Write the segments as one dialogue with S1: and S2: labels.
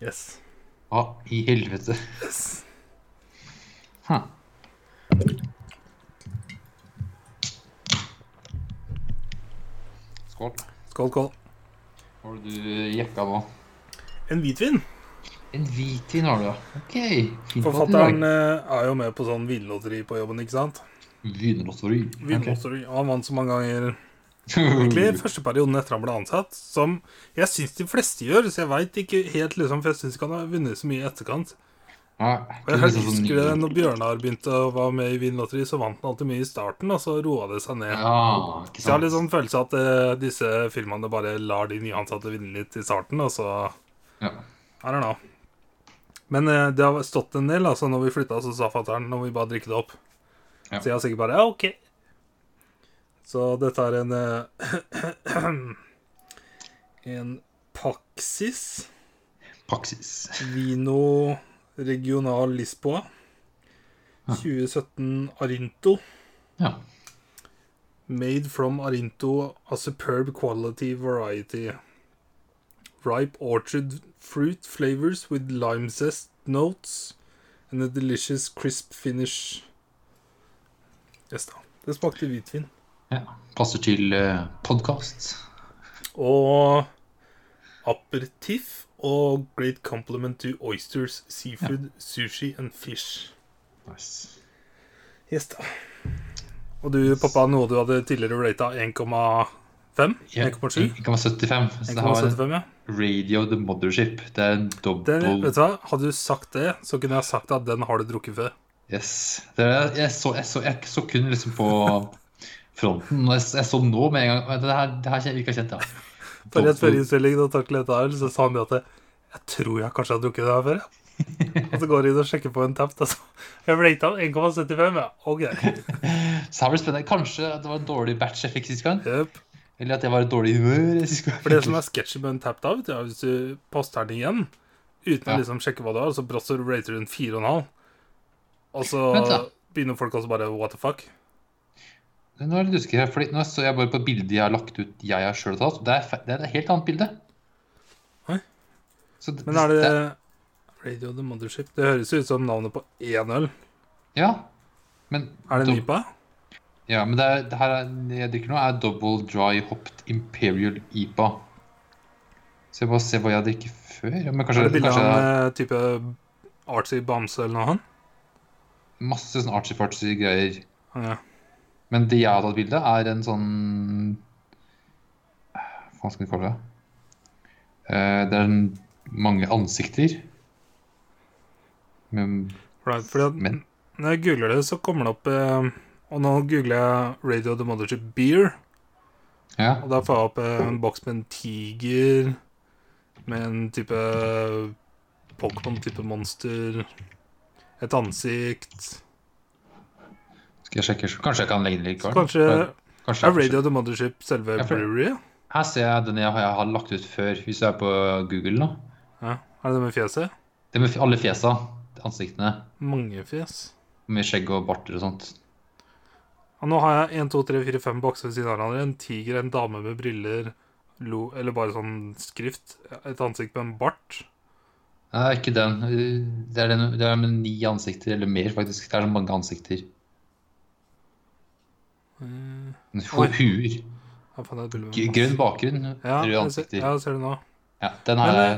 S1: Yes.
S2: Hva i helvete?
S1: yes.
S2: Huh. Skål.
S1: Skål, skål.
S2: Hva har du jekka nå?
S1: En hvitvin.
S2: En hvitvin har du, ja. Ok. Fint
S1: Forfatteren eh, er jo med på sånn vinlotteri på jobben, ikke sant?
S2: Vinlotteri.
S1: eh, Vinlotteri. Og han vant så mange ganger. Egentlig
S2: Mm.
S1: første perioden etter han ble ansatt, som jeg syns de fleste gjør, så jeg veit ikke helt, liksom, for jeg syns ikke han har vunnet så mye i etterkant.
S2: Ja,
S1: Og jeg
S2: sånn
S1: husker det når Bjørnar begynte å være med i Vinlotteri, så vant han alltid mye i starten, og så roa det seg ned.
S2: Ja, ikke sant.
S1: Så jeg har litt sånn følelse at eh, disse firmaene bare lar de nyansatte vinne litt i starten, og så
S2: Ja.
S1: I don't know. Men eh, det har stått en del, altså. Når vi flytta, så sa fatter'n når vi bare drikke det opp.
S2: Ja.
S1: Så jeg har sikkert bare Ja, OK. Så dette er en eh, En Paxis
S2: Praksis.
S1: Vino Regional Lisboa. 2017 Arinto.
S2: Ja.
S1: Made from Arinto, a superb quality variety. Ripe orchard fruit flavors with lime zest notes and a delicious crisp finish. Yes da. Det smakte hvitvin.
S2: ja. Passer til uh, podkast.
S1: Og aperitif og great compliment to oysters, seafood, sushi and fish.
S2: Nice.
S1: Yes da. Og du poppa noe du hadde tidligere rata 1,5?
S2: Ja,
S1: 1,7?
S2: 1,75. Så det har
S1: 1,75, ja.
S2: Radio The Mothership. Det er en
S1: Den,
S2: dobbel
S1: vet du hva, Hadde du sagt det, så kunne jeg sagt at den har du drukket før.
S2: Yes. Det er, jeg, så, jeg, så, jeg så kun liksom på fronten. Og jeg, jeg så nå med en gang Vet du, Det her, det her virka kjent, ja.
S1: For rett før innspilling da takk til dette her, så sa han det at jeg, jeg tror jeg kanskje har drukket det her før. Ja. Og så går jeg inn og sjekker på en tap. da, så- Jeg ble av 1,75, ja. Ok.
S2: Så her blir det spennende. Kanskje at det var en dårlig batch jeg fikk sist gang?
S1: Jøp.
S2: Eller at jeg var i dårlig humør sist gang?
S1: For det som er sketsjy med en tap, da, vet du, er hvis du poster den igjen uten å
S2: Ja.
S1: liksom sjekke hva du har, så brått så rater du en 4,5, og
S2: Vent da.
S1: så begynner folk også bare what the fuck.
S2: Nå er jeg litt usikker her, fordi nå så jeg bare på bildet jeg har lagt ut jeg har sjøl tatt. Det er, fe- det er et helt annet bilde.
S1: Oi.
S2: Så det,
S1: Men er det Radio the Mothership? Det høres jo ut som navnet på én øl.
S2: Ja. Men
S1: Er det
S2: dob-
S1: en IPA?
S2: Ja, men det, er, det her er, det jeg drikker nå, er Double Dry Hopped Imperial IPA. Så jeg bare ser hva jeg drikker før. Ja, men kanskje,
S1: Er det bilde av
S2: kanskje
S1: en eh, type artsy bamse eller noe?
S2: masse sånn artsy-fartsy greier.
S1: Han? Ja.
S2: Men det jeg har tatt bilde, er en sånn Hva faen skal vi kalle det? Eh, Det er en, mange ansikter. Men
S1: Right, fordi at
S2: Men-
S1: Når jeg googler det, så kommer det opp eh, Og nå googler jeg Radio The Mothership Beer,
S2: ja.
S1: og der får jeg opp eh, en boks med en tiger med en type Pokémon-type monster, et ansikt
S2: Skal jeg sjekke? Kanskje jeg kan legge den litt kvar?
S1: Kanskje
S2: kanskje
S1: er Radio The Mothership selve
S2: Ja, for-
S1: breweryet?
S2: Her ser jeg den jeg har, jeg har lagt ut før, hvis jeg er på Google nå.
S1: Ja. Er det det med fjeset?
S2: Det med alle fjesa, ansiktene,
S1: Mange fjes.
S2: med skjegg og barter og sånt.
S1: Og nå har jeg 1, 2, 3, 4, 5 bokser ved siden av hverandre. En tiger, en dame med briller, lo, eller bare sånn skrift. Et ansikt med en bart.
S2: Nei, ikke den. Det er, den, det er med ni ansikter, eller mer faktisk. Det er så mange ansikter.
S1: Eh, Oi.
S2: Hu- Huer.
S1: Her fant jeg et bilde
S2: G-
S1: med
S2: Grønn
S1: masse-
S2: bakgrunn,
S1: ja,
S2: røde
S1: jeg ser,
S2: ansikter.
S1: ja, jeg ser det nå.
S2: Ja, den har jeg.
S1: Men, eh,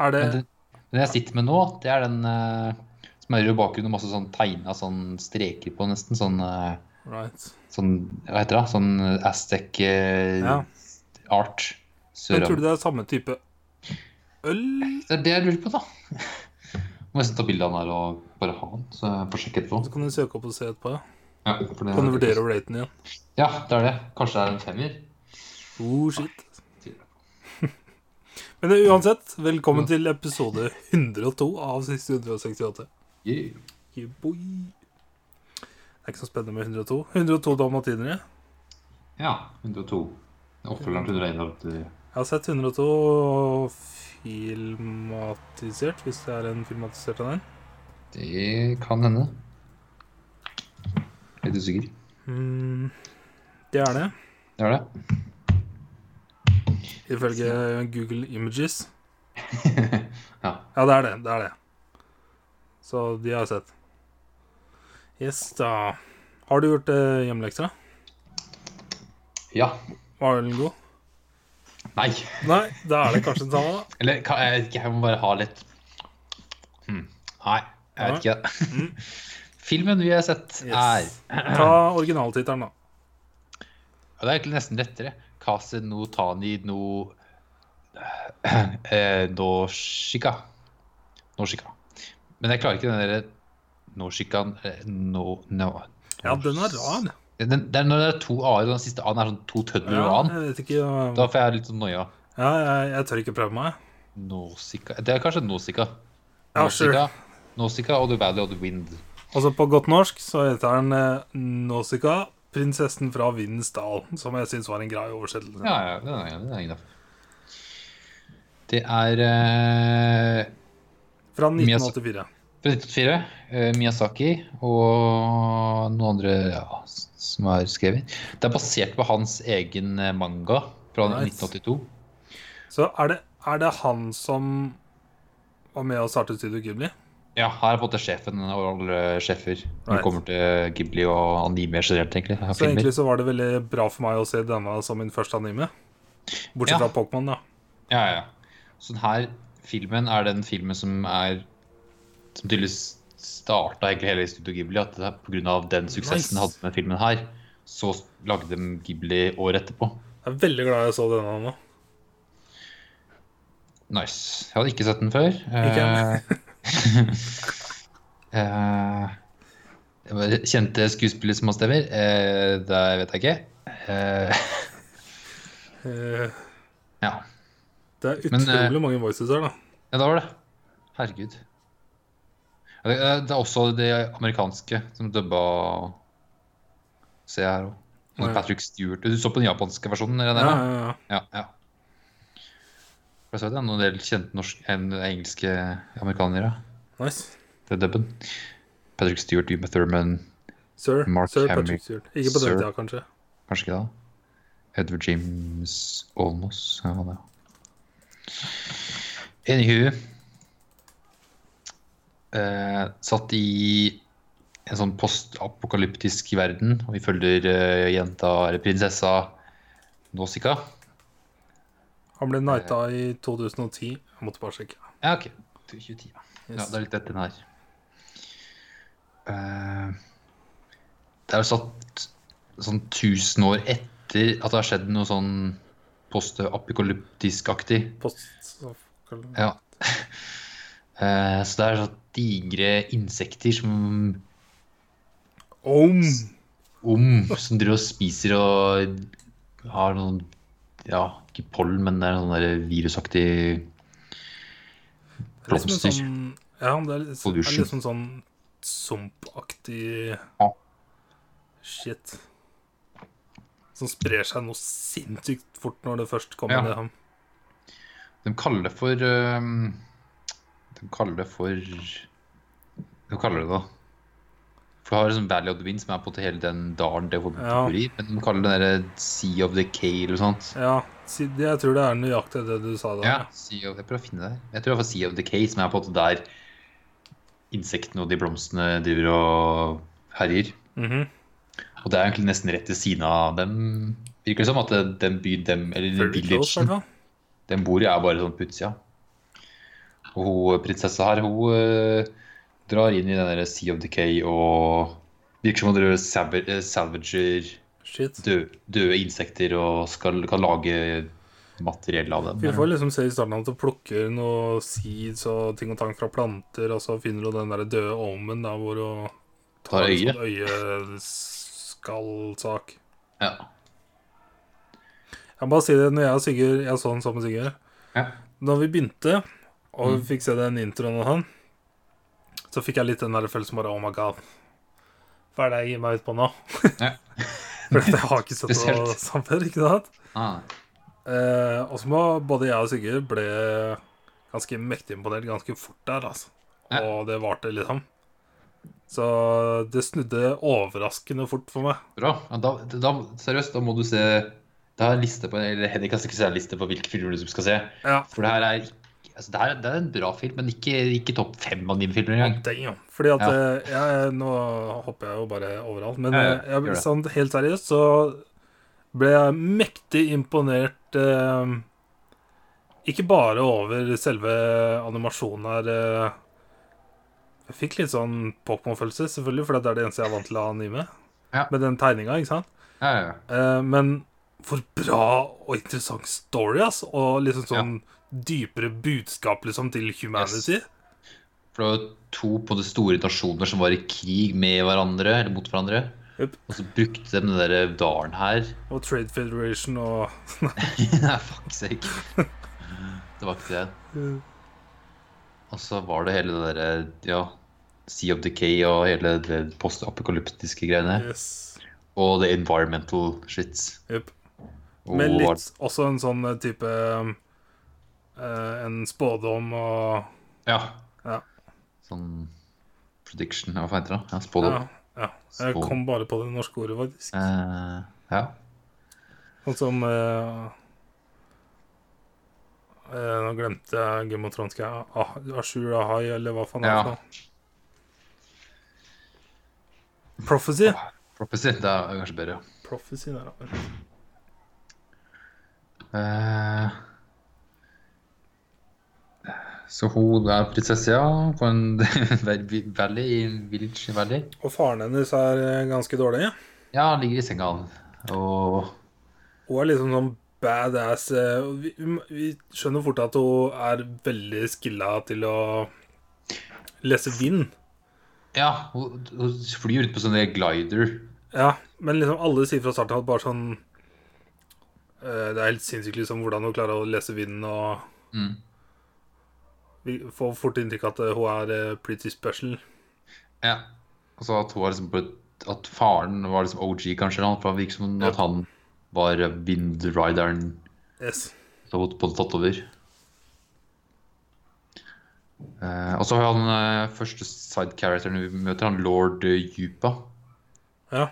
S1: Er det,
S2: Men den, den jeg sitter med nå, det er den eh, som er rød bakgrunn og masse sånn tegna sånn streker på, nesten. Sånn, eh,
S1: right.
S2: sånn Hva heter det? Sånn Aztec eh,
S1: Ja.
S2: art.
S1: Men tror
S2: Sør
S1: du det er samme type øl?
S2: Det er det jeg lurer på, da. Må nesten ta bilde av den her og bare ha den, så jeg får sjekke etterpå.
S1: Så kan du søke opp og se etterpå. ja.
S2: Ja, for det-
S1: Kan du vurdere å rate den igjen?
S2: Ja, det er det. Kanskje det er en femmer.
S1: Oh, shit. Men eh, uansett, velkommen til episode 102 av siste 168.
S2: Yeah.
S1: Yeah, boy. Det er ikke så spennende med 102. 102 dalmatinere.
S2: Ja, 102. Oppfølgeren til 101.
S1: Jeg har sett 102 filmatisert, hvis det er en filmatisert av den.
S2: Det kan hende. Litt usikker.
S1: Mm, det er det,
S2: Det er det.
S1: ifølge Google Images.
S2: Ja.
S1: Ja, det er det. Det er det. Så de har jeg sett. Yes, da. Har du gjort eh, hjemmeleksa?
S2: Ja.
S1: Var den god?
S2: Nei.
S1: Nei, da er det kanskje den samme, da.
S2: Eller kan, jeg vet ikke, jeg må bare ha litt hmm. Nei, jeg vet ikke. Filmen vi har sett,
S1: Mm.
S2: er
S1: Yes. Ta originaltittelen, da.
S2: Og det er egentlig nesten lettere. Kase no tani no eh, no shika. No shika. Men jeg klarer ikke den derre no shikan eh, no, no.
S1: Ja, den er rar.
S2: Den, det er når det er to a-er, og den siste a-en er sånn to tønner
S1: Ja,
S2: og a-en.
S1: jeg vet ikke eh,
S2: Da får jeg litt sånn noia.
S1: Ja, jeg, jeg tør ikke prøve meg.
S2: Nosika Det er kanskje Nosika.
S1: Ja, sure.
S2: Nosika, Nosika og The Valley of the Wind.
S1: Altså På godt norsk så heter den eh, Nausicaa, prinsessen fra vindens dal, som jeg syns var en grei oversettelse.
S2: Ja, ja, den er, den er innafor. Det er eh,
S1: Fra
S2: Mye så-
S1: 1984.
S2: Fra 1984. eh, Miyazaki og noen andre ja, som er skrevet. Det er basert på hans egen eh, manga fra
S1: Nice.
S2: 1982.
S1: Så er det, er det han som var med og startet Studio Ghibli?
S2: Ja, her har jeg fått det sjefen og alle sjefer når
S1: Right.
S2: det kommer til Ghibli og anime generelt, egentlig. av
S1: Så
S2: filmer.
S1: egentlig så var det veldig bra for meg å se denne som min første anime. Bortsett
S2: Ja.
S1: fra Pokémon, da.
S2: Ja, ja, ja. Så den her filmen er den filmen som er Som tydeligvis starta egentlig hele Studio Ghibli. At det er pga. den suksessen
S1: Nice.
S2: de hadde med filmen her, så lagde de Ghibli året etterpå.
S1: Jeg er veldig glad jeg så denne nå.
S2: Nice. Jeg hadde ikke sett den før.
S1: Ikke jeg.
S2: Eh, eh, det var kjente skuespiller som har stemmer. Eh, det vet jeg ikke. Eh,
S1: Eh,
S2: ja.
S1: Det er
S2: Men,
S1: utrolig
S2: eh,
S1: mange voices her, da.
S2: ja, da var det. Herregud. Ja, Det, eh, det er også det amerikanske som dubba Se her òg.
S1: Å, ja.
S2: Patrick Stewart. Du så på den japanske versjonen? eller den
S1: Ja,
S2: her?
S1: ja, ja.
S2: Ja, ja. For Jeg så det er noen del kjente norsk, en- engelske amerikanere.
S1: Nice.
S2: til dubben. Patrick Stewart, Uma Thurman,
S1: Sir,
S2: Mark
S1: Sir
S2: Hamill.
S1: Patrick Stewart. Ikke på den
S2: Sir.
S1: tida, kanskje.
S2: kanskje ikke da? Edward James Olmos. Ja, han er. Anywho eh, Satt i en sånn postapokalyptisk verden, og vi følger eh, jenta, eller prinsessa Nausicaa.
S1: Han ble knighta
S2: Eh.
S1: i 2010. Jeg måtte bare sjekke.
S2: Ja, OK. 2010, ja. Ja,
S1: Yes.
S2: det er litt etter den her. Eh, det er jo satt sånn 1000 år etter at det har skjedd noe sånn post-apokalyptisk-aktig.
S1: Post...
S2: Ja. Eh, så det er sånn digre insekter som
S1: Om!
S2: om, som driver og spiser og har noen Ja, ikke pollen, men det er sånn der virusaktig
S1: Det er liksom en
S2: Blomster.
S1: Sånn, ja, det er liksom, det er
S2: Pollution.
S1: liksom sånn sumpaktig
S2: Ja.
S1: shit. Som sprer seg noe sinnssykt fort når det først kommer
S2: Ja.
S1: ned ham.
S2: De kaller det for ehm, De kaller det for Hva kaller de det da? For du har liksom Valley of the Wind, som er på en måte hele den dalen det hvor
S1: Ja.
S2: bor i. Men de kaller det der Sea of the Cale eller sånt.
S1: Ja, si- det- jeg tror det er nøyaktig det du sa der.
S2: Ja, sea of, jeg prøver å finne det her. Jeg tror det var Sea of the Cale, som er på en måte der insektene og de blomstene driver og herjer.
S1: Mhm.
S2: Og det er egentlig nesten rett ved siden av dem. Virker det som at det- den byen dem, eller den
S1: Pretty close,
S2: villagen,
S1: hvertfall.
S2: Den bor jeg bare sånn på utsida. Og hun prinsessa her, hun eh, drar inn i den der Sea of Decay og virker som hun driver og salva- eh, salvager
S1: Shit.
S2: døde, døde insekter og skal, kan lage materiell av dem.
S1: Vi får liksom se i starten at du plukker noe seeds og ting og tang fra planter, og så finner du den der døde omen der hvor du
S2: Tar
S1: en
S2: øyet.
S1: sånn øyeskallsak.
S2: Ja.
S1: Jeg må bare si det, når jeg og Sigurd Jeg så den sammen med Sigurd.
S2: Ja.
S1: Når vi begynte, og
S2: Mm.
S1: vi fikk se den introen og sånn, så fikk jeg litt den der følelsen bare Oh my god. Hva er det jeg gir meg ut på nå?
S2: Ja.
S1: For jeg har ikke sett noe
S2: Spesielt.
S1: sånt før, ikke sant?
S2: Ah,
S1: Eh, og så må både jeg og Sigurd ble ganske mektig imponert ganske fort der, altså.
S2: Ja.
S1: Og det varte, liksom. Så det snudde overraskende fort for meg.
S2: bra. Ja, Da, da, seriøst, da må du se Det er en liste på, eller Henrik har sikkert en liste på hvilke filmer du skal se.
S1: Ja.
S2: For det her er ikke altså, det, her, det er en bra film, men ikke, ikke topp fem av dine filmer engang.
S1: Damn. Fordi at
S2: Ja.
S1: eh, jeg, Nå hopper jeg jo bare overalt, men
S2: Ja, ja,
S1: eh, jeg,
S2: gjør det.
S1: sånn, helt seriøst så ble jeg mektig imponert eh, Ikke bare over selve animasjonen her eh, Jeg fikk litt sånn Pokémon-følelse, selvfølgelig, for det er det eneste jeg er vant til av anime.
S2: Ja.
S1: Med den tegninga, ikke sant?
S2: Ja, ja, ja.
S1: Eh, men for bra og interessant story, ass. Og liksom sånn dypere budskap liksom til humanity.
S2: For det var jo to på det store nasjoner som var i krig med hverandre, eller mot hverandre.
S1: Jupp.
S2: Og så brukte de den der dalen her.
S1: Og Trade Federation og
S2: Nei, fuck sake. Det var ikke det. Og så var det hele det derre ja, Sea of Decay og hele det postapokalyptiske greiene.
S1: Yes.
S2: Og the environmental shit.
S1: Yep.
S2: Og
S1: Med
S2: var-
S1: litt også en sånn eh, type eh, En spådom og
S2: Ja.
S1: Ja.
S2: Sånn prediction Hva faen heter det? Ja, spådom.
S1: ja, ja. Jeg
S2: Spådom.
S1: kom bare på det norske ordet, faktisk.
S2: Eh, ja.
S1: Sånn som eh, eh, Nå glemte jeg Game of Thrones. Ah, Ashur Ahai, eller hva faen
S2: Ja.
S1: er det? for noe? Prophecy.
S2: Prophecy. Det er kanskje bedre, ja.
S1: Prophecy der, ja.
S2: Eh, Så hun er prinsesse, ja, på en valley, i en village i valley.
S1: Og faren hennes er eh, ganske dårlig.
S2: Ja, han ligger i senga, han. Og
S1: Hun er liksom sånn badass. eh, og Vi, vi- vi skjønner fort at hun er veldig skilla til å lese vind.
S2: ja, hun, hun flyr ut på sånne glider.
S1: Ja, men liksom alle sier fra starten av at bare sånn eh, Det er helt sinnssykt liksom hvordan hun klarer å lese vinden og
S2: Mm.
S1: Vi får fort inntrykk av at eh, hun er eh, pretty special.
S2: Ja. Og så at hun var liksom på et, At faren var liksom OG, kanskje, han, for det virker som at han var windrideren
S1: Yes.
S2: som hun hadde tatt over. Eh, og så har han eh, første side-characteren vi møter, han lord eh, Yupa.
S1: Ja.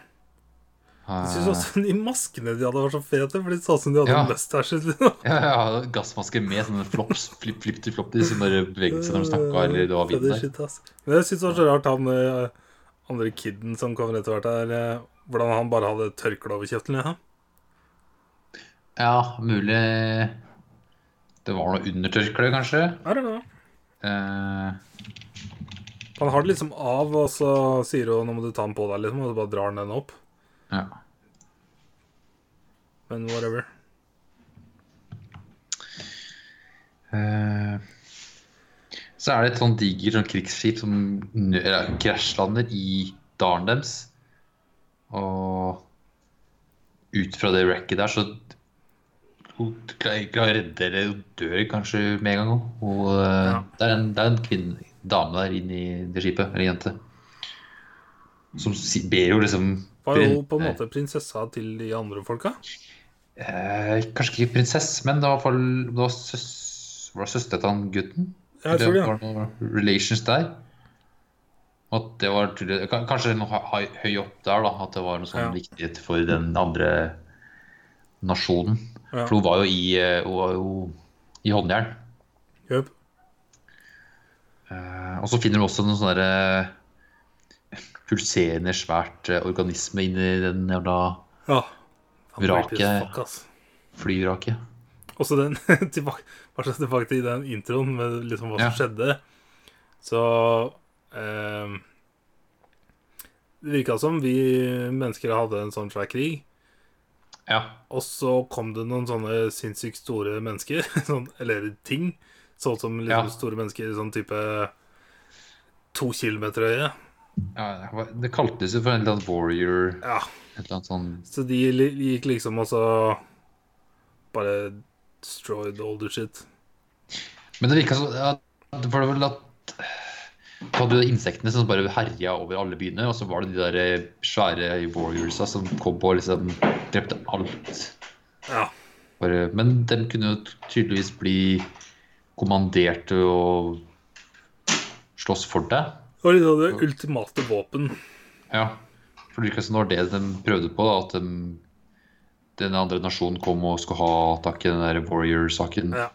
S2: Eh,
S1: Jeg syns også de maskene de hadde, var så fete, for de så ut som de hadde liksom.
S2: Ja.
S1: mustache.
S2: ja, ja, gassmasker med sånne flops, flip, flip til flopti som bare beveget seg når de snakka, eller det var vind
S1: Fedder
S2: der.
S1: shit, ass. Men jeg synes det var så rart han eh, andre kiden som kommer etter hvert her, eh, hvordan han bare hadde tørkle over kjeften. Ja.
S2: Ja, mulig det var noe under tørkleet, kanskje.
S1: I don't know.
S2: Eh,
S1: Han har det liksom av, og så sier hun nå må du ta den på deg, liksom, og så bare drar han den opp.
S2: ja.
S1: Men whatever.
S2: Eh, Så er det et sånn digert sånn krigsskip som nø- eller, krasjlander i dalen deres. Og ut fra det wrecket der, så hun klarer ikke å redde eller hun dør kanskje med en gang. hun. Hun, eh,
S1: Ja.
S2: Det er en, det er en kvinne, dame der inne i det skipet, eller jente, som si- ber jo liksom
S1: Var jo på en
S2: Nei.
S1: måte prinsessa til de andre folka.
S2: eh, Kanskje ikke prinsesse, men det var i hvert fall det var søs, var det søster til han gutten.
S1: Ja, jeg tror det, ja.
S2: var noen relations der. Og At det var tydelig- ka- Kanskje noe hø- høy, høy opp der, da. At det var noe sånn
S1: Ja.
S2: viktighet for den andre nasjonen.
S1: Ja.
S2: For hun var jo i, eh, hun var jo i håndjern.
S1: Jøp.
S2: Eh, Og så finner du også noen sånne der, eh, pulserende svært eh, organisme inni den jævla
S1: Ja. Han
S2: Vraket.
S1: creepy as fuck, ass.
S2: flyvraket.
S1: Også den tilbake, bare så tilbake til den introen med liksom hva som
S2: Ja.
S1: skjedde. Så eh, Det virka som vi mennesker hadde en sånn svær krig.
S2: Ja.
S1: Og så kom det noen sånne sinnssykt store mennesker, sånn, eller ting. Sånn som
S2: Ja.
S1: liksom store mennesker i sånn type to kilometer høye.
S2: ja hva- det kaltes jo for en eller annen warrior
S1: Ja.
S2: Et eller annet sånn
S1: Så de li- gikk liksom og så bare destroyed all the shit.
S2: Men det virka som at det var vel at Du hadde jo insektene som bare herja over alle byene, og så var det de der eh, svære warriorsa som kom på og liksom drepte alt.
S1: Ja.
S2: Bare, men de kunne jo tydeligvis bli kommandert til å slåss for deg.
S1: Det var liksom det ultimate våpen.
S2: Ja. For det virka som det var det de prøvde på, da, at de, den andre nasjonen kom og skulle ha tak i den der warrior-saken.
S1: Ja.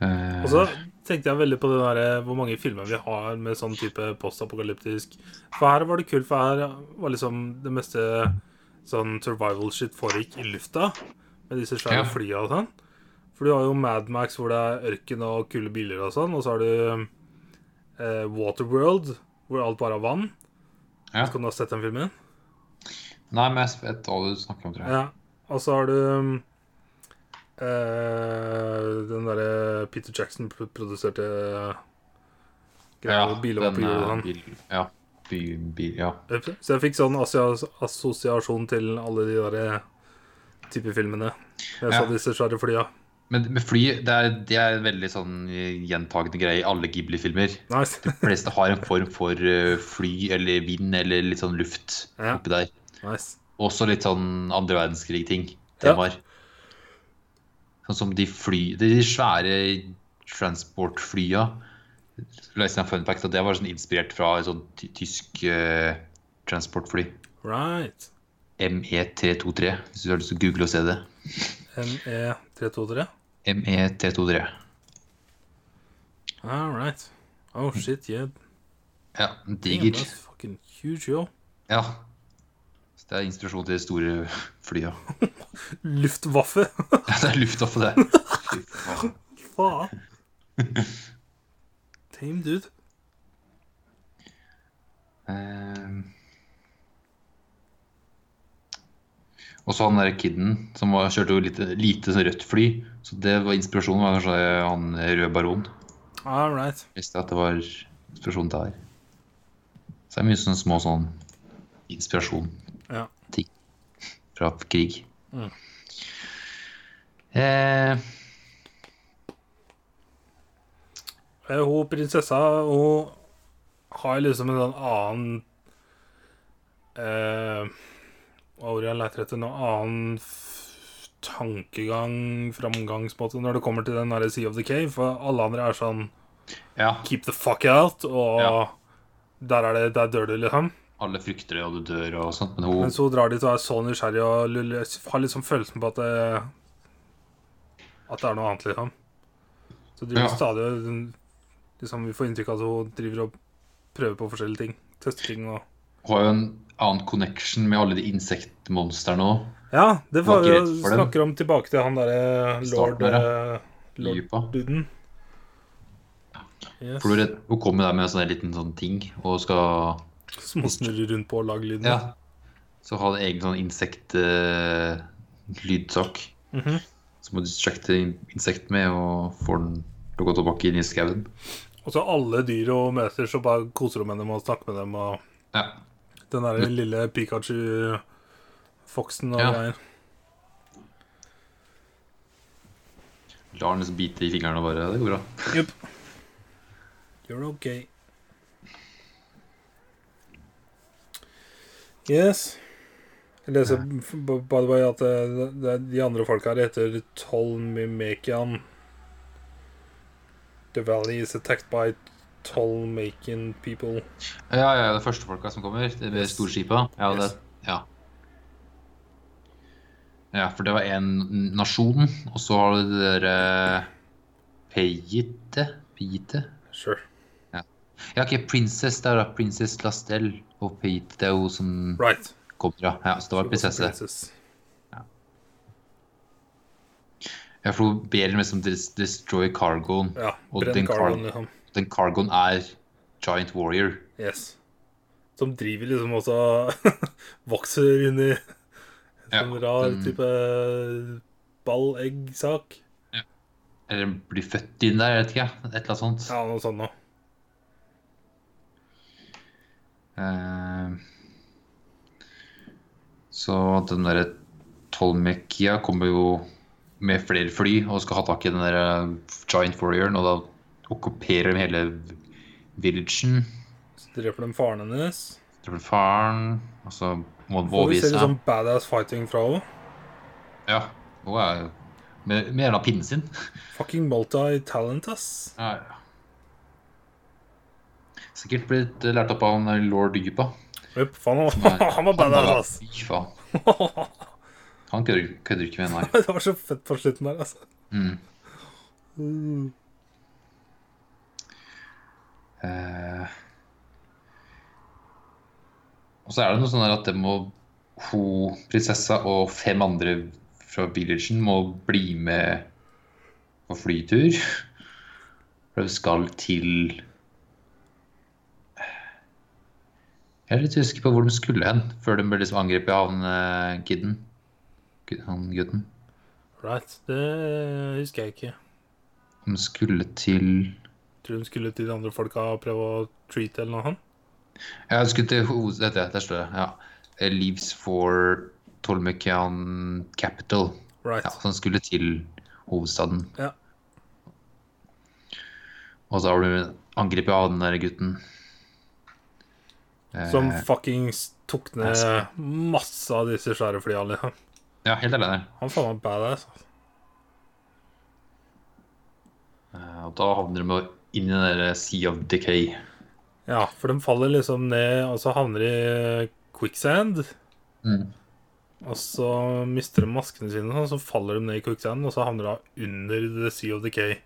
S2: Eh,
S1: Og så tenkte jeg veldig på det der, eh, hvor mange filmer vi har med sånn type postapokalyptisk. For her var det kult, for her var liksom det meste sånn survival shit foregikk i lufta. Med disse svære
S2: Ja.
S1: flya og sånn. For du har jo Mad Max hvor det er ørken og kule biler og sånn. Og så har du eh, Waterworld hvor alt bare er vann.
S2: Ja.
S1: Skal du ha sett den filmen?
S2: Nei, men jeg vet hva du snakker om, tror jeg.
S1: Ja. Og så har du um, eh, den derre Peter Jackson-produserte greia eh, med biler var på
S2: den,
S1: hjul og
S2: eh,
S1: sånn.
S2: bil- Ja. By, bil, ja.
S1: Så jeg fikk sånn assia- assosiasjon til alle de derre type filmene. Jeg
S2: Ja.
S1: så disse svære flya.
S2: Men med fly det er, det er en veldig sånn gjentagende greie i alle Ghibli-filmer.
S1: Nice.
S2: De fleste har en form for eh, fly eller vind eller litt sånn luft
S1: Ja.
S2: oppi der.
S1: nice.
S2: Også litt sånn andre verdenskrig-ting.
S1: Ja.
S2: Temaer. Sånn som de fly De svære transportflya. Leste jeg en fun fact at det var sånn inspirert fra et sånt ty- tysk eh, transportfly. E
S1: Right.
S2: ME323, hvis du har lyst til å google og se det.
S1: E ME323.
S2: E ME323.
S1: All right. Oh shit, yeah.
S2: Ja,
S1: Damn,
S2: diger.
S1: that's fucking huge, yo.
S2: Ja. Så det er inspirasjon til de store flya.
S1: Luftwaffe.
S2: Ja, det er lufta på det. Fy faen.
S1: Faen. Tame dude.
S2: Ehm. Og så han der kiden som var, kjørte jo lite, lite sånn rødt fly. Så det var inspirasjonen var kanskje han eh, røde baron.
S1: All right.
S2: Visste at det var inspirasjon der. Så det er mye sånne små sånn inspirasjon.
S1: Ja.
S2: Ting fra krig.
S1: Mm.
S2: Eh,
S1: Eh, Hun prinsessa Hun har liksom en sånn annen eh, Hva ordet jeg leter etter nå? Annen f- tankegang, framgangsmåte, når det kommer til den derre Sea of the Cave. For alle andre er sånn
S2: ja,
S1: Keep the fuck out, og
S2: Ja.
S1: der er det Der dør du, liksom.
S2: alle frykter det, og du dør og sånt, men hun
S1: Mens hun drar dit og er så nysgjerrig og lull- har liksom følelsen på at det, at det er noe annet, liksom. Så driver
S2: Ja.
S1: hun stadig og liksom, Vi får inntrykk av at hun driver og prøver på forskjellige ting. Tester ting og
S2: har jo en annen connection med alle de insektmonstrene òg.
S1: Ja, det
S2: Var
S1: får vi
S2: ikke
S1: jo
S2: redd for dem.
S1: snakker om tilbake til han derre lord
S2: Starten der,
S1: eh, Lord Duden. Yes.
S2: For du redd- hun kommer der med en sånn her liten sånn ting og skal
S1: Som hun snurrer rundt på og lager lyden.
S2: ja, så ha en egen sånn eh, insekt-lydsak
S1: Mhm.
S2: som hun distracter in- insekt med og får den til å gå tilbake inn i skauen.
S1: Og så alle dyr hun møter, så bare koser hun med dem og snakker med dem. og
S2: Ja.
S1: Den der lille Pikachu-foksen og
S2: Ja.
S1: greier.
S2: Lar den liksom bite i fingrene og bare Det går bra.
S1: Jupp. You're okay. Yes. Jeg leser f- b- by the way at eh, det, det, de andre folka her heter Tolmimekian. The valley is attacked by Tolmakian people.
S2: Ja, ja, det er førstefolka som kommer. Det blir
S1: Yes.
S2: storskipa. Ja, det,
S1: Yes.
S2: ja. ja, for det var én nasjon, og så har du det eh, derre Peyite? Peyite?
S1: Sure.
S2: Ja, ikke Princess der, da. Princess Lastell og Peyite. Det er jo som
S1: Right.
S2: kommer, ja. ja. Så det var prinsesse.
S1: Princess.
S2: Ja, for hun ber dem liksom dis- destroy cargoen.
S1: Ja.
S2: Og
S1: Brenn
S2: den
S1: Carlon,
S2: Carl-
S1: liksom.
S2: Den cargoen er Giant Warrior.
S1: Yes. Som driver liksom også Vokser inn i en
S2: Ja,
S1: sånn rar
S2: den-
S1: type ballegg-sak.
S2: Eller blir født inn der, jeg vet ikke. Et eller annet sånt.
S1: Ja, noe sånt noe.
S2: Eh, Så den derre Tolmekia kommer jo med flere fly og skal ha tak i den der eh, Giant Warrioren, og da okkuperer de hele villagen.
S1: Så dreper de faren hennes.
S2: Dreper faren, og så må han
S1: Får vi
S2: overgi
S1: se litt
S2: seg.
S1: sånn badass fighting fra henne.
S2: Ja, hun er jo med, med hele pinnen sin.
S1: Fucking multi-talent, ass.
S2: Ja, ja. Sikkert blitt eh, lært opp av han lord Dypa.
S1: Jøp, faen, han,
S2: Nei,
S1: var- han var badass,
S2: Fy faen.
S1: ass.
S2: Han kødder kødder ikke med henne, nei.
S1: det var så fett på slutten der, altså.
S2: Mm.
S1: Mm.
S2: Eh, og så er det noe sånn her at det må hun, prinsessa og fem andre fra villagen må bli med på flytur. For hun skal til Jeg er litt usikker på hvor de skulle hen før de ble liksom angrepet av han eh, kidden. Gu- Han gutten.
S1: Right. Det husker jeg ikke.
S2: De skulle til
S1: Tror de skulle til de andre folka og prøve å treate eller noe sånt.
S2: Ja, jeg skulle til hoved... Dette, der står det. Ja. Eh, Leaves for Tolmekian Capital.
S1: Right.
S2: Ja, som skulle til hovedstaden.
S1: Ja.
S2: Og så har du angrepet av den der gutten. Eh,
S1: Som fuckings tok
S2: jeg
S1: ned masse av disse svære flya. liksom.
S2: Ja, helt alene.
S1: Han faen meg badass. altså.
S2: Eh, og da havner du med inn i den der Sea of Decay.
S1: Ja, for de faller liksom ned, og så havner de i quicksand.
S2: Mm.
S1: Og så mister de maskene sine, og så faller de ned i quicksand, og så havner de under The Sea of Decay.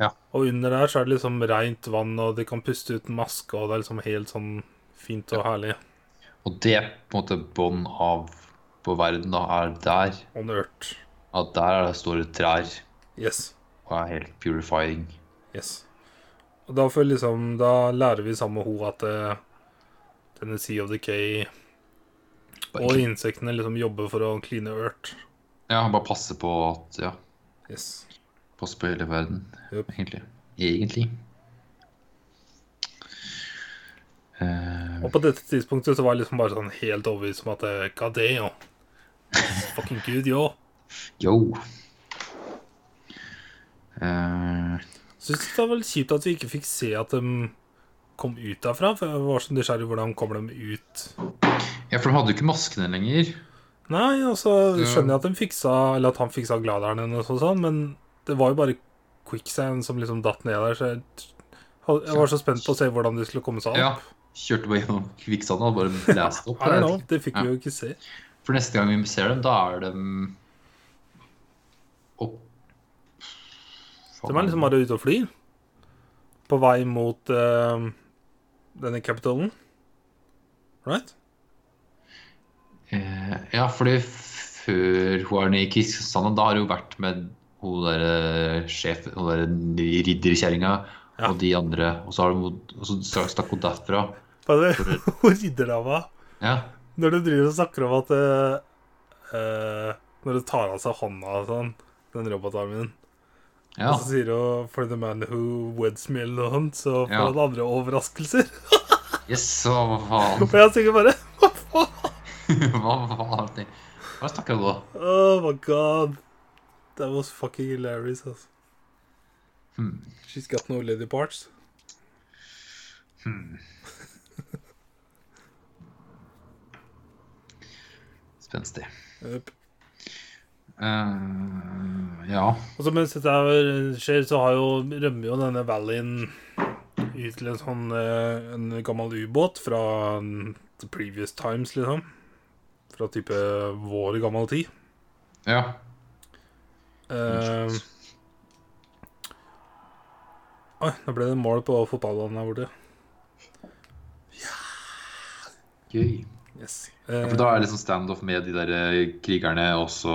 S2: Ja.
S1: Og under der så er det liksom rent vann, og de kan puste uten maske, og det er liksom helt sånn fint og herlig.
S2: Og det er på en måte bånd av på verden da, er der.
S1: Og nørt.
S2: At der er det store trær
S1: Yes.
S2: og er helt purifying.
S1: Yes. Og da får liksom Da lærer vi sammen med hun at eh, denne Sea of Decay og insektene liksom jobber for å kline ørt.
S2: Ja, bare passe på at Ja,
S1: Yes.
S2: passe på hele verden.
S1: Yep.
S2: Egentlig. Egentlig. Eh,
S1: Og på dette tidspunktet så var jeg liksom bare sånn helt overbevist om at eh, God damn. Fucking good, yo.
S2: yo. Eh,
S1: Syns det var litt kjipt at vi ikke fikk se at de kom ut derfra, for jeg var så nysgjerrig hvordan kommer de ut.
S2: ja, for de hadde jo ikke maskene lenger.
S1: Nei, og så skjønner jeg at de fiksa Eller at han fiksa gladeren hennes og sånn, men det var jo bare quicksand som liksom datt ned der, så jeg, jeg var så spent på å se hvordan de skulle komme seg
S2: Ja,
S1: opp.
S2: Kjørte bare gjennom kvikksanden og bare blæste opp.
S1: I don't know, det fikk
S2: Ja.
S1: vi jo ikke se.
S2: For neste gang vi ser dem, da er de opp
S1: De er liksom bare ute og flyr. På vei mot eh, denne capitalen. Right?
S2: Eh, ja, fordi før hun er nede i Kristiansand, da har hun vært med hun derre sjef, hun derre ridderkjerringa
S1: Ja.
S2: og de andre. Og så, har hun, og så straks stakk hun derfra.
S1: Bare hun ridderdama.
S2: Ja.
S1: Når du driver og snakker om at eh, eh, Når du tar av seg hånda og sånn, den robotarmen
S2: ja.
S1: Og så sier hun 'For the man who weds me alone', så får
S2: Ja.
S1: han andre overraskelser.
S2: Yes, hva faen?
S1: Og jeg tenker bare Hva faen?
S2: Hva faen er det? Hva snakker hun om?
S1: Oh my god. That was fucking hilarious, altså.
S2: Hmm.
S1: She's got no lady parts.
S2: Spenstig.
S1: Yep.
S2: Eh, ja.
S1: Og så mens dette her skjer, så har jo, rømmer jo denne Valin ut til en sånn eh, en gammel ubåt fra mm, the previous times, liksom. Fra type vår gammel tid.
S2: Ja.
S1: Eh, Oi, nå ble det mål på fotballbanen her borte.
S2: Gøy.
S1: Yes.
S2: Ja,
S1: Eh,
S2: for da er det liksom standoff med de der eh, krigerne også.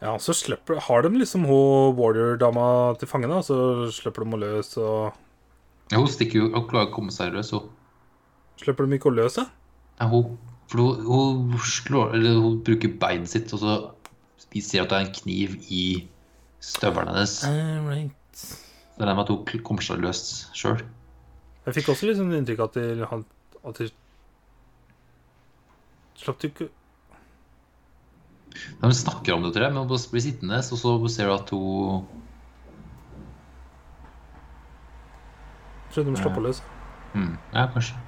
S1: ja, så slipper Har de liksom hun warrior-dama til fange, da, så slipper de å løs, og
S2: Ja, hun stikker jo Hun klarer å komme seg løs, hun.
S1: Slipper de ikke å løs, da?
S2: Ja, hun, for hun, hun, slår, eller hun bruker beinet sitt, og så vi ser at det er en kniv i støvelen hennes. Det er det med at hun kl- kommer seg løs sjøl.
S1: Jeg fikk også liksom inntrykk av at de, han- at de Slapp du ikke
S2: De snakker om det, tror jeg, men hun bare blir sittende, og så ser du at hun
S1: Skjønte de slapp å løs.
S2: hmm, Ja, kanskje.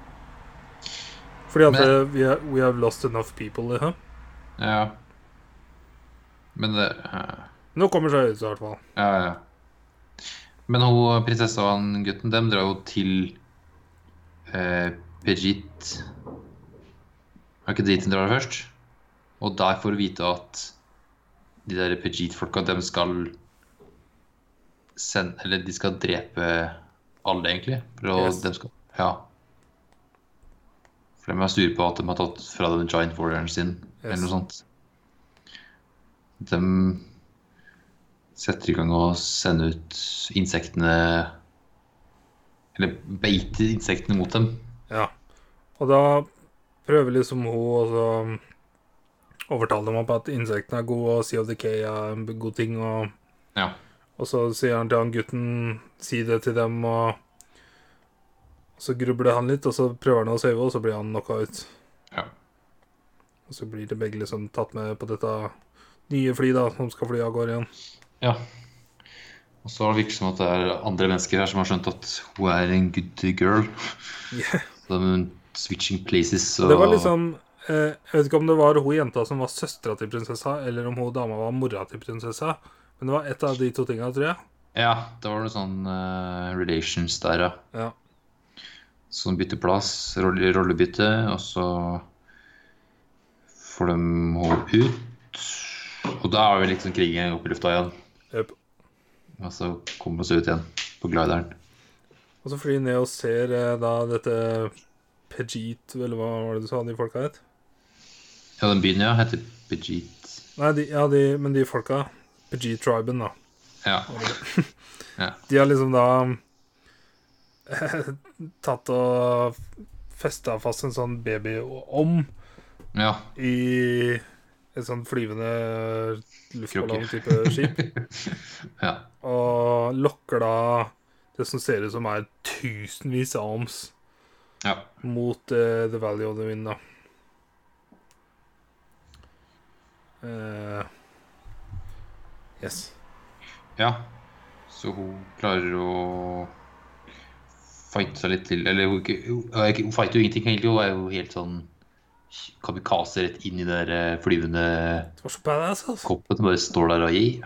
S1: Fordi at
S2: Men-
S1: eh, we, have, we have lost enough people, liksom.
S2: Ja. Men det eh,
S1: Nå kommer seg ut, i hvert fall.
S2: Ja, ja. Men hun prinsessa og han gutten, dem drar jo til eh, Perit Er ikke dit hun drar først? Og der får hun vite at de der Pejit-folka, dem skal sende Eller de skal drepe alle, egentlig. For å,
S1: Yes.
S2: dem skal, ja. For de er sure på at de har tatt fra den giant warrioren sin, eller
S1: Yes.
S2: noe sånt. De setter i gang å sende ut insektene Eller beiter insektene mot dem.
S1: Ja. Og da prøver liksom hun også å overtale dem om at insektene er gode, og CODK er en god ting, og,
S2: Ja.
S1: og så sier han til han gutten Si det til dem, og så grubler han litt, og så prøver han å save, og så blir han knocka ut.
S2: Ja.
S1: Og så blir det begge liksom tatt med på dette nye flyet, da, som skal fly av gårde igjen.
S2: Ja. Og så har det virket som at det er andre mennesker her som har skjønt at hun er en good girl.
S1: Yeah.
S2: Så de switching places og
S1: Det var liksom eh, Jeg vet ikke om det var hun jenta som var søstera til prinsessa, eller om hun dama var mora til prinsessa, men det var et av de to tinga, tror jeg.
S2: Ja, det var noe sånn eh, relations der, ja.
S1: Ja.
S2: Så de bytter plass, rolle, rollebytte, og så får de henne ut. Og da er vi liksom krigen opp i lufta igjen.
S1: Jep.
S2: Og så kommer vi oss ut igjen på glideren.
S1: Og så flyr de ned og ser eh, da dette Pejit, eller hva var det du sa de folka het?
S2: Ja, den byen, ja, heter Bejit.
S1: Nei, de, ja, de, men de folka Pejit-triben, da.
S2: Ja.
S1: De har liksom da eh, tatt og festa fast en sånn babyom
S2: ja.
S1: i et sånn flyvende luftballong-type skip.
S2: ja.
S1: Og lokker da det som ser ut som er tusenvis av oms
S2: Ja.
S1: mot eh, The Valley of the Wind, da. Eh, yes.
S2: Ja, så hun klarer å fighte seg litt til Eller hun, ikke- hun, er ikke- hun fighter jo ingenting, egentlig. Hun er jo helt sånn kamikaze rett inn i den der flyvende
S1: Det var så badass, altså.
S2: koppen som bare står der og gir.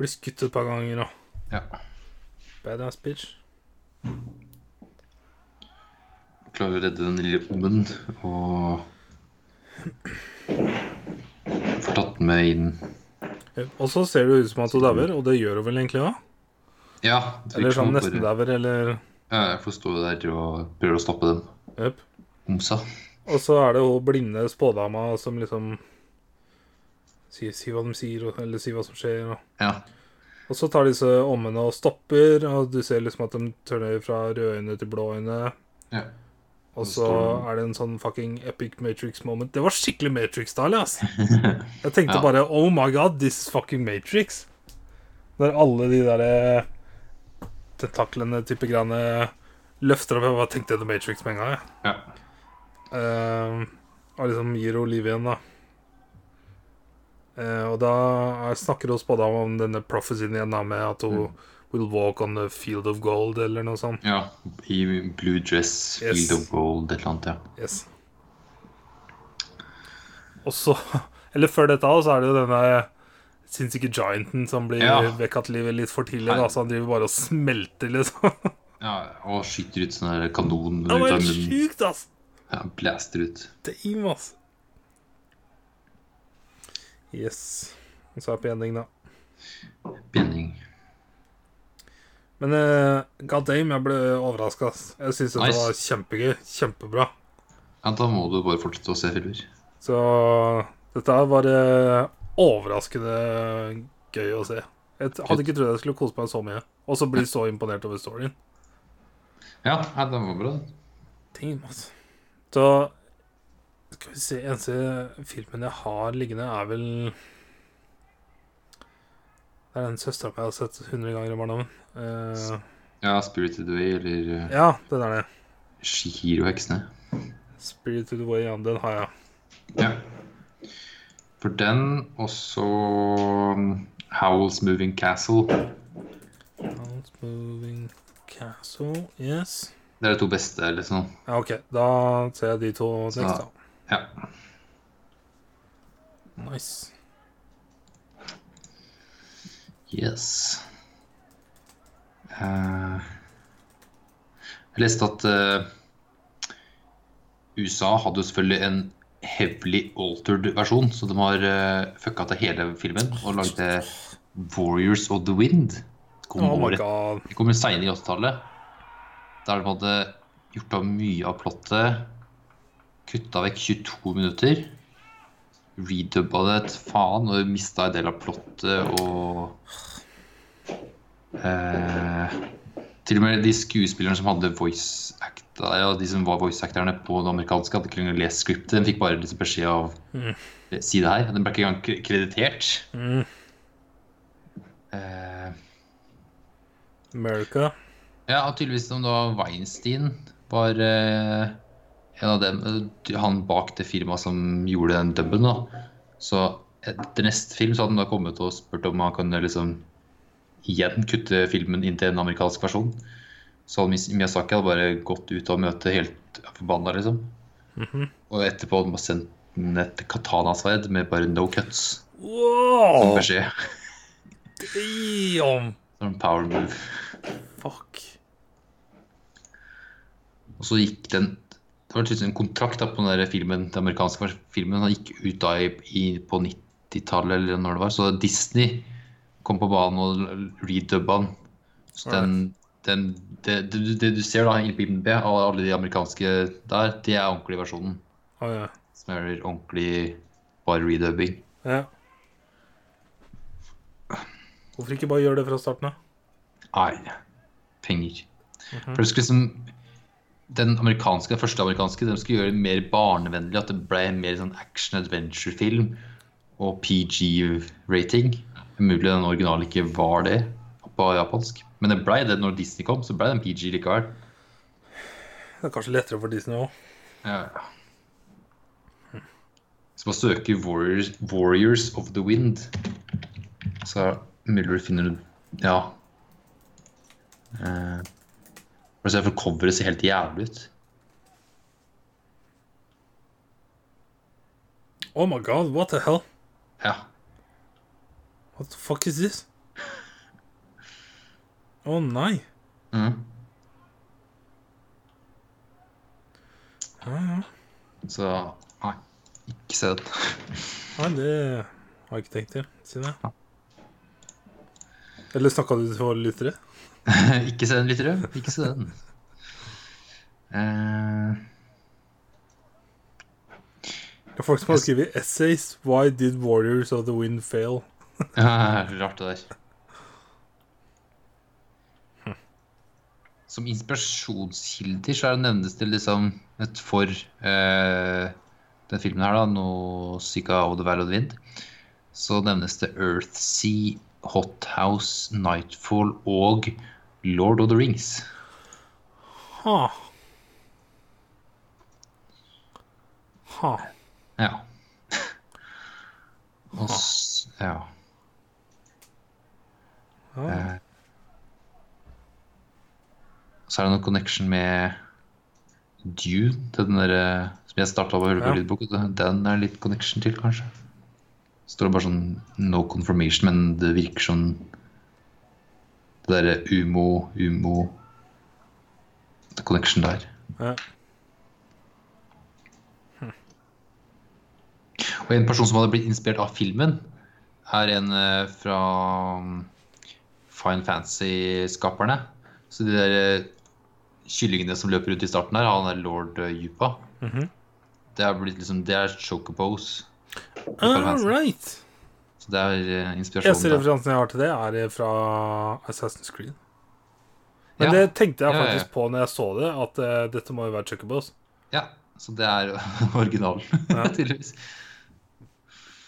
S1: Blir skutt et par ganger nå.
S2: Ja.
S1: Badass bitch.
S2: Klarer å redde den lille ungen og får tatt den med inn.
S1: Eh, Og så ser det ut som at hun dauer, og det gjør hun vel egentlig òg?
S2: Ja, det virker
S1: Eller
S2: som
S1: sånn
S2: hun
S1: nesten
S2: bare-
S1: dauer, eller
S2: Ja, jeg får stå der og prøve å stoppe den
S1: Jep.
S2: homsa.
S1: Og så er det hun blinde spådama som liksom sier, sier hva de sier, og- eller sier hva som skjer. og
S2: Ja.
S1: Og så tar disse ommene og stopper, og du ser liksom at de turner fra røde øyne til blå øyne.
S2: ja.
S1: Og så er det en sånn fucking epic Matrix moment. Det var skikkelig Matrix-style, ass. Jeg tenkte
S2: Ja.
S1: bare Oh my god, this is fucking Matrix. Når alle de der eh, tentaklene type greiene løfter opp Jeg bare tenkte The Matrix med en gang, jeg.
S2: ja.
S1: Eh, og liksom gir henne liv igjen, da. Eh, og da er, snakker hun spådama om denne prophecyen igjen, da, med at hun will walk on the field of gold, eller noe sånt.
S2: Ja, i blue dress,
S1: Yes.
S2: field of gold, et eller annet, ja.
S1: Yes. Og så Eller før dette også, så er det jo denne sinnssyke gianten som blir
S2: Ja.
S1: vekka til livet litt for tidlig, da, så han driver bare og smelter, liksom.
S2: ja. Og skyter ut sånn der kanon ut
S1: Det
S2: av
S1: var helt
S2: munnen.
S1: sjukt, ass!
S2: Ja, blaster ut.
S1: Damn, ass. Yes. Og så er på ending, da.
S2: Binding.
S1: Men uh, god damn, jeg ble overraska. Jeg syns dette
S2: Nice.
S1: var kjempegøy. Kjempebra.
S2: Ja, da må du bare fortsette å se filmer.
S1: Så dette her var eh, overraskende gøy å se. Jeg t- hadde ikke trodd jeg skulle kose meg så mye. Og så bli så imponert over storyen.
S2: Ja, ja den var bra. den.
S1: Damn, altså. Så skal vi se Eneste filmen jeg har liggende, er vel Det er den søstera mi jeg har sett 100 ganger i barndommen. Eh,
S2: Ja, Spirited Away eller eh,
S1: ja, den er det.
S2: Shihiro-heksene.
S1: 'Spirited Way', ja, den har jeg.
S2: Ja. For den, og så um, Howl's Moving Castle.
S1: House moving castle, yes.
S2: Det er de to beste, eller sånn.
S1: Ja, ok, da ser jeg de to
S2: Så-
S1: next, da.
S2: Ja.
S1: Ah, Nice.
S2: Yes. Eh, jeg leste at eh, USA hadde jo selvfølgelig en heavily altered versjon, så de har eh, fucka til hele filmen og lagd det Warriors of the Wind. Kom
S1: Oh my
S2: året-
S1: god.
S2: Det kom jo seinere i 80-tallet. Der de hadde gjort av mye av plottet. Kutta vekk 22 minutter. Redubba det et faen og mista en del av plottet og eh, Til og med de skuespillerne som hadde voice acta, ja, de som var voice acterne på det amerikanske, hadde ikke engang lest skriptet. De fikk bare liksom beskjed av
S1: Mm.
S2: Si det her. Den ble ikke engang kre- kreditert.
S1: Mm.
S2: Eh,
S1: America.
S2: Ja, og tydeligvis om det var Weinstein var eh, en av dem eh, Han bak det firmaet som gjorde den dubben, da. Så etter neste film så hadde han da kommet og spurt om han kunne liksom igjen kutte filmen inn til en amerikansk versjon. Så hadde Mis- Miyazaki hadde bare gått ut av møtet helt forbanna, liksom.
S1: Mhm.
S2: Og etterpå hadde han bare sendt den et katanasverd med bare no cuts.
S1: Wow!
S2: Beskjed.
S1: Damn!
S2: Som power move.
S1: Fuck.
S2: Og så gikk den Det var tydeligvis en kontrakt da, på den der filmen, den amerikanske filmen. Den gikk ut da i, i, på 90-tallet eller når det var. Så Disney kom på banen og redubba den. Så den, den det, det, det du ser da i BMB av alle de amerikanske der, det er ordentlig versjonen.
S1: Å ja.
S2: Som er ordentlig bare redubbing.
S1: ja. Hvorfor ikke bare gjøre det fra starten av?
S2: Nei. Penger. For det skulle liksom Den amerikanske, den første amerikanske den skulle gjøre det mer barnevennlig. At det ble en mer sånn action-adventure-film og PG-rating. Mulig den originale ikke var det på japansk. Men det ble det når Disney kom, så ble den PG likevel.
S1: Det er kanskje lettere for Disney òg.
S2: Ja. Hvis man søker Warriors, Warriors of the Wind, så er det mulig du finner Ja. Eh, og så er det for coveret ser helt jævlig ut.
S1: Oh my god, what the hell?
S2: Ja.
S1: What the fuck is this? Å nei.
S2: Mhm.
S1: Ja, ja.
S2: Så nei, ikke se den.
S1: Nei, det har jeg ikke tenkt til, siden jeg. Eller snakka du til våre lyttere?
S2: ikke se den, lyttere. Ikke se den. Eh,
S1: Det er folk som har skrevet essays Why did Warriors of the Wind fail?
S2: Ja, Rart det der. Som inspirasjonskilder så er det nevnes det liksom et for eh, den filmen her, da, no Sika of the Valley of the Wind, så nevnes det Earthsea, Hothouse, Nightfall og Lord of the Rings.
S1: Ha. Ha.
S2: Ja. Og s ja.
S1: Ja.
S2: Eh, Så er det noen connection med Dune, den der, eh, som jeg starta å høre på
S1: Ja.
S2: lydbok. vet du. Den er litt connection til, kanskje. Står det bare sånn no confirmation, men det virker som det derre umo, umo the Connection der.
S1: Ja.
S2: Og en person som hadde blitt inspirert av filmen, er en eh, fra mm, Fine Fancy-skaperne. Så de der eh, kyllingene som løper rundt i starten her, han er lord eh, Yupa.
S1: Mhm.
S2: Det er blitt liksom, det er chocobos.
S1: All right.
S2: Så det er eh,
S1: Eneste
S2: inspirasjonen der.
S1: referansen jeg har til det, er fra Assassin's Creed. Men
S2: Ja.
S1: det tenkte jeg
S2: Ja, ja, ja.
S1: faktisk på når jeg så det, at eh, dette må jo være Chuckabos.
S2: Ja, så det er originalen,
S1: Ja.
S2: tydeligvis.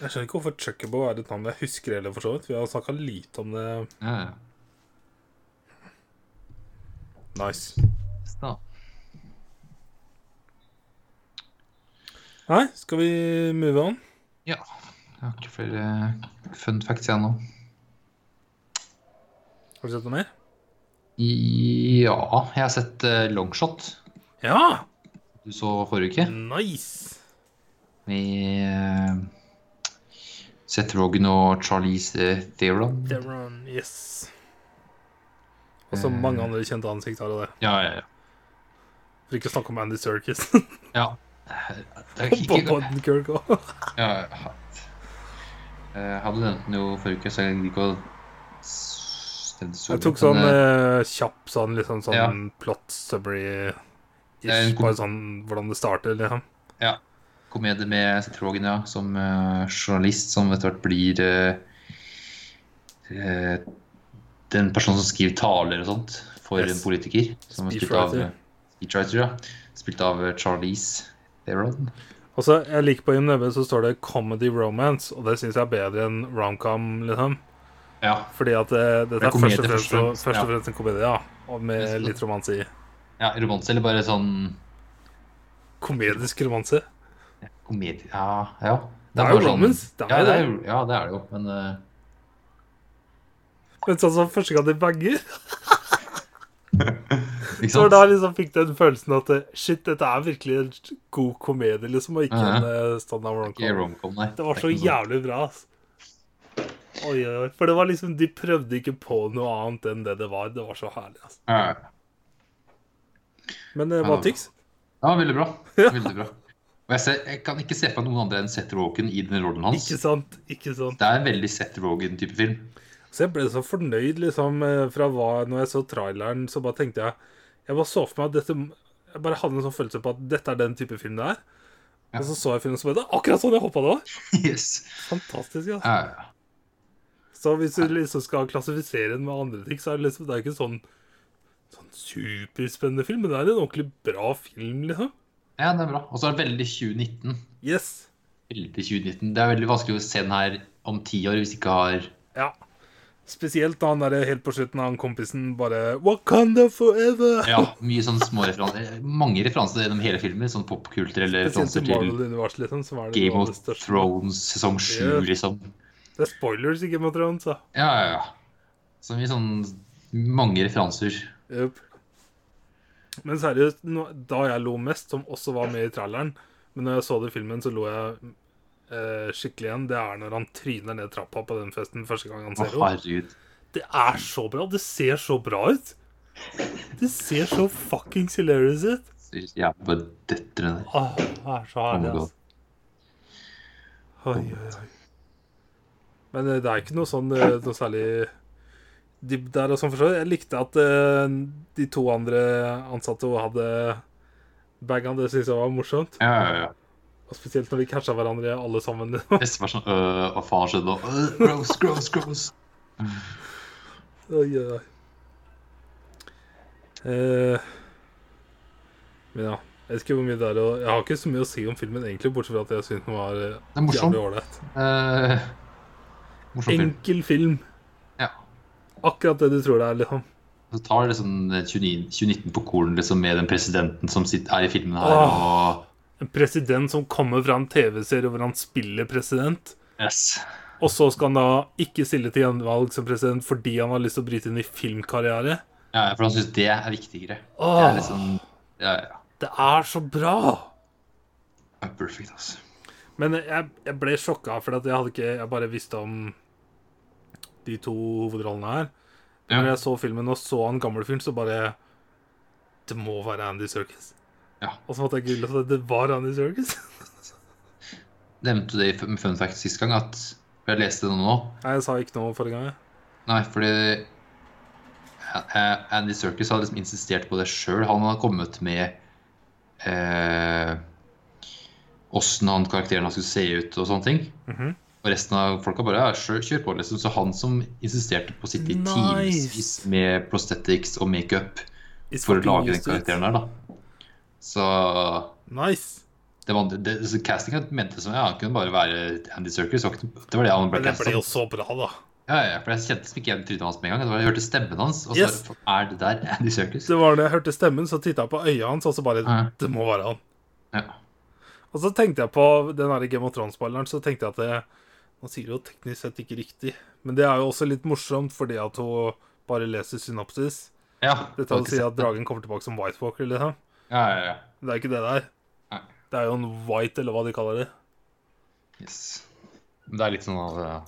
S1: Jeg skjønner ikke hvorfor Chuckabo er et navn jeg husker heller, for så vidt. Vi har snakka lite om det.
S2: Ja, ja.
S1: Nice.
S2: Ja.
S1: Nei, skal vi move on?
S2: Ja. Jeg har ikke flere eh, fun facts igjen nå.
S1: Har du sett noe mer?
S2: Ja, jeg har sett eh, Longshot.
S1: Ja!
S2: Du så forrige uke.
S1: Nice!
S2: Med eh, Seth Rogen og Charlize Theron.
S1: Devron, yes. Og
S2: Eh.
S1: så mange andre kjente ansikt har det.
S2: Ja, ja, ja.
S1: For ikke å snakke om Andy Serkis.
S2: ja. Det er
S1: På
S2: ikke,
S1: Podden Kirk også.
S2: ja, ja. Eh, Jeg hadde nevnt den jo forrige uke, så jeg gidder ikke å s- tredje solo.
S1: Jeg tok sånn
S2: Men, eh,
S1: eh, kjapp sånn litt sånn, sånn
S2: Ja.
S1: plot summary
S2: Det er en
S1: ish,
S2: kom-
S1: bare sånn hvordan det starter, liksom.
S2: komedie med Citrogen, ja, som eh, journalist som etter hvert blir eh, eh, den personen som skriver taler og sånt for
S1: Yes.
S2: en politiker. Som er spilt av eh,
S1: Speechwriter.
S2: Speechwriter, ja. Spilt av eh, Charlize Theron.
S1: Og så, jeg liker på IMDb så står det 'comedy romance', og det syns jeg er bedre enn romcom, liksom.
S2: Ja.
S1: Fordi at det, dette
S2: Det
S1: er
S2: er
S1: først
S2: komedie
S1: og fremst,
S2: først og fremst,
S1: først og
S2: ja.
S1: fremst en komedie, ja. Og med litt romanse i.
S2: ja romanse, eller bare sånn
S1: Komedisk romanse.
S2: komedie Ja, ja.
S1: Det er
S2: bare sånn-
S1: jo romance, det er
S2: ja,
S1: jo
S2: det er, jo- ja, det er det jo, men eh,
S1: Men sånn som første gang de banger,
S2: Ikke
S1: så
S2: sant?
S1: da liksom fikk den følelsen at eh, shit, dette er virkelig en god komedie, liksom, og ikke
S2: Ja, ja.
S1: en eh, standard
S2: Ikke
S1: romcom.
S2: romcom, nei.
S1: Det var så
S2: Det er ikke noe sånt.
S1: jævlig bra, ass. Oi, oi, oi. For det var liksom, de prøvde ikke på noe annet enn det det var. Det var så herlig, ass.
S2: Ja, ja.
S1: Men eh,
S2: Ja.
S1: hva tyks?
S2: Ja, veldig bra. Veldig bra. Og jeg, ser, jeg kan ikke se for meg noen andre enn Seth Rogen i den rollen hans.
S1: Ikke sant? Ikke sant?
S2: Det er en veldig Seth Rogen-type film.
S1: Så jeg ble så fornøyd liksom eh, fra hva Når jeg så traileren, så bare tenkte jeg Jeg bare så for meg at dette Jeg bare hadde en sånn følelse på at dette er den type film det er.
S2: Ja.
S1: Og så så jeg filmen som det er akkurat sånn jeg håpa det var.
S2: Yes.
S1: Fantastisk. Ja.
S2: Ja, ja.
S1: Så hvis du liksom skal klassifisere den med andre ting, så er det liksom Det er ikke sånn Sånn superspennende film, men det er en ordentlig bra film, liksom.
S2: ja, det er bra. Og så er det veldig 2019.
S1: Yes.
S2: Veldig 2019. Det er veldig vanskelig å se den her om ti år hvis du ikke har
S1: Ja. Spesielt da han derre helt på slutten, han kompisen bare Wakanda forever!
S2: ja, mye sånn små referanser. Mange referanser gjennom hele filmen. Sånn popkulturelle
S1: Spesielt i
S2: referanser til
S1: Marvel-universet, liksom. Som er det
S2: Game
S1: noe av
S2: of
S1: det største.
S2: Thrones sesong sju,
S1: Yes.
S2: liksom.
S1: Det er spoilers i Game of Thrones, da.
S2: Ja, ja, ja. Så mye sånn mange referanser.
S1: Yep. Men seriøst, nå- da jeg lo mest, som også var med i traileren Men når jeg så det i filmen, så lo jeg eh, skikkelig igjen. Det er når han tryner ned trappa på den festen første gang han
S2: Å,
S1: ser henne.
S2: herregud.
S1: Det er så bra. Det ser så bra ut. Det ser så fuckings hilarious ut.
S2: Så Jævlig bare døtter den der.
S1: Åh, det er så herlig,
S2: Oh my God.
S1: altså. Oi, oi, oi. Men eh, det er ikke noe sånn eh, noe særlig dibb der og sånn, for så vidt. Jeg likte at eh, de to andre ansatte også hadde bagene. Det synes jeg var morsomt.
S2: Ja, ja, ja.
S1: Og spesielt når vi catcha hverandre alle sammen.
S2: Neste var sånn øh, Hva faen skjedde nå? Øh, gross, gross, gross.
S1: oi, oi, oi. Eh, men ja. Jeg vet ikke hvor mye det er å Jeg har ikke så mye å si om filmen, egentlig, bortsett fra at jeg syns den var eh,
S2: Det er morsom.
S1: jævlig ålreit.
S2: Eh, morsom film.
S1: Enkel film.
S2: Ja.
S1: Akkurat det du tror det er, liksom.
S2: Så tar liksom 29 2019 på kornet liksom, med den presidenten som sitter, er i filmen her.
S1: En president som kommer fra en TV-serie hvor han spiller president.
S2: Og yes.
S1: Og så skal han da ikke stille til gjenvalg som president fordi han har lyst til å bryte inn i filmkarriere.
S2: ja, For han syns det er viktigere. Det
S1: Åh,
S2: er liksom Ja, ja.
S1: det er så bra!
S2: ja. Perfect, altså.
S1: Men jeg, jeg ble sjokka, for at jeg hadde ikke Jeg bare visste om de to hovedrollene her. Men
S2: Ja.
S1: Når jeg så filmen og så han gamle fyren, så bare Det må være Andy Serkis.
S2: Ja.
S1: Og så måtte jeg google at det var Andy Serkis.
S2: Nevnte du det i fun fun fact sist gang? At for Jeg leste det nå.
S1: Nei, jeg sa ikke noe forrige gang. jeg.
S2: Nei, fordi eh, Andy Serkis har liksom insistert på det sjøl. Han har kommet med eh, åssen han karakteren han skulle se ut og sånne ting.
S1: Mhm.
S2: Og resten av folka bare ja, kjør, kjør på, liksom. Så han som insisterte på å sitte i
S1: Nice.
S2: timevis med prosthetics og makeup
S1: It's
S2: for å
S1: fucking
S2: lage den
S1: used to it.
S2: karakteren der, da. Så
S1: Nice.
S2: det var, det, så castinga mente som ja, han kunne bare være Andy Serkis. og ikke- Det var det han ble
S1: Men det
S2: castet
S1: ble
S2: som.
S1: jo så bra, da.
S2: Ja, ja, for jeg kjente som ikke igjen trynet hans med en gang. Det var, jeg hørte stemmen hans, og så
S1: Yes.
S2: er det der Andy Serkis.
S1: Det var da jeg hørte stemmen, så titta jeg på øya hans, og så bare
S2: Ja.
S1: Det må være han.
S2: Ja.
S1: Og så tenkte jeg på den her Game of Thrones-spoileren, så tenkte jeg at det, Han sier jo teknisk sett ikke riktig, men det er jo også litt morsomt fordi at hun bare leser synopsis.
S2: Ja,
S1: Dette å si at dragen kommer tilbake som White Walker, liksom.
S2: Ja, ja, ja.
S1: Men Det er ikke det der.
S2: Nei.
S1: Det er jo en white, eller hva de kaller det.
S2: Yes. Men Det er litt sånn av ja.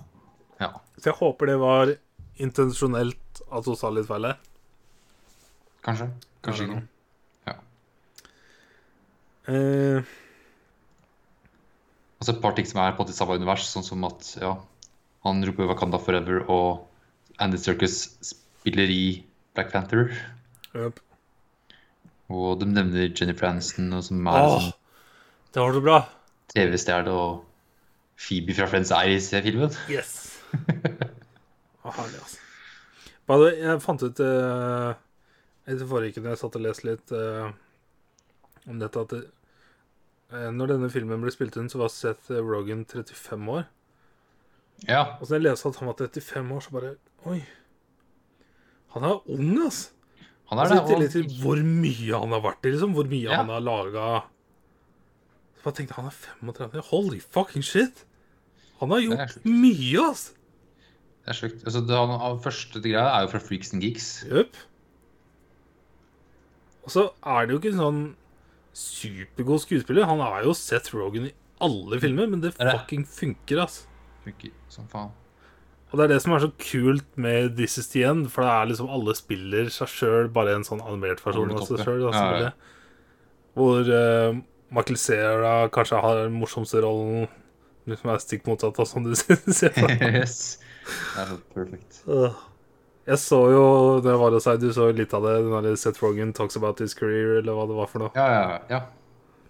S2: ja.
S1: Så jeg håper det var intensjonelt at hun sa litt feil her.
S2: Kanskje. Kanskje ikke.
S1: Eh,
S2: Og så Altså, et par ting som er på en måte i samme univers, sånn som at ja, han roper 'Wakanda forever', og Andy Serkis spiller i Black Panther.
S1: Yep.
S2: Og de nevner Jennifer Aniston, og som er
S1: Åh,
S2: liksom
S1: det var så bra.
S2: TV-stjerne, og Phoebe fra Friends er i se- filmen.
S1: Yes. Å, herlig, altså. By the way, jeg fant ut eh, etter forrige uke når jeg satt og leste litt eh, om dette, at det, eh, når denne filmen ble spilt inn, så var Seth Rogan 35 år.
S2: Ja,
S1: Og så når jeg leste at han var 35 år, så bare Oi. Han er ung, altså.
S2: han er
S1: Altså, I
S2: det. og-
S1: tillegg til hvor mye han har vært i, liksom. Hvor mye
S2: Ja.
S1: han har laga Så bare tenkte jeg, han er 35. Holy fucking shit! Han har
S2: er
S1: gjort
S2: sjukt.
S1: mye, ass!
S2: Det er sjukt. Altså, det, han, han første greia er jo fra Freaks and Geeks.
S1: Jøp. Og så er det jo ikke en sånn supergod skuespiller. Han er jo Seth Rogan i alle filmer, men det
S2: Er det?
S1: fucking funker, ass.
S2: Funker som faen.
S1: Og det er det som er så kult med This Is The End, for det er liksom alle spiller seg sjøl, bare en sånn animert versjon av seg
S2: Overtoppe.
S1: sjøl.
S2: Ja, ja.
S1: Hvor eh, Michael Cera kanskje har den morsomste rollen, men som er stikk motsatt av sånn du ser for deg.
S2: yes. Det er så perfekt.
S1: Øh. Jeg så jo det var å si, du så jo litt av det, den der Seth Rogen talks about his career, eller hva det var for noe.
S2: Ja, ja, ja.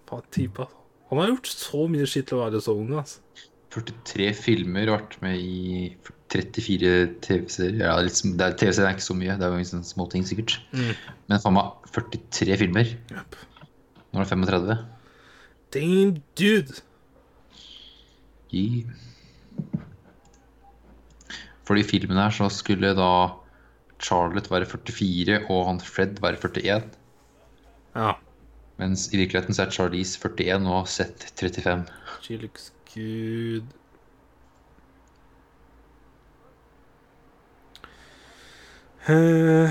S1: Faen, type, altså. Han har gjort så mye skitt til å være så ung, altså.
S2: 43 filmer og vært med i 34 TV-serier. Ja, litt sm- det er- TV-serier er ikke så mye, det er jo sånne småting sikkert.
S1: Mm.
S2: Men faen meg, 43 filmer.
S1: Jep.
S2: Nå er det 35.
S1: Damn dude!
S2: Gi. For i filmen her så skulle da Charlotte være 44 og han Fred være 41.
S1: Ja.
S2: Mens i virkeligheten så er Charlize 41 og Seth 35.
S1: She looks good. Eh,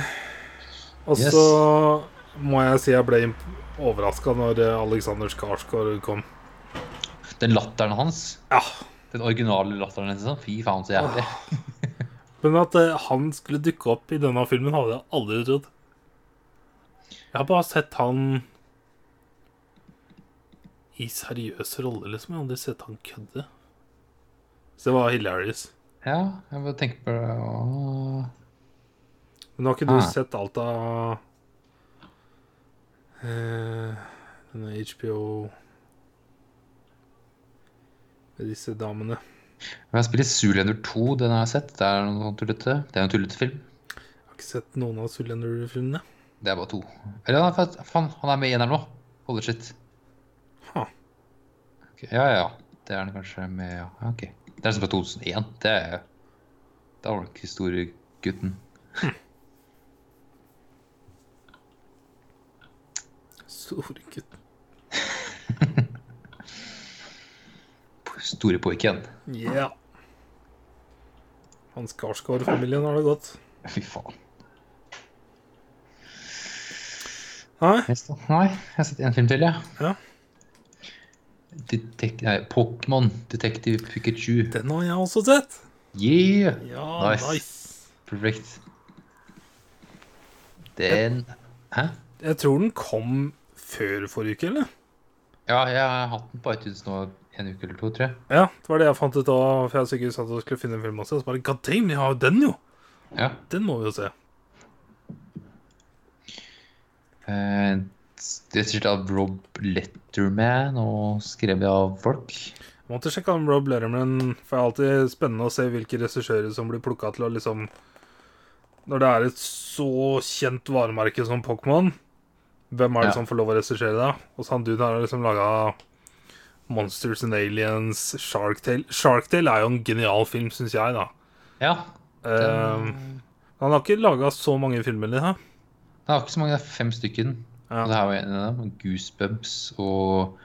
S1: og
S2: Yes.
S1: så må jeg si jeg ble overraska når eh, Alexander Skarsgård kom.
S2: Den latteren hans,
S1: Ja.
S2: den originale latteren hans, sånn, fy faen så jævlig.
S1: Men at eh, han skulle dukke opp i denne filmen, hadde jeg aldri trodd. Jeg har bare sett han i seriøse roller, liksom. Jeg har aldri sett han kødde. Så det var hilarious.
S2: Ja, jeg bare tenker på det. Åh.
S1: Men har ikke du
S2: Ah.
S1: sett alt av eh, denne HBO Med disse damene.
S2: Men jeg spiller Zoolander 2, den har jeg sett. Det er noe sånn tullete. Det er jo en tullete film.
S1: Jeg har ikke sett noen av Zoolander-filmene.
S2: Det er bare to. Eller nei, faen, faen, han er med i eneren nå. Holy shit.
S1: Huh.
S2: Ok, Ja, ja, ja. Det er han kanskje med, ja. Ja, Ok. Det er som fra 2001. Det er Da var han ikke store gutten.
S1: Store gutt.
S2: Store pojken.
S1: Yeah. Han Skarsgård-familien har det godt.
S2: Fy faen.
S1: Nei?
S2: Neste. Nei, jeg har sett en film til, jeg.
S1: Ja.
S2: Detek nei, Pokémon Detective Pikachu.
S1: Den har jeg også sett.
S2: Yeah!
S1: Ja,
S2: Nice.
S1: nice.
S2: Perfekt. Den Hæ?
S1: Jeg tror den kom før forrige uke, eller?
S2: Ja, jeg har hatt den på iTunes nå en uke eller to, tror jeg.
S1: Ja, det var det jeg fant ut da. For jeg sikkert satt og skulle finne en film også. Så bare God damn, jeg har jo den, jo!
S2: Ja.
S1: Den må vi jo se.
S2: Eh, det er sikkert av Rob Letterman og skrevet av folk.
S1: Jeg måtte sjekke om Rob Letterman, for det er alltid spennende å se hvilke regissører som blir plukka til å liksom Når det er et så kjent varemerke som Pokémon, hvem er det
S2: Ja.
S1: som får lov å regissere da? Og så han duden her har liksom laga Monsters and Aliens, Sharktail Sharktail er jo en genial film, syns jeg, da.
S2: Ja.
S1: Ehm, han har ikke laga så mange filmer, liksom.
S2: Det er ikke så mange, det er fem stykken.
S1: Ja.
S2: Og det her var en av dem. Goosebumps og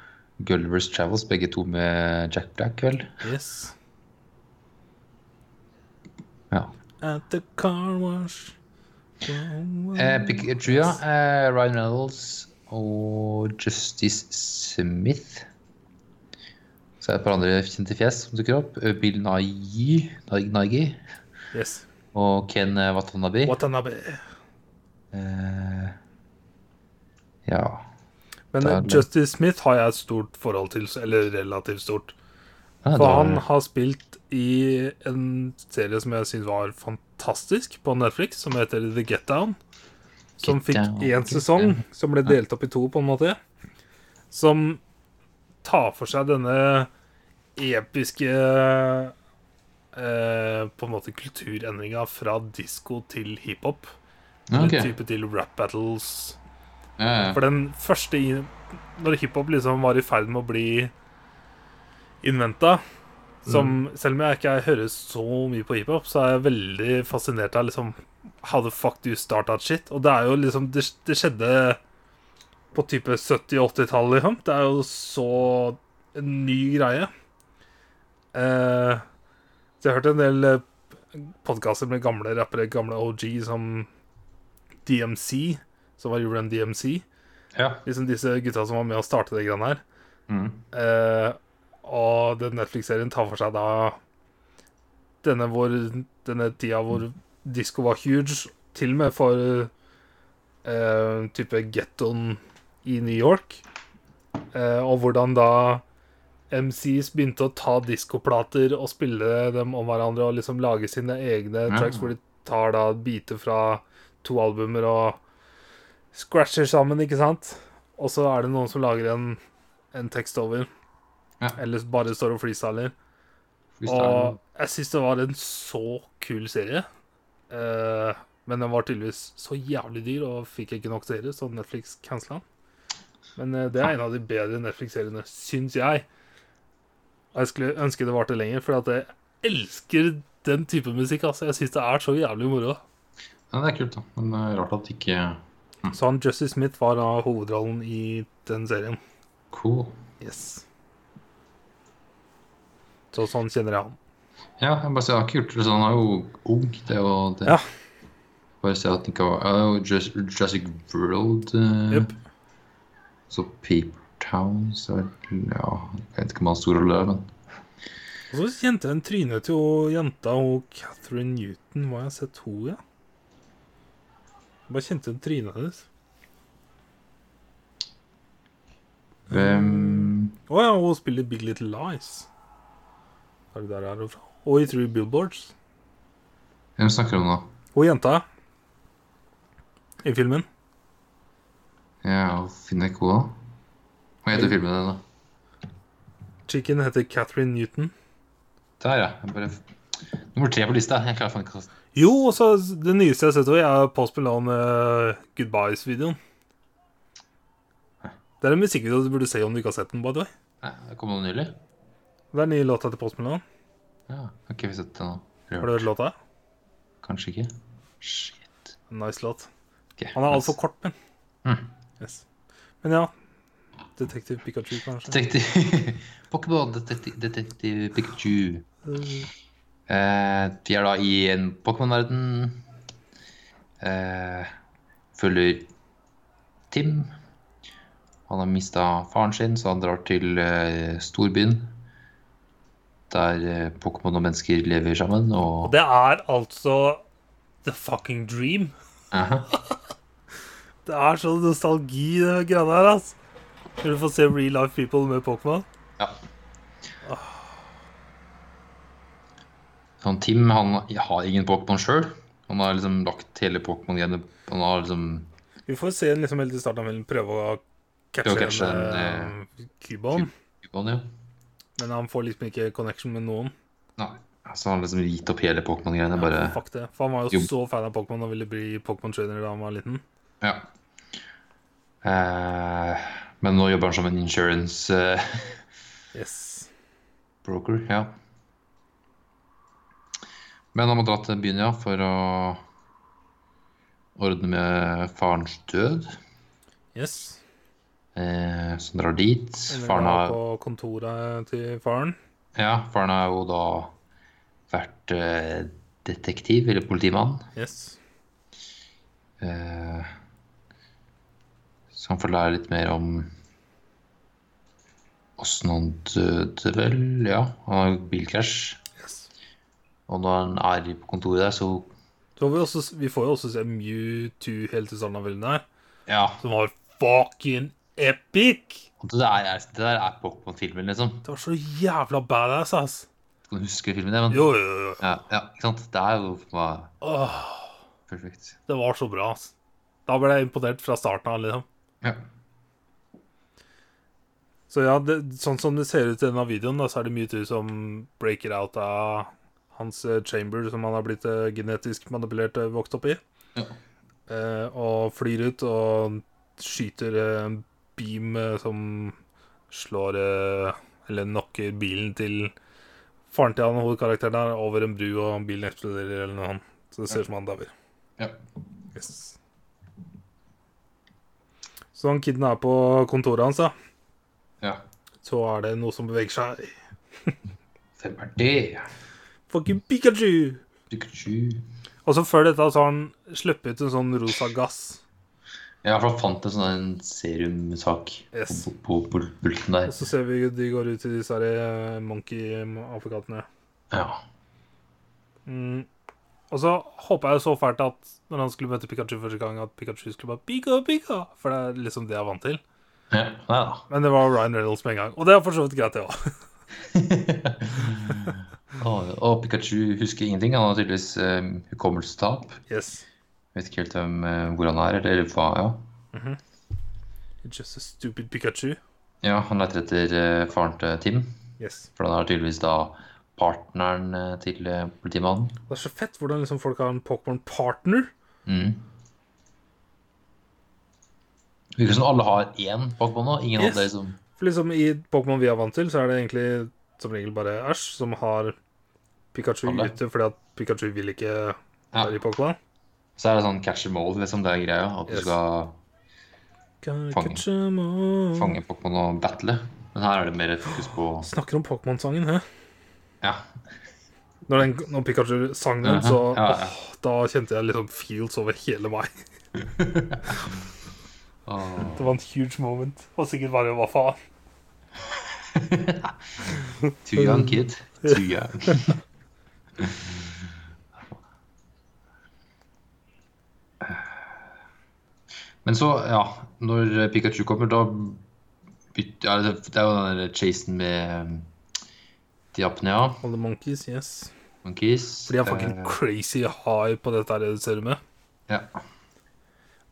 S2: Gulliver's Travels, begge to med Jack Black, vel?
S1: Yes.
S2: Ja.
S1: At the car wash.
S2: Eh, Pikachu, ja. Eh, Ryan Reynolds og Justice Smith. Så er det et par andre kjente fjes som dukker opp. Eh, Bill Nighy Nighy
S1: Yes.
S2: og Ken eh, Watanabe.
S1: Watanabe.
S2: Eh, ja.
S1: Men
S2: Det er
S1: eh,
S2: det.
S1: Justice Smith har jeg et stort forhold til, eller relativt stort.
S2: Nei,
S1: For
S2: da-
S1: han har spilt i en serie som jeg syns var fantastisk på Netflix, som heter The Get Down. Som
S2: Get
S1: fikk
S2: Down,
S1: én
S2: Get
S1: sesong,
S2: Down.
S1: som ble delt opp i to, på en måte. Som tar for seg denne episke eh, På en måte kulturendringa fra disko til hiphop.
S2: Ja, ok.
S1: Eller type til rap battles.
S2: Ja, ja.
S1: For den første i- Når hiphop liksom var i ferd med å bli innventa som, Selv om jeg ikke hører så mye på hiphop, så er jeg veldig fascinert av liksom How the fuck do you start that shit? Og det er jo liksom Det, det skjedde på type 70-80-tallet, liksom. Det er jo så en ny greie. Eh, så jeg har hørt en del podkaster med gamle rappere, gamle OG, som DMC, som var Run DMC.
S2: ja.
S1: Liksom disse gutta som var med å starte det greiene her.
S2: Mm.
S1: Eh, og den Netflix-serien tar for seg da denne, hvor, denne tida hvor disko var huge, til og med for eh, type gettoen i New York. Eh, og hvordan da MCs begynte å ta diskoplater og spille dem om hverandre og liksom lage sine egne
S2: Ja.
S1: tracks hvor de tar da biter fra to albumer og scratcher sammen, ikke sant? Og så er det noen som lager en, en tekst over.
S2: Ja.
S1: Eller bare står og freestyler.
S2: Hvis det er noe-
S1: Og jeg syns det var en så kul serie. Eh, men den var tydeligvis så jævlig dyr og fikk ikke nok seere, så Netflix cancela den. Men eh, det er en av de bedre Netflix-seriene, syns jeg. Og jeg skulle ønske det varte lenger, for at jeg elsker den type musikk. altså. Jeg syns det er så jævlig moro.
S2: Ja, det er kult, da. Men det er rart at ikke Mm.
S1: Så han Jussie Smith var da hovedrollen i den serien.
S2: Cool.
S1: Yes. Så sånn kjenner jeg han.
S2: Ja, jeg bare ser, jeg har ikke gjort det sånn. Han er jo ung. Det er jo det.
S1: Ja.
S2: Bare se at den ikke var ja, jo, Jurass- Jurassic World eh,
S1: Jep.
S2: Så Paper Town så er det- Ja, jeg vet ikke om han har stor rolle der, men
S1: Og så kjente jeg en trynet til hun jenta og Catherine Newton. Hva har jeg sett henne, ja? Jeg bare kjente en trynet hennes.
S2: Hvem
S1: Å ja, hun spiller Big Little Lies. Er det der jeg er hun fra? Og i Three Billboards.
S2: Hvem snakker du om nå?
S1: Hun jenta i filmen.
S2: Ja, finner ikke henne, da. Hva heter filmen din, da?
S1: Chicken heter Catherine Newton.
S2: Der, ja. Jeg bare... Nummer tre på lista. Jeg klarer faen ikke å
S1: Jo, og så det nyeste jeg har sett henne, i, er Post Malone eh, Goodbyes-videoen. Det er en musikkvideo du burde se om du ikke har sett den. by the way.
S2: Nei, det kom noe nylig?
S1: Det er den nye låta til Post Malone.
S2: Ja, har ikke vi sett det nå?
S1: Har du hørt låta?
S2: Kanskje ikke? Shit.
S1: Nice låt.
S2: Ok,
S1: Han er
S2: nice.
S1: altfor kort, men.
S2: Mm.
S1: Yes. Men ja. Detektiv Pikachu, kanskje.
S2: Detektiv Pokémon detektiv, detektiv Pikachu.
S1: Eh,
S2: Eh, vi er da i en Pokémon-verden. Eh, følger Tim. Han har mista faren sin, så han drar til eh, storbyen. Der eh, Pokémon og mennesker lever sammen. Og
S1: Det er altså the fucking dream.
S2: Aha.
S1: Det er så nostalgi, det greiene her, ass. Når du får se real life people med Pokémon.
S2: Ja. Sånn, Tim han har ingen Pokémon sjøl. Han har liksom lagt hele Pokémon-genet Han har liksom
S1: Vi får se en liksom helt i starten av melden prøve å catche,
S2: Prøve å catche
S1: en,
S2: en,
S1: eh, Cubone.
S2: Pokémon, ja.
S1: Men han får liksom ikke connection med noen.
S2: Nei. Så han har liksom gitt opp hele Pokémon-greiene. Bare
S1: Ja, fuck det. For han var jo
S2: Jo.
S1: så fan av Pokémon og ville bli Pokémon trainer da han var liten.
S2: Ja. Eh, men nå jobber han som en insurance eh,
S1: Yes.
S2: broker, ja. Men han må dra til byen, ja, for å ordne med farens død.
S1: Yes.
S2: Eh, så han drar dit.
S1: Eller
S2: Faren
S1: da
S2: har
S1: På kontoret til faren.
S2: Ja, faren har jo da vært eh, detektiv, eller politimann.
S1: Yes.
S2: Eh, så han får lære litt mer om åssen han døde, vel. Ja, han har jo bilkrasj.
S1: yes.
S2: Og når han er på kontoret der, så
S1: Så får vi, også, vi får jo også se Mewtwo helt i starten av filmen her,
S2: Ja.
S1: som har fucking epic!
S2: Og Det der er, det der er Pokémon-filmen, liksom.
S1: Det var så jævla badass, ass.
S2: Skal du huske filmen? Ja, men,
S1: Jo, jo, jo.
S2: Ja, ja, ikke sant? Det er jo bare
S1: Åh,
S2: perfekt.
S1: det var så bra, ass. Da ble jeg imponert fra starten av, liksom.
S2: Ja.
S1: Så ja, det, sånn som det ser ut i denne videoen, da, så er det mye til som breaker out av hans eh, chamber, som han har blitt eh, genetisk manipulert og vokst opp i.
S2: Ja.
S1: Eh, og flyr ut og skyter eh, en beam eh, som slår eh, Eller knocker bilen til faren til han hovedkarakteren her over en bru, og bilen eksploderer eller noe annet. Så det ser ut som han dauer.
S2: ja.
S1: Yes. Så han kiden er på kontoret hans, da.
S2: ja.
S1: Så er det noe som beveger seg.
S2: Hvem er det?
S1: Fucking Pikachu!
S2: Pikachu.
S1: Og så før dette så har han sluppet ut en sånn rosa gass.
S2: Ja, for han fant en sånn serumsak
S1: Yes.
S2: på, på, på bulten der.
S1: Og så ser vi de går ut i disse her, eh, monkey-apekatene.
S2: Ja.
S1: Mm. Og så håpa jeg så fælt at når han skulle møte Pikachu første gang, at Pikachu skulle bare Pika, Pika! For det er liksom det jeg er vant til.
S2: Ja, ja da.
S1: Men det var Ryan Reynolds med en gang. Og det er for så vidt greit, det òg.
S2: Og, og Pikachu husker ingenting. Han har tydeligvis eh, hukommelsestap.
S1: Yes.
S2: Vet ikke helt hvem, eh, hvor han er, eller hva. Ja,
S1: Just a stupid Pikachu.
S2: ja han leter etter eh, faren til Tim.
S1: Yes.
S2: For han er tydeligvis da partneren eh, til eh, politimannen.
S1: Det er så fett hvordan liksom folk har en Pokémon-partner.
S2: Mm. Virker som alle har én Pokémon nå. Ingen
S1: Yes.
S2: andre liksom
S1: For liksom I Pokémon vi er vant til, så er det egentlig som regel bare Ash som har Pikachu
S2: Alle.
S1: ute, fordi at Pikachu vil ikke
S2: ja.
S1: være i Pokémon.
S2: Så er det sånn catch and mold, liksom. Det er greia. At du
S1: Yes.
S2: skal
S1: Gotta
S2: Fange.
S1: catch 'em all.
S2: fange Pokémon og battle. Men her er det mer fokus på
S1: Snakker om Pokémon-sangen, hæ?
S2: Ja.
S1: Når, den- når Pikachu sang den,
S2: Mhm,
S1: så
S2: ja, ja.
S1: Åh, Da kjente jeg liksom feels over hele meg.
S2: Åh.
S1: Det var en huge moment. Og sikkert bare hva faen.
S2: Too young, kid. Too young. Men så, ja Når Pikachu kommer, da bytter ja, Det det er jo den der chasen med um, Diapnea.
S1: All the monkeys, yes.
S2: Monkeys.
S1: Fordi jeg er fucking
S2: Eh,
S1: crazy high på dette her serumet.
S2: Ja.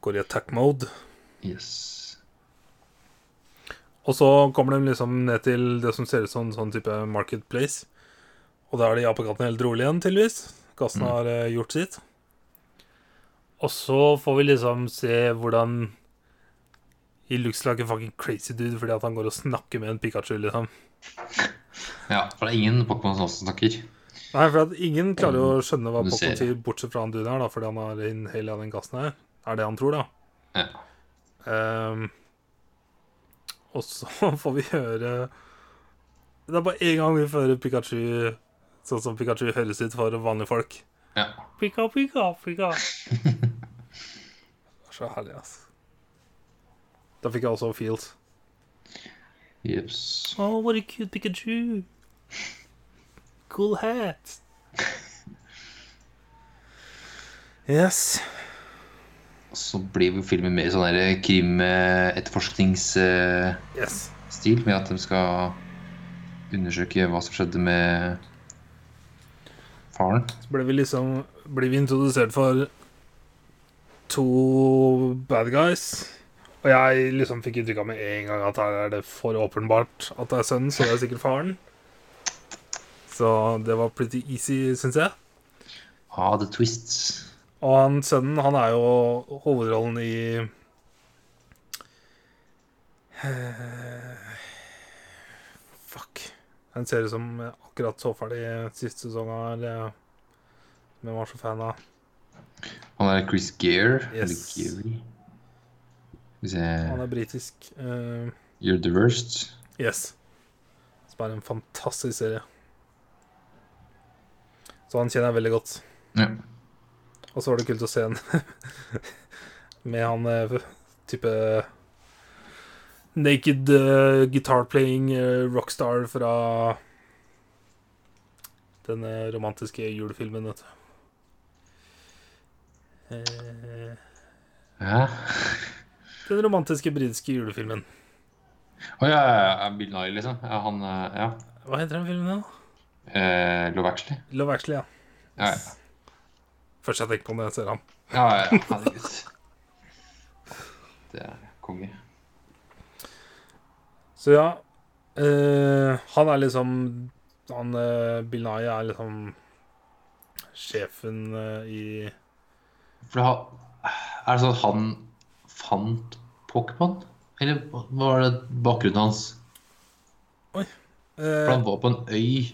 S1: Går i attack mode.
S2: Yes.
S1: Og så kommer de liksom ned til det som ser ut som en sånn type marketplace. Og da er de apekattene helt rolig igjen, tydeligvis. Gassen
S2: Mm.
S1: har eh, gjort sitt. Og så får vi liksom se hvordan He looks like a fucking crazy dude fordi at han går og snakker med en Pikachu, liksom.
S2: Ja, for det er ingen Pokémon som også snakker.
S1: Nei, for at ingen klarer jo å skjønne hva
S2: Mm, Du ser
S1: Pokémon
S2: det.
S1: sier, bortsett fra han duden her, da, fordi han har inhale av den gassen her. Er det han tror, da.
S2: Ja.
S1: Ehm, og så får vi høre Det er bare én gang vi får høre Pikachu sånn som Pikachu høres ut for vanlige folk.
S2: ja.
S1: Pika, pika, pika. Det var så herlig, altså. Da fikk jeg også feels.
S2: Jeps.
S1: Oh, what a cute Pikachu. Cool hat. Yes.
S2: Så blir jo filmen mer sånn der krim-etterforsknings...
S1: Yes.
S2: stil med at de skal undersøke hva som skjedde med faren.
S1: Så ble vi liksom Ble vi introdusert for to bad guys. Og jeg liksom fikk inntrykk av med en gang at her er det for åpenbart at det er sønnen, så det er sikkert faren. Så det var pretty easy, syns jeg.
S2: Ah, the twists.
S1: Og han sønnen, han er jo hovedrollen i eh, Fuck. En serie som jeg akkurat så ferdig siste sesong her, eh, som jeg var så fan av.
S2: Han er Chris Gere. eller
S1: Yes.
S2: Geary. Skal vi
S1: Han
S2: se
S1: er britisk. eh,
S2: You're the worst.
S1: yes. Som er en fantastisk serie. Så han kjenner jeg veldig godt.
S2: Ja.
S1: Og så var det kult å se han med han eh, type naked eh, guitar playing eh, rockstar fra den eh, romantiske julefilmen, vet du. Eh,
S2: Hæ?
S1: Den romantiske britiske julefilmen.
S2: Å ja, ja, ja, Bill Nye, liksom. Ja, han eh, Ja.
S1: Hva heter den filmen, da?
S2: Eh, Love Actually.
S1: Love Actually, ja.
S2: Ja, ja.
S1: Først jeg tenker på når jeg ser ham.
S2: ja, ja, ja. Herregud. Det er konge.
S1: Så ja, eh, han er liksom han, eh, Bill Nye er liksom sjefen eh, i
S2: For det har- er det sånn at han fant Pokémon? Eller hva var det bakgrunnen hans? For
S1: eh,
S2: han var på en øy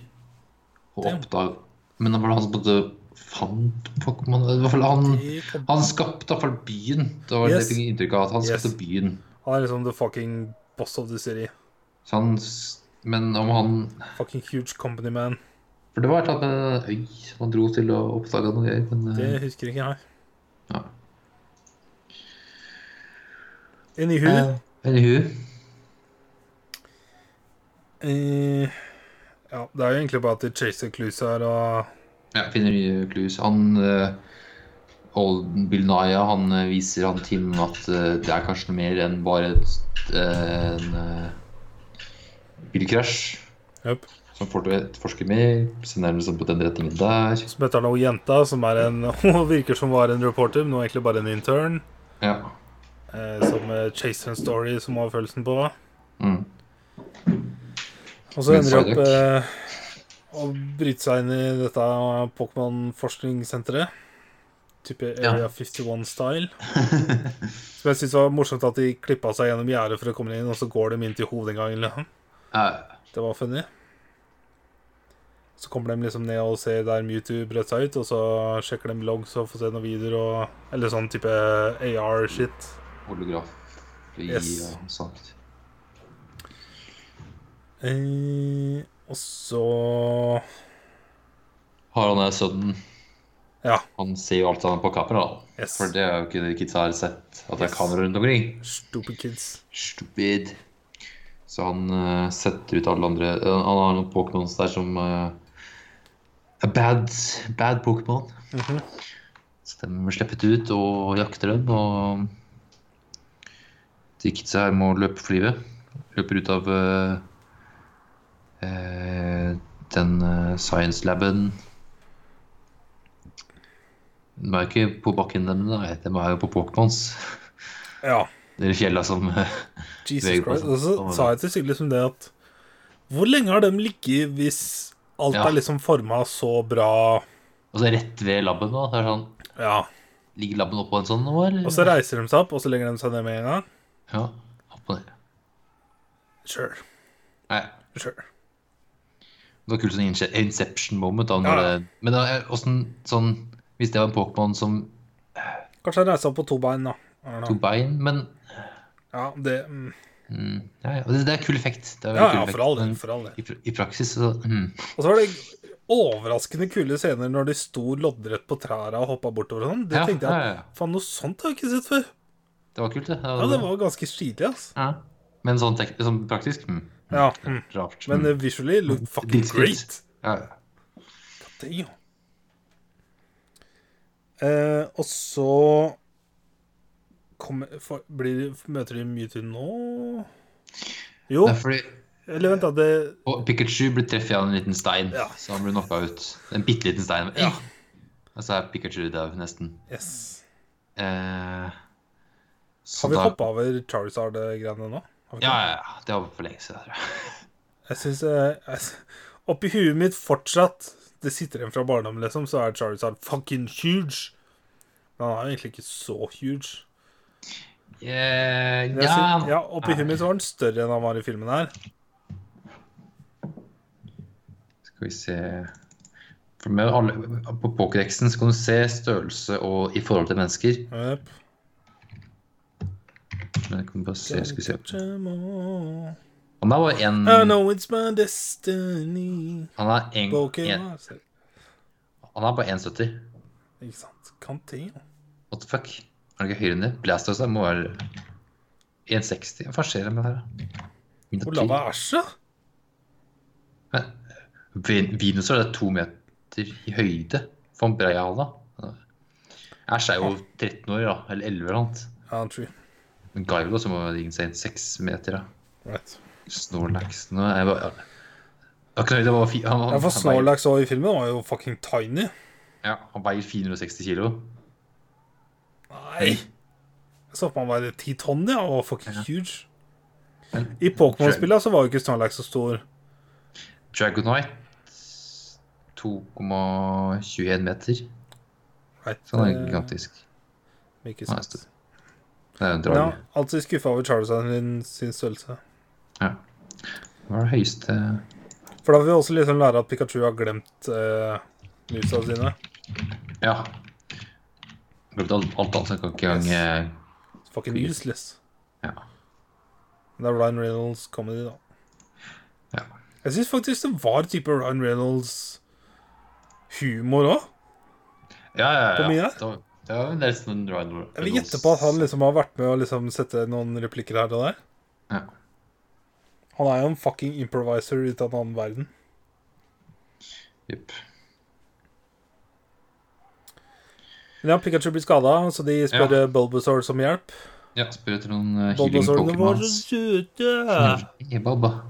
S2: og
S1: Damn.
S2: oppdag... Men det var det han som på en måte fant Pokémon? I hvert fall han,
S1: i-
S2: han skapte i hvert fall byen. Det var
S1: Yes.
S2: det jeg fikk inntrykk av. at Han skapte
S1: Yes.
S2: byen.
S1: Han er liksom the fucking boss of the city.
S2: Så han, s- men om han
S1: Fucking huge company man.
S2: For det var et eller annet med en øy som han dro til og oppdaga noe greier. Men eh,
S1: Det husker ikke jeg.
S2: ja.
S1: Anywho
S2: Eh, Anywho.
S1: eh, Ja, det er jo egentlig bare at de chaser clues her og
S2: Ja, finner nye clues. Han eh, og Bill Nye han eh, viser han Tim at eh, det er kanskje noe mer enn bare et, eh, en eh, bilkrasj.
S1: Jøp.
S2: Som fort- forsker mer, ser nærmest liksom på den retningen der.
S1: Så møter han noen jenta som er en Hun virker som var en reporter, men hun er egentlig bare en intern.
S2: Ja.
S1: Eh, som eh, chaser en story som hun har følelsen på.
S2: Mm.
S1: Og så
S2: Men
S1: ender de opp
S2: Psyduck?
S1: eh, å bryte seg inn i dette Pokémon-forskningssenteret. Type
S2: Ja.
S1: Area 51-style. Som jeg syns var morsomt at de klippa seg gjennom gjerdet for å komme inn, og så går de inn til hovedinngangen. Liksom.
S2: Eh,
S1: Det var funny. Så kommer de liksom ned og ser der Mewtwo brøt seg ut, og så sjekker de logs og får se noen videoer og Eller sånn type AR-shit.
S2: holograf. Vi,
S1: Yes.
S2: ja, sant.
S1: Eh, og så
S2: Har han er sønnen.
S1: Ja.
S2: Han ser jo alt han har på kamera. da.
S1: Yes.
S2: For det har jo ikke de kidsa her sett. At det
S1: Yes.
S2: er kamera rundt omkring.
S1: Stupid kids.
S2: Stupid. Så han eh, setter ut alle andre eh, Han har noen Pokémons der som eh, er bad, bad Pokémon.
S1: Mhm.
S2: Så de blir sluppet ut og jakter dem, og de kidsa her må løpe for livet. Løper ut av eh, eh, den eh, science laben. De er jo ikke på bakken, dem, da. de er jo på Pokémons.
S1: Ja.
S2: Det er fjella som eh,
S1: Jesus
S2: Vegard
S1: Christ.
S2: Karlsson.
S1: Og så
S2: Han var
S1: sa jeg til Sigrid som det at Hvor lenge har de ligget hvis alt
S2: Ja.
S1: er liksom forma så bra
S2: Og så rett ved labben da, så er det sånn,
S1: Ja.
S2: ligger labben oppå en sånn nå, eller?
S1: Og så reiser de seg opp, og så legger de seg ned med en gang.
S2: Ja, oppå der.
S1: Sure.
S2: Nei,
S1: Sure.
S2: det var kult sånn inse- inception moment da, når
S1: Ja.
S2: det... Men da, er- hvordan, sånn, hvis det var en Pokémon som
S1: Kanskje de reiser seg opp på to bein, da. I don't
S2: tok
S1: know.
S2: bein, men...
S1: Ja, det mm.
S2: Mm, ja, ja, og det, det er kul effekt. Det
S1: ja,
S2: er veldig kul
S1: ja,
S2: effekt,
S1: for all del.
S2: men
S1: For all del.
S2: I, pr- I praksis, så... Mm,
S1: Og så var det overraskende kule scener når de sto loddrett på trærne og hoppa bortover og sånn. Det
S2: ja,
S1: tenkte
S2: ja,
S1: jeg at
S2: ja, ja.
S1: faen, noe sånt har jeg ikke sett før.
S2: Det var kult, det.
S1: Ja, det var ganske stilig, altså.
S2: Ja. Men sånn, tek, sånn praktisk, mm,
S1: Ja. Mm.
S2: rart.
S1: Men
S2: mm.
S1: eh, visually looked fucking
S2: Dritkult.
S1: great.
S2: Ja, ja.
S1: Damn. Eh, og så kommer, for, blir, Møter de mye til nå? Jo,
S2: Det er fordi...
S1: eller vent, da. Det,
S2: Og Pikachu ble treffet av en liten stein,
S1: Ja.
S2: så han ble knocka ut. En bitte liten stein.
S1: Ja.
S2: Og så er Pikachu dau, nesten.
S1: yes.
S2: Eh, så
S1: Har vi
S2: da-
S1: hoppa over Charizard-greiene nå? Har vi ikke?
S2: Ja, ja, ja. Det var for lenge siden. tror jeg.
S1: Jeg syns eh, Oppi huet mitt fortsatt Det sitter igjen fra barndommen, liksom, så er Charizard fucking huge. Men han er jo egentlig ikke så huge.
S2: Eh,
S1: Men Jeg
S2: ja, Eh,
S1: Synes, ja, Oppi huet mitt så var han større enn han var i filmen her.
S2: Skal vi se For med alle, På Pokédexen så kan du se størrelse og i forhold til mennesker.
S1: Yep.
S2: Men jeg Mm. kan bare se, skal vi se.
S1: Catch 'em all.
S2: Han er bare en,
S1: I know it's my destiny
S2: han er en, en,
S1: Pokémon
S2: han er bare 1,70.
S1: Ikke sant? Kan ting, ja.
S2: What the fuck? Er det ikke høyere enn det? Blastoise da må være 1,60. Hva skjer med det her? da?
S1: Hvor
S2: Minotaur?
S1: lav er Æsja?
S2: Men, Vin- Venusaur er to meter i høyde. Von Breiala. Æsj er jo 13 år, da. Eller 11 eller noe. annet.
S1: Ja, true.
S2: Men Gaivo som var insane seks meter. da.
S1: Right.
S2: Snorlax nå er jeg bare, Akkurat, det var fi, han,
S1: Ja, for
S2: han veier-
S1: Snorlax også i filmen var jo fucking tiny.
S2: ja, han veier 460 kilo. Mm.
S1: Nei! Jeg så på han var ti tonn, ja, og fucking huge.
S2: Men-
S1: I Pokémon-spillene så var jo ikke Snorlax så stor.
S2: Dragonite 2,21 meter.
S1: Right. Eh,
S2: Så han Sånn er gigantisk.
S1: Ikke
S2: Han er
S1: sant.
S2: stor. Det er
S1: Men
S2: en drage.
S1: Ja, alltid skuffa over Charizard sin- sin størrelse.
S2: Hva er det høyeste
S1: For da får vi også liksom lære at Pikachu har glemt uh, musa sine.
S2: Ja. Glemte alt, alt annet, så jeg kan ikke engang eh,
S1: Fucking
S2: Fy.
S1: useless.
S2: Ja.
S1: Det er Ryan Reynolds comedy, da.
S2: Ja.
S1: Jeg syns faktisk det var type Ryan Reynolds humor òg.
S2: Ja, ja,
S1: Hvor mye
S2: ja.
S1: da?
S2: Det var- Det var nesten en Ryan
S1: Jeg vil
S2: Reynolds.
S1: gjette på at han liksom har vært med å liksom sette noen replikker her og der.
S2: Ja.
S1: Han er jo en fucking improviser ut av en annen verden.
S2: Jepp.
S1: Men ja, Pikachu blir skada, så de spør eh, Bulbasaur som hjelp.
S2: Ja, spør etter noen eh, healing
S1: Bulbasaurene
S2: Pokémon.
S1: våre søte!
S2: Hey, Baba.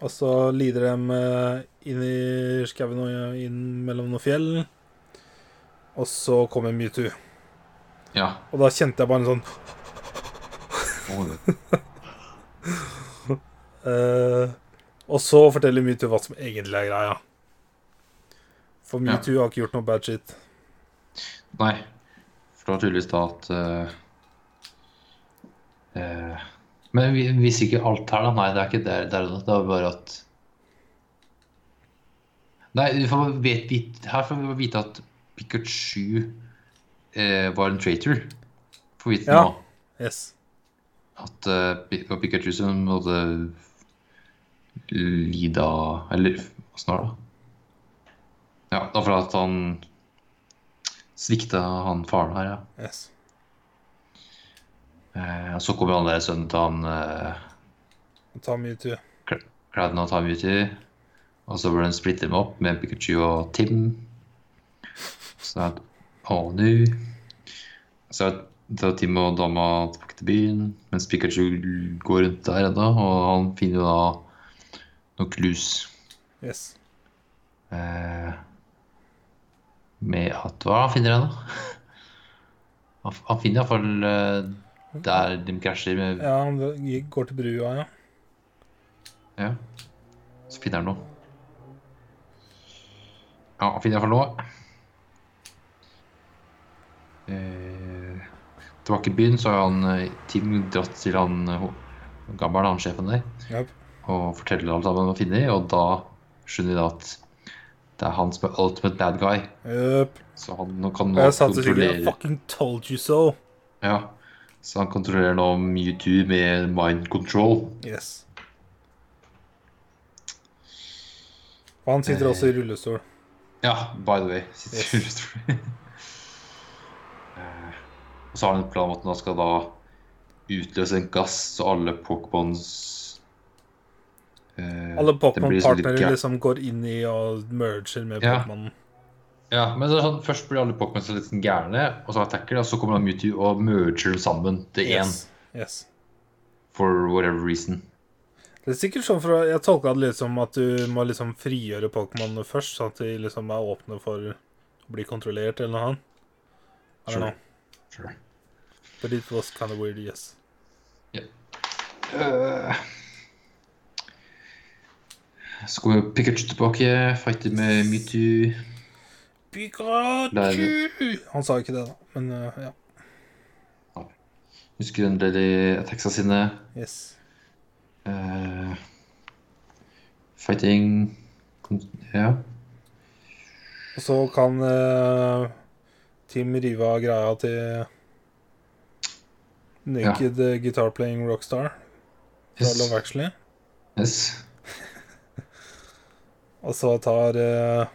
S1: Og så lider de eh, inn i skauen og inn mellom noen fjell. Og så kommer Mewtwo.
S2: Ja.
S1: Og da kjente jeg bare en sånn
S2: og-
S1: eh, Og så forteller Mewtwo hva som egentlig er greia. For
S2: Ja.
S1: Mewtwo har ikke gjort noe bad shit.
S2: Nei. For det var tydeligvis da at eh, eh, Men vi vi visste ikke alt her, da. Nei, det er ikke det. Det er, det. det er bare at Nei, vi får vet, vit- her får vi vite at Pikachu eh, var en traitor. Får vi vite
S1: Ja.
S2: nå.
S1: Yes.
S2: At eh, Pi- det var Pikachu som måtte eh, lide av Eller åssen var det? Ja, det var fordi at han svikta han faren her, ja.
S1: yes.
S2: Eh, og så kommer han der sønnen til han eh,
S1: Ta Mewtwo.
S2: Cladden og Time Beauty. Og så burde han splitte dem opp med Pikachu og Tim. Så er det Å, nå Så er det at Tim og dama tilbake til byen, mens Pikachu går rundt der ennå, og han finner jo da noen clues
S1: Yes.
S2: eh, med at Hva er det han finner han, da? Han, han finner iallfall eh, der de krasjer med
S1: Ja, han går til brua, ja.
S2: Ja. Så finner han noe. Ja, han finner iallfall noe. Eh, tilbake i byen så har han eh, Tim dratt til han eh, ho- gammel, han sjefen der,
S1: Japp.
S2: og forteller alt han har funnet, og da skjønner de da at det er han som er ultimate bad guy,
S1: Jøp.
S2: så han nå kan
S1: Og
S2: nå
S1: jeg sa til Sigurd I
S2: kontrollere
S1: fucking told you so.
S2: Ja, så han kontrollerer nå Mewtwo med mind control.
S1: Yes. Og han
S2: Eh.
S1: sitter også i rullestol.
S2: Ja, by the way. Sitter
S1: Yes.
S2: i rullestol. Eh, Og så har han en plan om at han skal da utløse en gass, så alle Pokémons eh,
S1: Alle
S2: det blir liksom litt
S1: Pokémon-partnere
S2: gæ-
S1: liksom går inn i og merger med
S2: Ja.
S1: Pokémon.
S2: Ja, men det er sånn, Først blir alle Pokémons litt sånn gærne, og så attacker de, og så kommer han Mewtwo og merger dem sammen til én.
S1: Yes. yes.
S2: For whatever reason.
S1: Det er sikkert sånn for å- Jeg tolka det litt som at du må liksom frigjøre Pokémonene først, sånn at de liksom er åpne for å bli kontrollert eller noe annet. I don't
S2: Sure.
S1: know.
S2: Sure.
S1: But it was kind of weird, yes.
S2: Eh, så kommer Pikachu tilbake, fighter med Mewtwo.
S1: Pikachu!
S2: Nei,
S1: Han sa ikke det, da, men uh, ja.
S2: Husker en del i attacksa sine.
S1: Yes.
S2: Eh, fighting kon- Ja.
S1: Og så kan eh, Tim rive av greia til Naked eh, Guitar Playing Rockstar fra
S2: Yes.
S1: Love Actually.
S2: yes.
S1: Og så tar eh,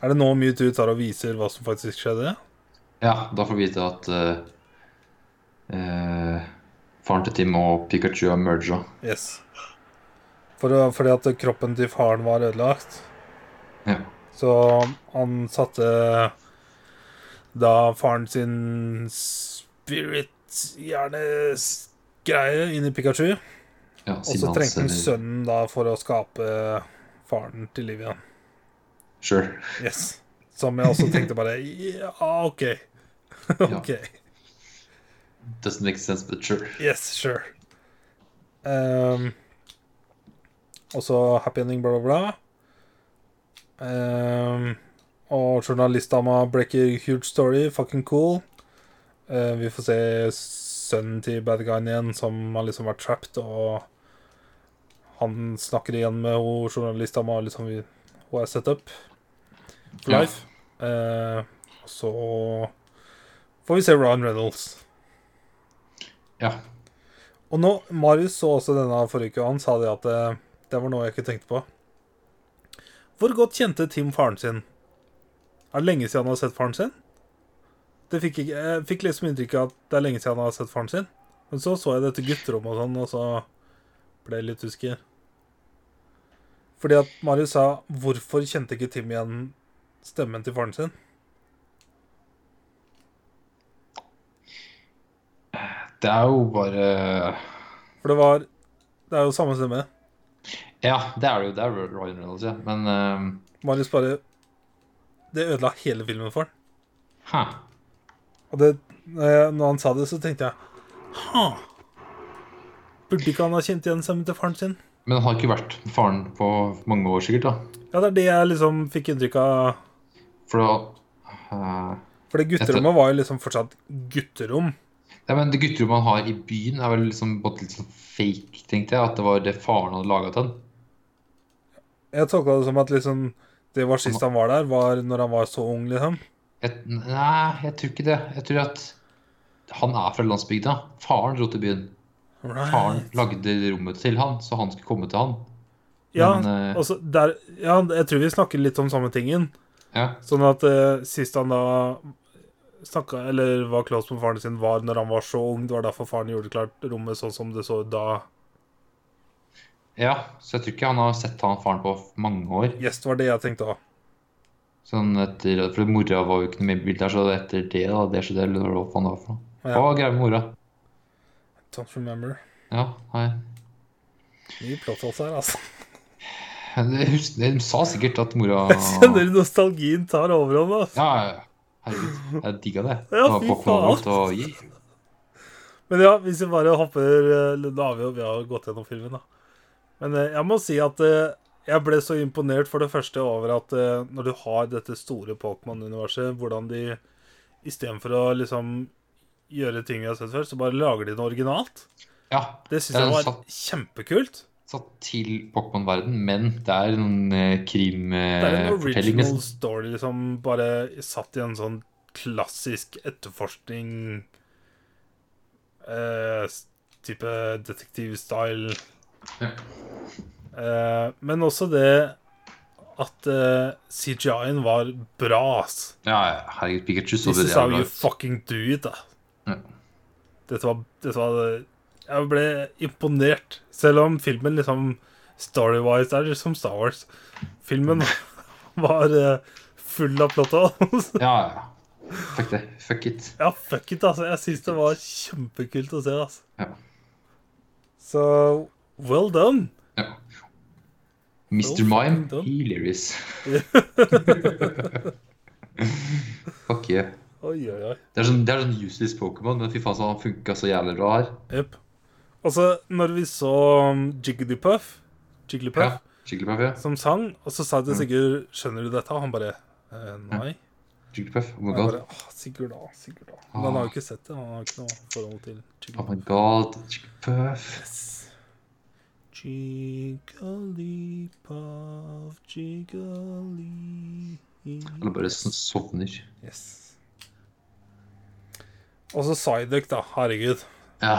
S1: Er det nå Mewtwo tar og viser hva som faktisk skjedde?
S2: Ja, da får vi vite at eh, eh, faren til Tim og Pikachu har merga.
S1: Yes. For, å- fordi at kroppen til faren var ødelagt.
S2: Ja.
S1: Så eh, han satte da faren sin spirit hjernegreie inni Pikachu.
S2: Ja,
S1: Og så trengte han sønnen da for å skape faren til liv igjen.
S2: Sure.
S1: Yes. Som jeg også tenkte bare Ja, OK. OK.
S2: Doesn't make sense, but sure.
S1: Yes, sure. Ehm, og så happy ending, bla, bla, bla. Ehm, og journalistdama breaker huge story, fucking cool. Eh, vi får se sønnen til bad guyen igjen, som har liksom vært trapped, og han snakker igjen med ho, journalistdama, og liksom vi- hun er set up for
S2: Ja.
S1: life. Eh, og så får vi se Ryan Reynolds.
S2: Ja.
S1: Og nå, Marius så også denne forrige uke, og han sa det at det, det var noe jeg ikke tenkte på. Hvor godt kjente Tim faren sin? Er det lenge siden han har sett faren sin? Det fikk ikke, jeg fikk liksom inntrykk av at det er lenge siden han har sett faren sin. Men så så jeg dette gutterommet og sånn, og så ble jeg litt usikker. Fordi at Marius sa 'Hvorfor kjente ikke Tim igjen stemmen til faren sin?'
S2: Det er jo bare
S1: For det var Det er jo samme stemme.
S2: Ja, det er det jo. Det er Ryan Reynolds, ja. Men ehm,
S1: Marius bare Det ødela hele filmen for han.
S2: hæ.
S1: Og det, eh, når han sa det, så tenkte jeg Ha! Burde ikke han ha kjent igjen stemmen til faren sin?
S2: Men han har ikke vært med faren på mange år, sikkert. da.
S1: Ja, det er det jeg liksom fikk inntrykk av.
S2: For da eh,
S1: For det gutterommet var jo liksom fortsatt gutterom.
S2: Ja, men Det gutterommet han har i byen, er vel liksom på en måte litt sånn fake, tenkte jeg. At det var det faren hadde laga til han.
S1: Jeg tolka det som at liksom det var sist han var der, var når han var så ung, liksom.
S2: Jeg, nei, jeg tror ikke det. Jeg tror at han er fra landsbygda. Faren dro til byen. Faren
S1: Right.
S2: lagde rommet til han, så han skulle komme til han.
S1: Ja,
S2: Men, eh,
S1: altså, der, ja, jeg tror vi snakker litt om samme tingen.
S2: ja,
S1: Sånn at eh, sist han da snakka, eller var close med faren sin, var når han var så ung. Det var derfor faren gjorde klart rommet sånn som det så ut da.
S2: ja, så jeg tror ikke han har sett han faren på mange år.
S1: Yes, det var det jeg tenkte òg.
S2: Sånn etter, For mora var jo ikke noe med i bildet her, så etter det da, det skjedde, eller hva faen det var for noe.
S1: Ja.
S2: Hva var greia med mora?
S1: Don't remember.
S2: Ja, nei.
S1: Mye plotholes her, altså.
S2: Jeg husker, de sa sikkert at mora
S1: Jeg kjenner nostalgien tar overhånd. altså.
S2: Ja, ja, ja. herregud. Jeg digga det.
S1: Ja,
S2: Det var
S1: fy
S2: Pokémon
S1: faen.
S2: Gold og yeah.
S1: Men ja, hvis vi bare hopper eh, Da har vi jo vi har jo gått gjennom filmen, da. Men eh, jeg må si at eh, jeg ble så imponert for det første over at eh, når du har dette store Pokémon-universet, hvordan de istedenfor å liksom gjøre ting vi har sett før, så bare lager de det originalt.
S2: Ja.
S1: Det syns
S2: Ja,
S1: jeg var
S2: sant.
S1: kjempekult.
S2: Satt til Pokémon-verden, men det er noen eh,
S1: Det er en
S2: krimfortelling,
S1: original
S2: nesten.
S1: story, liksom, bare satt i en sånn klassisk etterforskning eh, s- Type detektivstyle.
S2: Ja.
S1: Eh, men også det at eh, CGI-en var bra, ass.
S2: Ja, ja, herregud, Pikachu så
S1: This
S2: det
S1: is how
S2: jævla
S1: you
S2: ut.
S1: fucking do it, da.
S2: Ja.
S1: Dette var, dette var Jeg ble imponert. Selv om filmen liksom Story-wise er det som Star Wars. Filmen var eh, full av plot holes.
S2: Ja, ja. Fuck det. Fuck it.
S1: ja, fuck it, altså. Jeg syns det var kjempekult å se, altså.
S2: Ja.
S1: Så well done.
S2: ja. Mr.
S1: fucking
S2: Mime,
S1: done.
S2: hilarious. Fuck yeah.
S1: Oi, oi, oi.
S2: Det er sånn, det er sånn useless Pokémon, men fy faen, så han funka så jævlig bra her.
S1: Jepp. Altså, når vi så um, Jigglypuff,
S2: Ja, Mm.
S1: Jigglypuff
S2: Skikkelig perfekt.
S1: som sang, og så sa jeg til Sigurd 'Skjønner du dette?' Og han bare eh, 'Nei'.
S2: Jigglypuff. Oh
S1: Og
S2: my
S1: jeg
S2: god.
S1: bare, «Åh, Sigurd, da. Sigurd, da. Men han har jo ikke sett det. Han har ikke noe forhold til
S2: Oh
S1: Jigglypuff.
S2: my god. Jigglypuff.
S1: Jigglypuff, Jigglypuff
S2: Eller bare sånn sovner.
S1: Yes. Og så Psyduck, da. Herregud.
S2: Ja,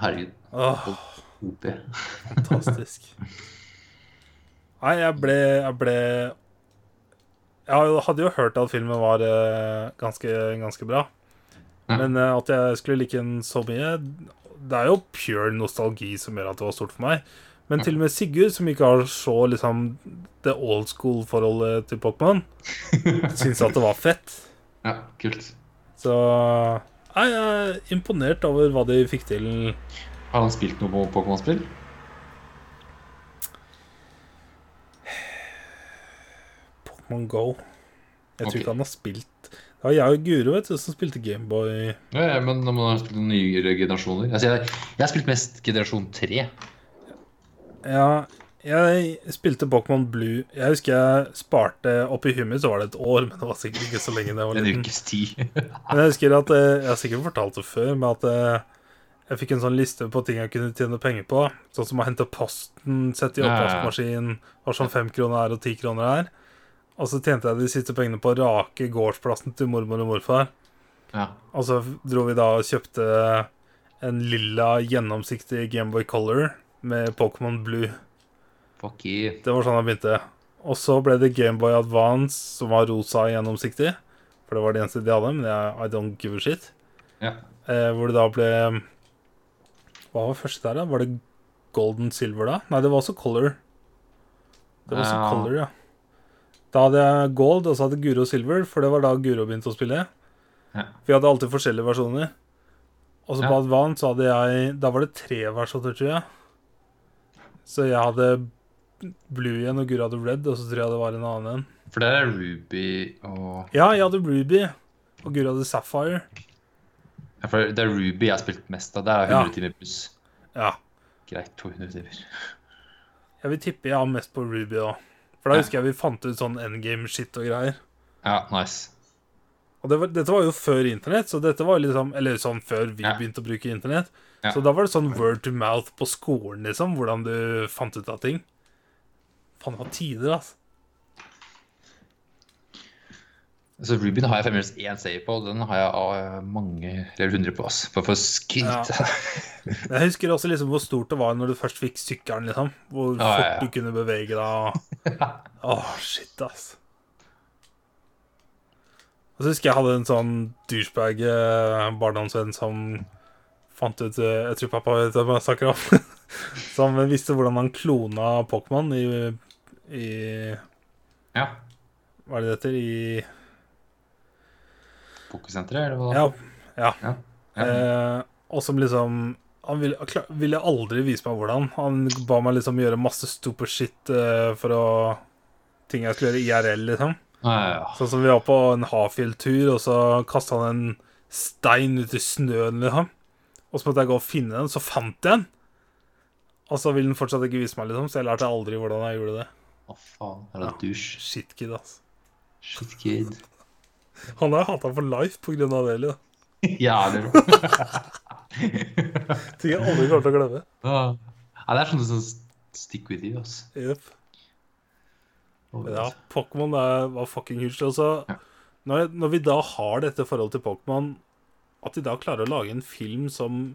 S2: herregud.
S1: Åh,
S2: OP.
S1: fantastisk. Nei, jeg ble Jeg ble Jeg hadde jo hørt at filmen var eh, ganske, ganske bra.
S2: Ja.
S1: Men eh, at jeg skulle like den så mye Det er jo pure nostalgi som gjør at det var stort for meg. Men til og med Sigurd, som ikke har så liksom det old school-forholdet til Pokémon, syntes at det var fett.
S2: Ja, kult.
S1: Så Nei, jeg er imponert over hva de fikk til.
S2: Har han spilt noe på Pokémon-spill?
S1: Pokémon Go. Jeg tror
S2: Ok.
S1: ikke han har spilt Det var jeg og Guro vet du, som spilte Gameboy.
S2: Ja, ja, men han har spilt noen nyere generasjoner. Altså, jeg, jeg har spilt mest generasjon 3.
S1: Ja, jeg spilte Pokémon Blue. Jeg husker jeg sparte Oppi huet mitt, så var det et år, men det var sikkert ikke så lenge. det var
S2: En
S1: liten.
S2: ukes tid.
S1: Men jeg husker at eh, Jeg har sikkert fortalt det før, men at eh, jeg fikk en sånn liste på ting jeg kunne tjene penger på. Sånn som å hente posten, sette i
S2: Ja, ja, ja.
S1: oppvaskmaskinen, var sånn fem kroner her og ti kroner her. Og så tjente jeg de siste pengene på å rake gårdsplassen til mormor og morfar.
S2: ja.
S1: Og så Altså, dro vi da og kjøpte en lilla, gjennomsiktig Gameboy Color med Pokémon Blue.
S2: Fuck you.
S1: Det var sånn han begynte. Og så ble det Gameboy Advance, som var rosa og gjennomsiktig. For det var det eneste de hadde, men jeg, I don't give a shit.
S2: Ja.
S1: Eh, hvor det da ble Hva var første der, da? Var det Golden Silver, da? Nei, det var også Color. Det var også
S2: Ja.
S1: Color, ja. Da hadde jeg Gold, og så hadde Guro Silver, for det var da Guro begynte å spille.
S2: Ja.
S1: Vi hadde alltid forskjellige versjoner. Og så på
S2: Ja.
S1: Advance så hadde jeg Da var det tre versjoner, tror jeg. Så jeg hadde Blue igjen, og Guro hadde Red, og så tror jeg det var en annen en.
S2: For der er Ruby og
S1: Ja, jeg hadde Ruby, og Guro hadde Sapphire.
S2: ja, for Det er Ruby jeg har spilt mest av. Der er 100
S1: Ja.
S2: timer pluss.
S1: Ja.
S2: Greit, 200 timer.
S1: Jeg vil tippe jeg har mest på Ruby òg. For da
S2: Ja.
S1: husker jeg vi fant ut sånn endgame-shit og greier.
S2: Ja, nice.
S1: Og det var, dette var jo før internett, så dette var liksom Eller sånn før vi
S2: Ja.
S1: begynte å bruke internett.
S2: Ja.
S1: Så da var det sånn word to mouth på skolen, liksom, hvordan du fant ut av ting. Faen, det var tider, altså.
S2: Så Rubyen har jeg fremdeles én save på, og den har jeg av eh, mange eller hundre på. ass. Bare for skritt.
S1: Men jeg husker også liksom hvor stort det var når du først fikk sykkelen, liksom. Hvor
S2: Ja, ja, ja.
S1: fort du kunne bevege deg. og- Åh, shit, ass. Og så husker jeg jeg hadde en sånn douchebag eh, barndomsvenn som fant ut eh, Jeg tror pappa vet hvem jeg snakker om. som visste hvordan han klona Pokémon i, i
S2: Ja.
S1: Hva er det det heter? I
S2: Pokersenteret, eller hva?
S1: Ja. ja.
S2: Ja, ja.
S1: Eh, og som liksom Han ville, klar- ville aldri vise meg hvordan. Han ba meg liksom gjøre masse stupid shit eh, for å Ting jeg skulle gjøre IRL, liksom.
S2: Ja, ja, ja.
S1: Sånn som vi var på en Hafjell-tur, og så kasta han en stein ut i snøen, liksom. Og så måtte jeg gå og finne den, så fant jeg den. Og så ville den fortsatt ikke vise meg, liksom, så jeg lærte aldri hvordan jeg gjorde det.
S2: Å, faen. Er det en dusj?
S1: Shitkid, ass.
S2: Shit, kid.
S1: Han har jeg hata for life på grunn av det, liksom.
S2: Jævlig bra.
S1: Ting jeg aldri kommer til å glemme.
S2: Ja, Ja, det er sånn som stick with you, altså.
S1: Jep. Ja, Pokémon er- var fucking huge. Altså,
S2: Ja.
S1: når, når vi da har dette forholdet til Pokémon, at de da klarer å lage en film som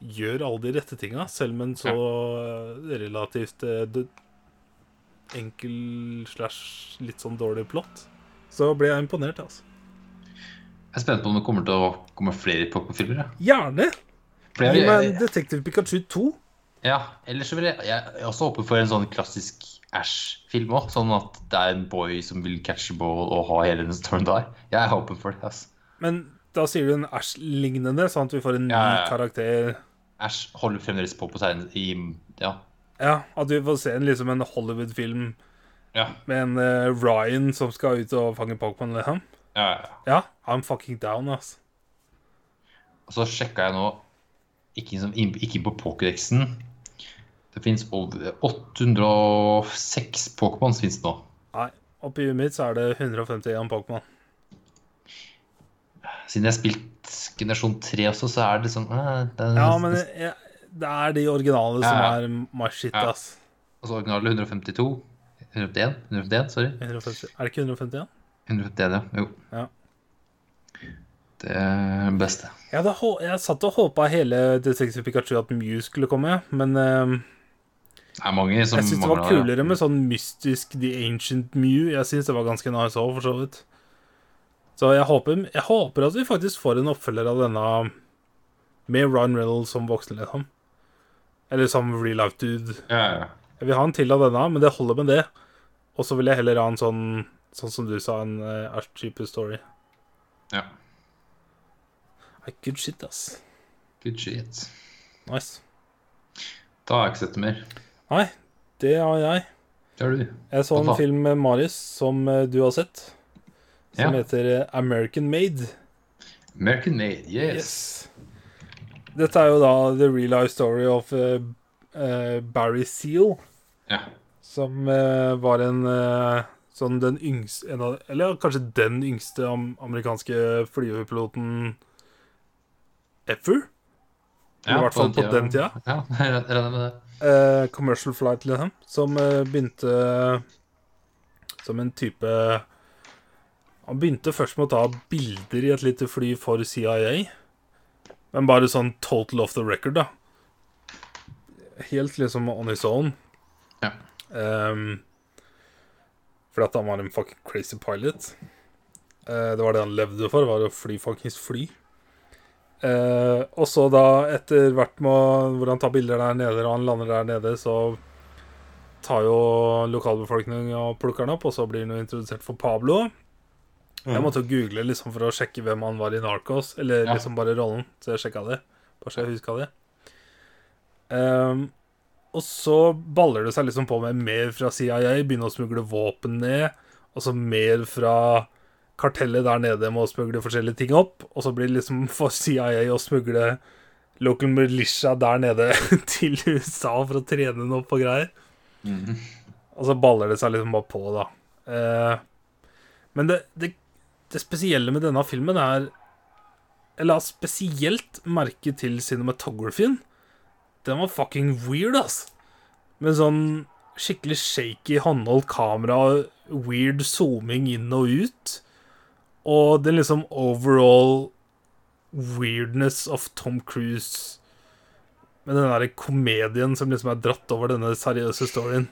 S1: gjør alle de rette tinga, selv med en så eh, relativt eh, død- enkel slash litt sånn dårlig plott, så ble jeg imponert, altså.
S2: Jeg er spent på om det kommer til å komme flere Pokémon-filmer. Ja.
S1: Gjerne!
S2: For
S1: Gi
S2: jeg-
S1: meg en
S2: jeg-
S1: Detektiv Pikachu 2.
S2: ja, ellers så vil jeg, jeg er også håpe for en sånn klassisk Ash-film òg. Sånn at det er en boy som vil catche ball og ha hele den storyen der. Jeg er åpen for det. ass.
S1: Men da sier du en Ash-lignende, sånn at vi får en ny
S2: Ja, ja, ja.
S1: karakter.
S2: Ash holder fremdeles på på seg i Ja.
S1: Ja, At vi får se en, liksom en Hollywood-film
S2: Ja.
S1: med en eh, Ryan som skal ut og fange Pokémon, liksom.
S2: ja, ja.
S1: Ja, I'm fucking down, ass.
S2: Og så sjekka jeg nå ikke, som, ikke på Pokédexen. Det fins over 806 Pokémons finnes det nå.
S1: Nei, oppi huet mitt så er det 151 Pokémon.
S2: Siden jeg har spilt generasjon 3 også, så er det sånn eh, det er,
S1: Ja, men jeg, det er de originale som
S2: Ja, ja.
S1: er my shit,
S2: Ja.
S1: ass.
S2: Altså originale 152 151? 151, sorry.
S1: 150. Er det ikke 151?
S2: 151, ja. Jo.
S1: Ja.
S2: Det er det beste.
S1: Jeg, hadde, hå- jeg satt og håpa hele Detective Pikachu at Mew skulle komme, men eh,
S2: Det er mange som
S1: jeg syns det var
S2: mangler
S1: kulere med sånn mystisk The Ancient Mew. Jeg syns det var ganske nice òg, for så vidt. Så jeg håper, jeg håper at vi faktisk får en oppfølger av denne med Ryan Reynolds som voksen, liksom. Eller som real life dude.
S2: Ja, ja.
S1: Jeg vil ha en til av denne, men det holder med det. Og så vil jeg heller ha en sånn, eh, sånn som du sa, en uh, Archiepe story.
S2: ja.
S1: Det er good shit, ass.
S2: Good shit.
S1: Nice.
S2: Da har jeg ikke sett det mer.
S1: Nei, det har jeg.
S2: Det har du.
S1: Jeg så en
S2: Hva da?
S1: film med Marius som eh, du har sett, som
S2: Ja.
S1: heter eh, American Made.
S2: American Made, yes.
S1: Yes. Dette er jo da the real life story of eh, eh, Barry Seal,
S2: Ja.
S1: som eh, var en eh, sånn den yngste en av, Eller kanskje den yngste am amerikanske flyvepiloten ever. I
S2: Ja,
S1: hvert fall på den tida.
S2: Ja, jeg regner med det.
S1: eh, commercial flight til dem, som eh, begynte som en type Han begynte først med å ta bilder i et lite fly for CIA, men bare sånn total off the record, da. Helt liksom on his own.
S2: Ja.
S1: Ehm, fordi at han var en fucking crazy pilot. Eh, det var det han levde for, var å fly fuckings fly. Eh, og så da, etter hvert med å- hvor han tar bilder der nede, og han lander der nede, så tar jo lokalbefolkningen og plukker han opp, og så blir han jo introdusert for Pablo. Jeg måtte jo google liksom for å sjekke hvem han var i Narcos, eller
S2: Ja.
S1: liksom bare rollen, så jeg sjekka det. Bare så jeg huska det. Ehm, og så baller det seg liksom på med mer fra CIA, begynne å smugle våpen ned, og så mer fra kartellet der nede må smugle forskjellige ting opp, og så blir det liksom for CIA å smugle local militia der nede til USA for å trene den opp og greier.
S2: Mhm.
S1: Og så baller det seg liksom bare på, da. Eh, men det, det, det spesielle med denne filmen er Jeg la spesielt merke til cinematographyen. Den var fucking weird, ass. Med sånn skikkelig shaky håndholdt kamera, weird zooming inn og ut. Og den liksom overall weirdness of Tom Cruise med den der komedien som liksom er dratt over denne seriøse storyen.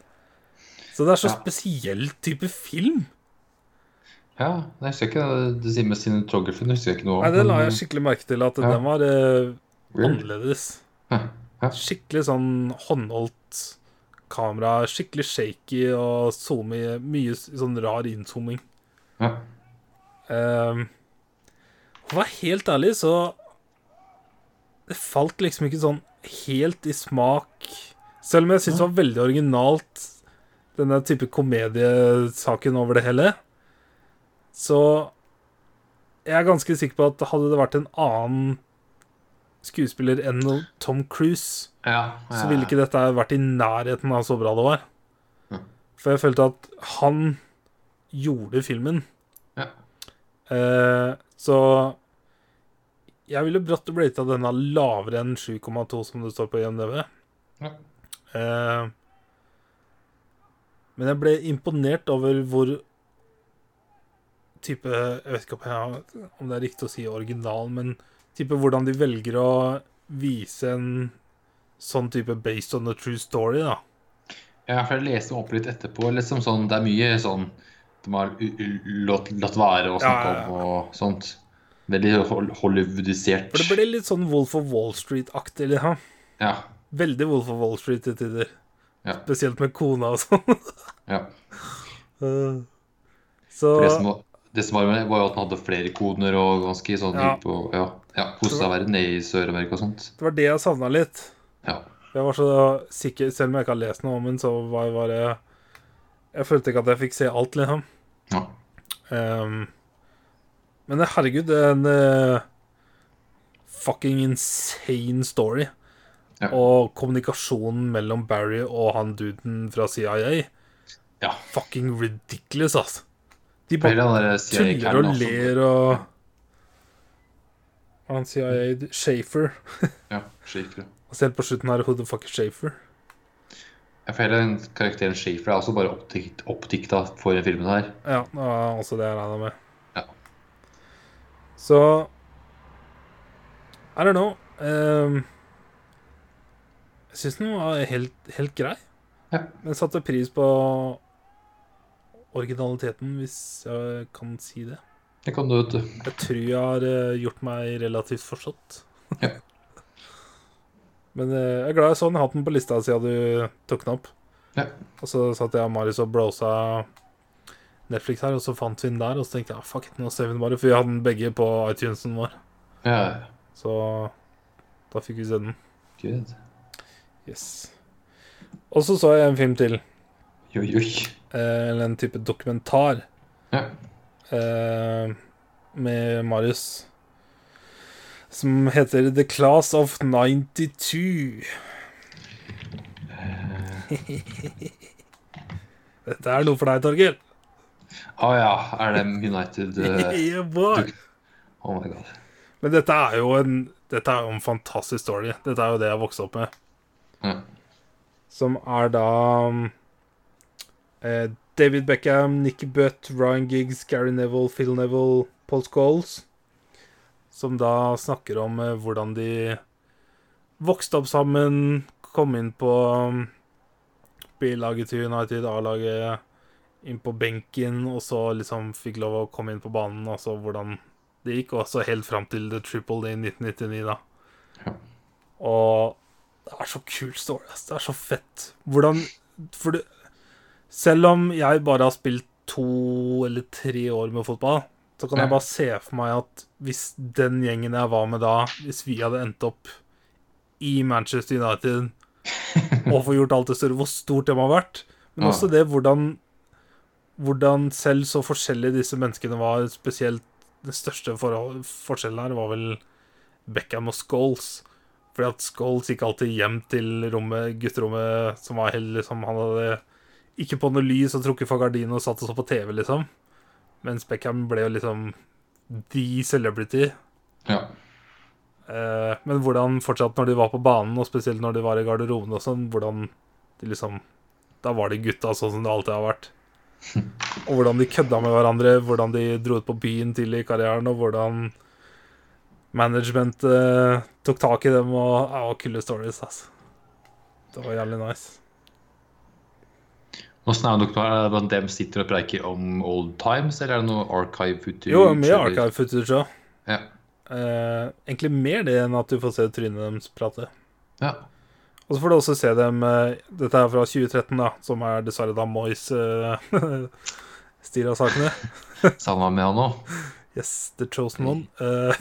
S1: Så det er så
S2: Ja.
S1: spesiell type film.
S2: Ja, jeg husker ikke det du sier med cinematografen. Det husker jeg ikke noe om.
S1: Nei, Det la
S2: men,
S1: jeg skikkelig merke til, at
S2: Ja. Mm.
S1: den var eh,
S2: weird.
S1: annerledes.
S2: Ja, ja.
S1: Skikkelig sånn håndholdt kamera, skikkelig shaky og zoomy, mye s- sånn rar innzooming.
S2: Ja.
S1: Ehm, For å være helt ærlig, så Det falt liksom ikke sånn helt i smak. Selv om jeg syns det var veldig originalt, denne type komediesaken over det hele. Så jeg er ganske sikker på at hadde det vært en annen skuespiller enn Tom Cruise,
S2: ja, ja.
S1: så ville ikke dette vært i nærheten av så bra det var.
S2: Ja.
S1: For jeg følte at han gjorde filmen.
S2: Ja.
S1: Eh, så jeg ville bratt blata denne lavere enn 7,2 som det står på IMDv.
S2: Ja.
S1: Eh, men jeg ble imponert over hvor type Jeg vet ikke om, jeg, om det er riktig å si original, men type hvordan de velger å vise en sånn type based on a true story, da.
S2: Ja, for jeg leste opp litt etterpå. Liksom sånn, det er mye sånn de har u- u- latt, latt være å
S1: Ja,
S2: snakke
S1: ja, ja.
S2: om og sånt. Veldig hol- hollywoodisert.
S1: For det ble litt sånn Wolf of Wall Street-aktig. Liksom.
S2: Ja,
S1: Veldig Wolf of Wall Street til tider.
S2: Ja.
S1: Spesielt med kona og sånn.
S2: ja.
S1: Eh, Så
S2: For det som, var- det som var, med, var jo at han hadde flere koner og ganske sånn
S1: Ja.
S2: ja. og ja, ja, koste seg verre nede i Sør-Amerika og sånt.
S1: det var det jeg savna litt.
S2: Ja.
S1: Jeg var så sikker, Selv om jeg ikke har lest noe om den, så var jeg bare Jeg følte ikke at jeg fikk se alt, liksom.
S2: ja.
S1: Ehm, men herregud, det er en eh, fucking insane story.
S2: Ja.
S1: Og kommunikasjonen mellom Barry og han duden fra CIA
S2: Ja.
S1: Fucking ridiculous, altså. De bare
S2: Hele den der
S1: tuller og
S2: CIA-karen
S1: ler og Han CIA Shafer.
S2: Ja, Schaefer, ja.
S1: Og Selv på slutten her, who the fuck is Shafer?
S2: Ja, for hele den karakteren Schaefer er også bare oppdikt, oppdikta for den filmen her.
S1: Ja, det var også det jeg regna med.
S2: Ja.
S1: Så I don't know. Ehm, jeg syns den var helt, helt grei.
S2: Ja.
S1: Men satte pris på originaliteten, hvis jeg kan si det.
S2: Det kan du, vet du.
S1: Jeg tror jeg har eh, gjort meg relativt forstått.
S2: Ja.
S1: Men eh, jeg er glad jeg så den hatten på lista siden du tok den opp.
S2: Ja.
S1: Og så satt jeg og Marius og blåsa Netflix her, og så fant vi den der. Og så tenkte jeg ah, fuck it, nå ser vi den bare, for vi hadde den begge på iTunesen vår.
S2: Ja, ja.
S1: Så da fikk vi se den.
S2: Gud.
S1: Yes. Og så så jeg en film til.
S2: Oi, oi.
S1: eh, Eller en type dokumentar.
S2: Ja.
S1: eh, Med Marius. Som heter The Class of 92. Dette er noe for deg, Torgeir.
S2: Å ja, er det United eh,
S1: Yeah, boy.
S2: Oh my god.
S1: Men dette er jo en Dette er jo en fantastisk story. Dette er jo det jeg vokste opp med.
S2: Ja.
S1: Som er da um, eh, David Beckham, Nicky Butt, Ryan Giggs, Gary Neville, Phil Neville, Paul Scholes. Som da snakker om eh, hvordan de vokste opp sammen, kom inn på um, B-laget til United, A-laget, inn på benken, og så liksom fikk lov å komme inn på banen, og så hvordan det gikk, og så helt fram til The Triple i 1999, da.
S2: Ja.
S1: Og det er så kul story, ass. Det er så fett. Hvordan For det Selv om jeg bare har spilt to eller tre år med fotball, så kan
S2: Ja.
S1: jeg bare se for meg at hvis den gjengen jeg var med da, hvis vi hadde endt opp i Manchester United og få gjort alt det større, hvor stort det må ha vært, men
S2: Ja.
S1: også det hvordan hvordan selv så forskjellige disse menneskene var, spesielt den største forhold, forskjellen her var vel Beckham og Scholes. Fordi at Scholes gikk alltid hjem til rommet, gutterommet som var helt liksom Han hadde ikke på noe lys og trukket for gardinen og satt og så på TV, liksom. Mens Beckham ble jo liksom the celebrity.
S2: ja.
S1: Eh, men hvordan fortsatt når de var på banen, og spesielt når de var i garderoben og sånn, hvordan de liksom Da var de gutta sånn som det alltid har vært. Og hvordan de kødda med hverandre, hvordan de dro ut på byen tidlig i karrieren, og hvordan management eh, tok tak i dem og Ja, og kule stories, altså. Det var jævlig nice.
S2: Åssen er det dere er det bare dem sitter og preiker om old times, eller er det noe archive footage?
S1: Jo, mye
S2: eller-
S1: archive footage òg.
S2: Ja.
S1: Eh, egentlig mer det enn at du får se trynet deres prate.
S2: ja.
S1: Og så får du også se dem eh, Dette er fra 2013, da, som er dessverre da Moyes eh, stil av sakene.
S2: Samme med han òg.
S1: Yes, the chosen one. Eh,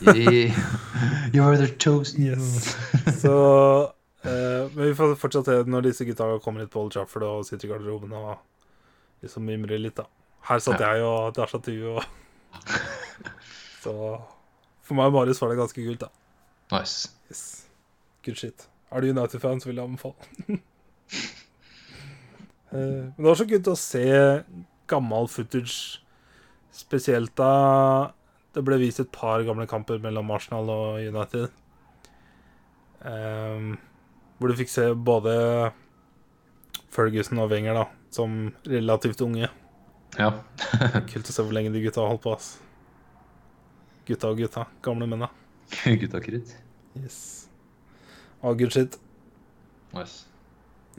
S2: You're the chosen
S1: Yes. så eh, Men vi får fortsatt se når disse gutta kommer hit på Old Trafford og sitter i garderoben og liksom mimrer litt, da. Her satt jeg, og der satt du, og Så for meg og Marius var det ganske kult, da.
S2: Nice.
S1: Yes. Good shit. Er du United-fan, så vil jeg anbefale. Eh, Men det var så kult å se gammel footage, spesielt da det ble vist et par gamle kamper mellom Arsenal og United. Ehm, hvor du fikk se både Ferguson og Wenger da, som relativt unge.
S2: Ja.
S1: Kult å se hvor lenge de gutta har holdt på. ass. Gutta og gutta. Gamle menn, da.
S2: Gutta kritt.
S1: Yes. Ah, good shit.
S2: Nice.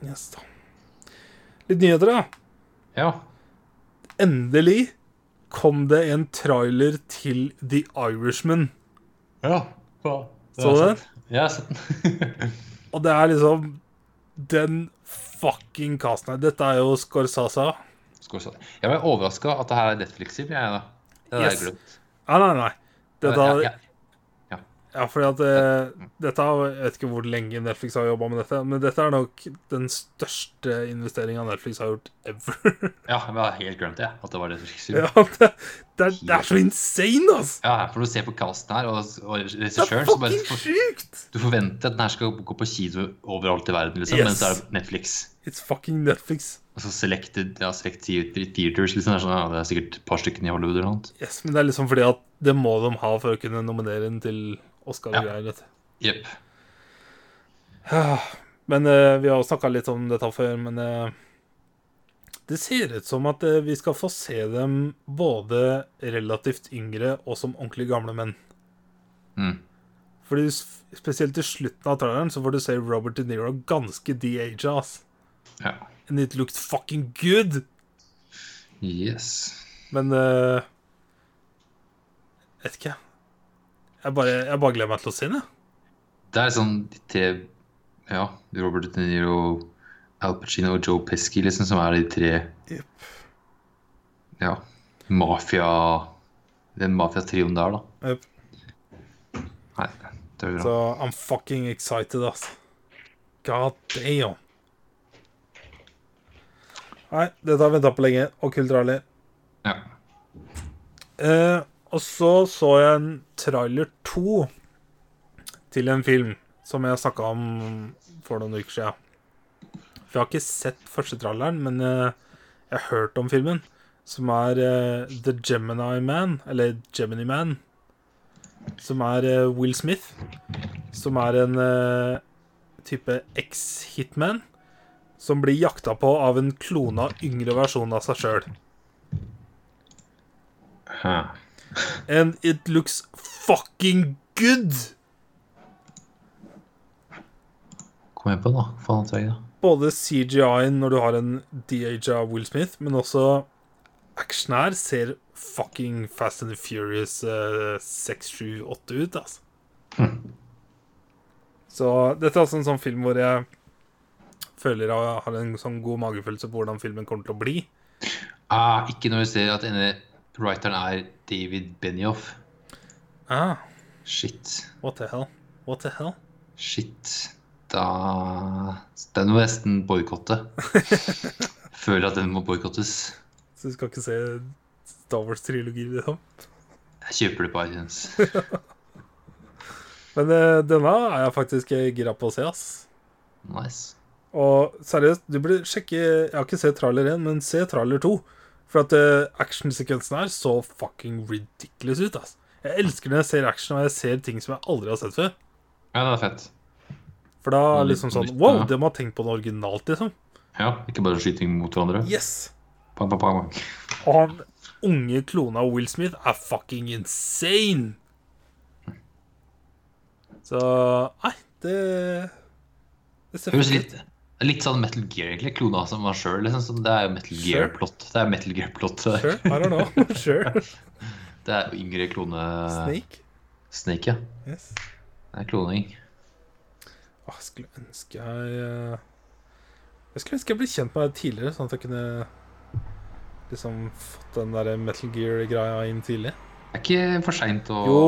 S1: Yes, da. Litt nyheter, da.
S2: Ja.
S1: Endelig kom det en trailer til The Irishman.
S2: Ja.
S1: Så du den?
S2: Ja, jeg har sett den.
S1: Og det er liksom den fucking casten her. Dette er jo Scorsasa.
S2: Skål, sånn. Jeg ble overraska at det her er Netflix-film, jeg, da. Det hadde jeg
S1: Yes.
S2: glemt.
S1: Ah, Nei, nei, nei. Dette
S2: Ja,
S1: er,
S2: ja,
S1: Ja, fordi at eh, dette har, Jeg vet ikke hvor lenge Netflix har jobba med dette, men dette er nok den største investeringa Netflix har gjort ever.
S2: ja, men jeg har helt glemt det, at det var Netflix-film.
S1: ja, det, det, er, det er så insane, altså!
S2: Ja, for du ser på casten her og, og
S1: Det er
S2: regissøren, så bare
S1: fucking sjukt!
S2: Du forventer at den her skal gå på kino overalt i verden, liksom,
S1: Yes.
S2: men så er det Netflix.
S1: It's fucking Netflix.
S2: Altså selected, ja, select theaters, liksom. Det er, sånn, ja, det er sikkert et par stykker i Hollywood eller noe. annet.
S1: Yes, men det er liksom fordi at det må de ha for å kunne nominere den til Oscar og
S2: Ja.
S1: greier. vet du.
S2: Jepp.
S1: Men eh, vi har jo snakka litt om dette før, men eh, det ser ut som at eh, vi skal få se dem både relativt yngre og som ordentlig gamle menn.
S2: Mm.
S1: Fordi s- spesielt i slutten av traileren så får du se Robert De Niro ganske de-aga, ass.
S2: Ja.
S1: And it looked fucking good!
S2: Yes.
S1: Men eh, Vet ikke, jeg. Jeg bare, jeg bare gleder meg til å se den, jeg.
S2: Det er sånn de tre Ja, Robert De Niro, Al Pacino og Joe Pesci, liksom, som er de tre
S1: Jepp.
S2: Ja. Mafia Den mafiatrioen der, da.
S1: Jepp.
S2: Nei. Det blir bra.
S1: Så I'm fucking excited, ass. God damn. Nei, dette har jeg venta på lenge. Og kulturelle.
S2: Ja.
S1: Eh, og så så jeg en trailer to til en film som jeg snakka om for noen uker siden. For jeg har ikke sett første traileren, men eh, jeg har hørt om filmen. Som er eh, The Gemini Man, eller Gemini Man. Som er eh, Will Smith. Som er en eh, type eks-hitman. Som blir jakta på av en klona yngre versjon av seg sjøl.
S2: Hæ.
S1: And it looks fucking good!
S2: Kom igjen på den, da. Faen at jeg da.
S1: Både CGI-en når du har en DH av Will Smith, men også actionen her ser fucking Fast and the Furious eh, 6, 7, 8 ut, altså. Så dette er altså en sånn film hvor jeg føler jeg har en sånn god magefølelse på hvordan filmen kommer til å bli.
S2: Ah, ikke når vi ser at denne writeren er David Benioff.
S1: Ah,
S2: Shit.
S1: what the hell? What the hell?
S2: Shit. Da Den må jeg nesten boikotte. Føler at den må boikottes.
S1: Så du skal ikke se Star Wars-trilogi, liksom?
S2: Jeg kjøper det på iTunes.
S1: Men eh, denne er jeg faktisk eh, gira på å se, ass.
S2: Nice.
S1: Og seriøst, du burde sjekke Jeg har ikke sett trailer 1, men se trailer 2. For at eh, actionsekvensen her så fucking ridiculous ut, ass. Jeg elsker når jeg ser action og jeg ser ting som jeg aldri har sett før.
S2: Ja, det er fett.
S1: For da er
S2: Ja,
S1: det
S2: litt
S1: liksom
S2: på
S1: sånn
S2: nytt,
S1: Wow,
S2: ja.
S1: de har tenkt på det originalt, liksom.
S2: Ja, ikke bare skyting mot hverandre.
S1: Yes!
S2: Pang, pang, pang, pang.
S1: Og han unge klona Will Smith er fucking insane! Så Nei, det Det ser
S2: Høres
S1: fett ut.
S2: litt, litt sånn Metal Gear, egentlig. Klona som var sjøl. Liksom. sånn, Det er jo Metal Gear-plott. Det er Metal Gear-plott. det
S1: Sure,
S2: der.
S1: I don't know. Sure.
S2: Det er jo yngre klone
S1: Snake?
S2: Snake, ja.
S1: Yes.
S2: Det er kloning.
S1: Åh, jeg skulle ønske jeg eh, Jeg skulle ønske jeg ble kjent med deg tidligere, sånn at jeg kunne liksom fått den der Metal Gear-greia inn tidlig.
S2: Det er ikke for seint å
S1: Jo!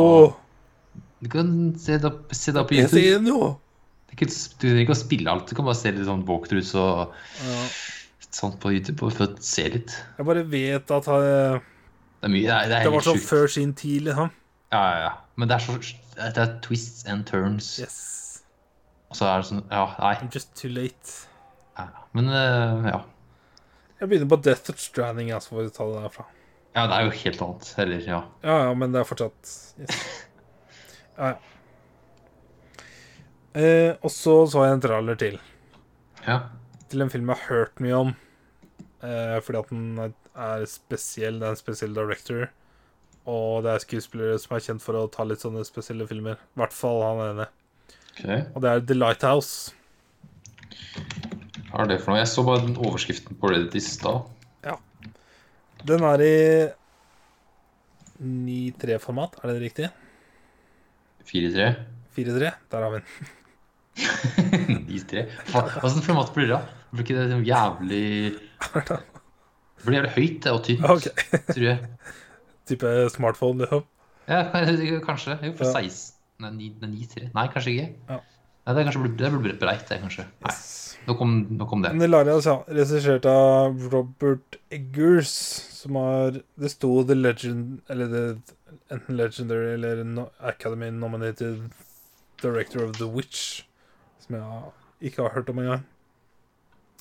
S2: Du kan se det opp, se det opp på
S1: Jeg
S2: YouTube.
S1: ser den jo!
S2: Det er ikke, du trenger ikke å spille alt. Du kan bare se litt sånn walkthroughs og
S1: Ja.
S2: sånt på YouTube og for å se litt.
S1: Jeg bare vet at eh,
S2: Det er mye. Det er, det er
S1: det var
S2: helt
S1: sånn
S2: sjukt.
S1: før sin tid, liksom.
S2: Ja, ja, ja. Men det er så det er- Det er twists and turns.
S1: Yes.
S2: Og så er det sånn Ja, nei.
S1: I'm just too late.
S2: ja, ja. Men eh, ja.
S1: Jeg begynner på Death Stranding, altså, for å ta det derfra.
S2: Ja, det er jo helt annet. Eller, ja.
S1: Ja, ja, men det er fortsatt yes. Ja, ja. Eh, og så så jeg en trailer til.
S2: ja.
S1: til en film jeg har hørt mye om. Eh, fordi at den er- er spesiell. Det er en spesiell director. Og det er skuespillere som er kjent for å ta litt sånne spesielle filmer. I hvert fall han ene.
S2: Ok.
S1: Og det er The Lighthouse.
S2: Hva er det for noe? Jeg så bare den overskriften på Reddit i stad.
S1: Den er i 9-3-format. Er det riktig?
S2: 4-3.
S1: 4-3. Der har vi den.
S2: 9-3. Åssen format blir det? da? Blir ikke det sånn jævlig Det blir jævlig høyt det, og tynt,
S1: Ok.
S2: tror jeg.
S1: Type smartphone, liksom.
S2: Ja, kan- kanskje. Jo, for
S1: Ja.
S2: 16 Nei, 9 nei, 9-3. Nei, kanskje ikke.
S1: Ja.
S2: Nei, det, er kanskje, det blir breit, det, kanskje. Nei, nå kom, nå kom det.
S1: Men The Lighthouse, ja. Regissert av Robert Eggers, som har Det sto The Legend Eller The enten Legendary eller no, Academy Nominated Director of The Witch, som jeg ikke har hørt om engang.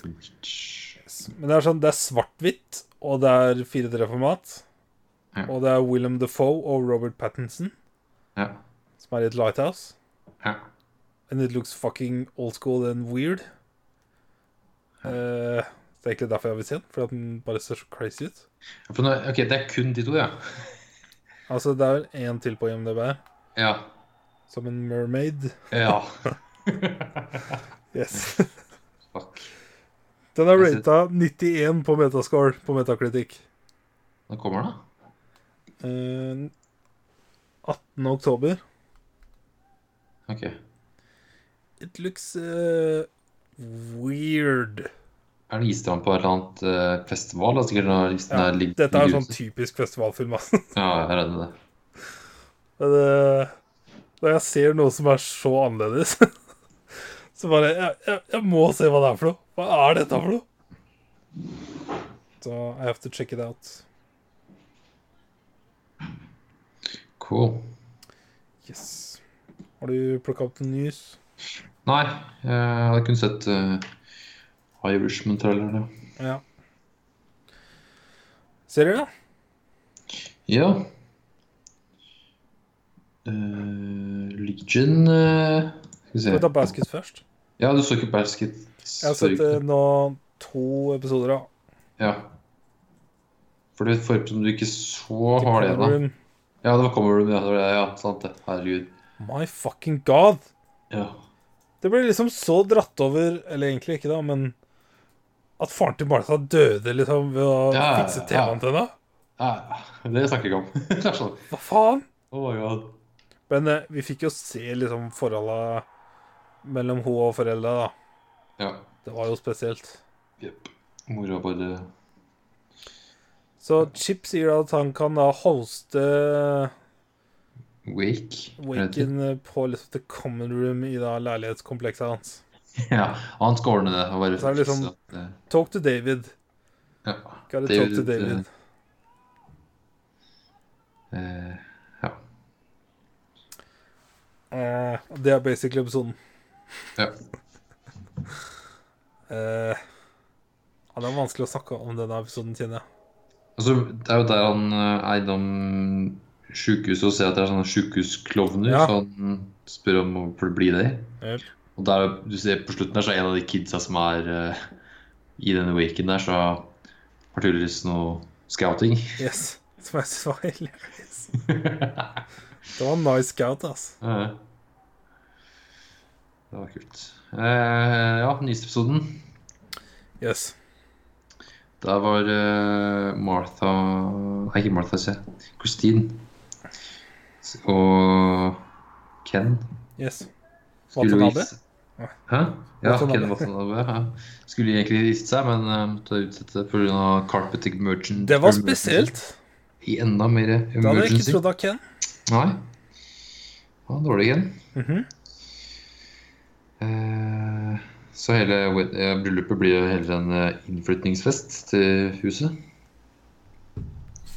S1: Men det er sånn, det er svart-hvitt, og det er 4-3-format.
S2: Ja.
S1: Og det er Willem Defoe og Robert Pattinson
S2: Ja.
S1: som er i et lighthouse.
S2: ja.
S1: And it looks fucking old school and weird. Eh, det er egentlig derfor jeg vil se den, fordi at den bare ser så crazy ut.
S2: For nå, ok, det er kun de to, ja.
S1: Altså, det er vel én til på IMDb, her,
S2: Ja.
S1: som en mermaid.
S2: ja.
S1: Yes.
S2: Fuck.
S1: Den er
S2: Jeg synes-
S1: rata 91 på metascore på Metacritic.
S2: Nå kommer det, da.
S1: Eh, 18. oktober.
S2: Ok.
S1: It looks eh, weird.
S2: Er den gist på et eller annet eh, festival? Da, sikkert når listen
S1: Ja,
S2: er ligger,
S1: dette er
S2: ligger
S1: sånn
S2: ute.
S1: typisk festivalfilm, ass.
S2: Ja, jeg er redd det.
S1: Men, eh, Når jeg ser noe som er så annerledes, så bare jeg, jeg, jeg må se hva det er for noe. Hva er dette for noe? Så I have to check it out.
S2: Cool.
S1: Yes. Har du plukka opp noen news?
S2: Nei, eh, jeg hadde kun sett uh, Irishman-traileren, ja.
S1: Ja. Ser dere det?
S2: Ja. Eh, Legion eh,
S1: Skal vi ta
S2: Skal vi se.
S1: Baskets først?
S2: Ja, du så ikke Basket
S1: Jeg har sett eh, nå to episoder av
S2: Ja. For det forrige som du ikke så,
S1: The
S2: var det da.
S1: Corner Room.
S2: Ja, det var Common Room. Ja, det var det, ja, sant det. Herregud.
S1: My fucking god!
S2: Ja.
S1: Det ble liksom så dratt over, eller egentlig ikke da, men at faren til Martha døde liksom ved å
S2: Ja, ja,
S1: fikse
S2: ja.
S1: TV-antenna.
S2: Nei, Ah, det snakker vi ikke om. det er sånn.
S1: Hva faen?
S2: Oh my god.
S1: Men eh, vi fikk jo se liksom forholda mellom hun og foreldra, da.
S2: Ja.
S1: Det var jo spesielt.
S2: Jepp. Mora bare
S1: Så Chip sier at han kan da hoste
S2: Wake. er det det?
S1: Waken på liksom the common room i da leilighetskomplekset hans.
S2: Ja, han skal ordne det. Og bare
S1: Så er det liksom-
S2: fikse at,
S1: Talk to David.
S2: eh, ja.
S1: Gotta talk
S2: David,
S1: to David.
S2: Eh, ja.
S1: Eh, det er basically episoden.
S2: ja.
S1: Eh, ja, det er vanskelig å snakke om denne episoden, kjenner jeg.
S2: Altså, det er jo der han eh, eide om sjukehuset og ser at det er sånne sjukehusklovner,
S1: Ja.
S2: så han spør om å få bli det.
S1: Yep.
S2: Og der, du ser på slutten der, så er en av de kidsa som er eh, i denne waken der, så har tydeligvis noe scouting.
S1: Yes. Som jeg synes var hilarious. Det var en nice scout, ass.
S2: Eh, det var kult. Eh, ja, nyeste episoden.
S1: Yes.
S2: Der var eh, Martha Nei, ikke Martha, se. Christine. S- Og Ken.
S1: Yes.
S2: Skulle
S1: Watanabe?
S2: vise- Hæ? Ja,
S1: Watanabe.
S2: Ken Watanabe. Ja. Skulle egentlig vist seg, men eh, måtte utsette pga. Carpet Emergency.
S1: Det var spesielt.
S2: I enda mer
S1: Det hadde jeg ikke
S2: emergency.
S1: trodd av Ken.
S2: Nei. Det var dårlig igjen.
S1: Mhm.
S2: Eh, så hele wed- eh, bryllupet blir jo heller en eh, innflytningsfest til huset.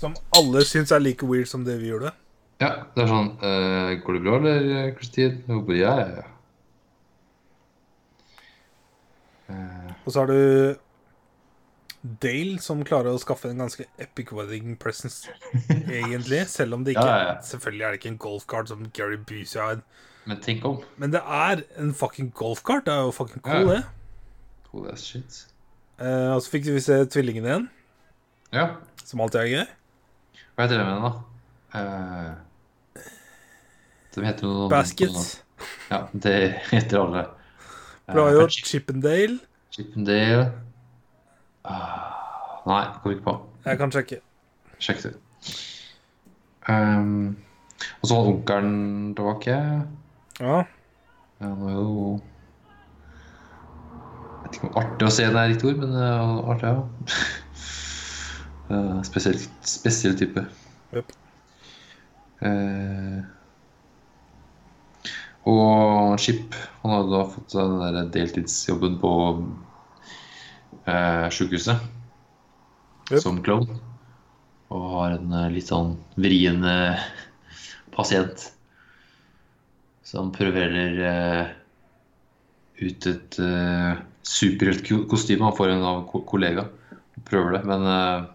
S1: Som alle syns er like weird som det vi gjorde.
S2: Ja, det er sånn eh, Går det bra, eller, Kristin? Hun bare Ja, ja, ja. Eh,
S1: Og så har du Dale, som klarer å skaffe en ganske epic wedding presence, egentlig. Selv om det ikke
S2: Ja, ja, ja.
S1: Selvfølgelig er det ikke en golfkart som Gary Busey har.
S2: men tenk om.
S1: Men det er en fucking golfkart. Det er jo fucking cool,
S2: Ja.
S1: det.
S2: Holy ass shit.
S1: Eh, og så fikk vi se tvillingene igjen,
S2: Ja.
S1: som alltid er gøy.
S2: Hva heter det med den, da? Eh, de heter noe
S1: Baskets.
S2: Ja, det heter alle. Eh,
S1: For det var jo
S2: Chip-
S1: Chippendale.
S2: Chippendale Ah, Nei, kommer ikke på.
S1: Jeg kan sjekke.
S2: Sjekk det. Um, og så var onkelen tilbake.
S1: Ja.
S2: Han var jo Jeg vet ikke om artig å se det er riktig ord, men eh, artig, ja. Eh, spesiell, spesiell type.
S1: Jep.
S2: Eh, og Chip, han hadde da fått seg den der deltidsjobben på uh, sjukehuset.
S1: Jep.
S2: Som klovn. Og har en eh, litt sånn vrien eh, pasient som prøverer eh, ut et uh, superhelt ko- kostyme. Han får en av ko kollega. Prøver det, men eh,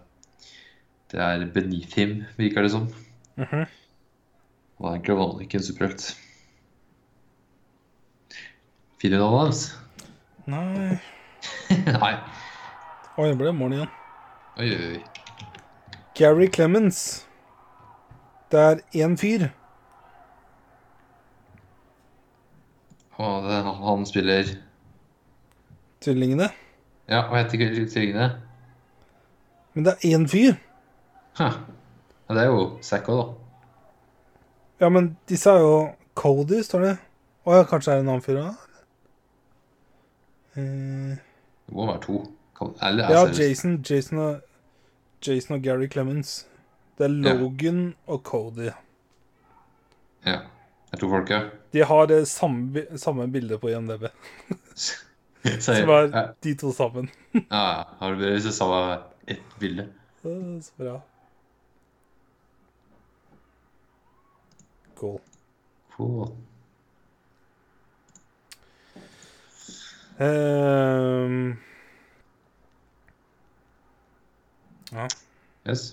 S2: det er beneath him, virker det som.
S1: Mhm.
S2: Han er egentlig vanlig ikke en superhelt. Finner du navnet hans?
S1: Nei
S2: Nei.
S1: Oi, det ble morgen igjen.
S2: Oi, oi, oi.
S1: Gary Clemens. Det er én fyr.
S2: Og det, er han- han spiller
S1: Tvillingene.
S2: Ja, hva heter tvillingene?
S1: Men det er én fyr.
S2: Hæ. Ja, det er jo Zack òg, da.
S1: Ja, men disse er jo Cody, står det. Å ja, kanskje det er en annen fyr òg?
S2: Det må være to. Kan, eller er
S1: ja,
S2: seriøst.
S1: Jason, Jason og Jason og Gary Clemens. Det er
S2: Ja.
S1: Logan og Cody.
S2: Ja. Jeg tror folka
S1: De har det samme, bi- samme bildet på IMDb.
S2: Sier
S1: Som er
S2: ja,
S1: de to sammen.
S2: ja, Har dere sett samme ett bilde?
S1: Øh, Så bra. Cool.
S2: Cool.
S1: Ehm,
S2: Yes.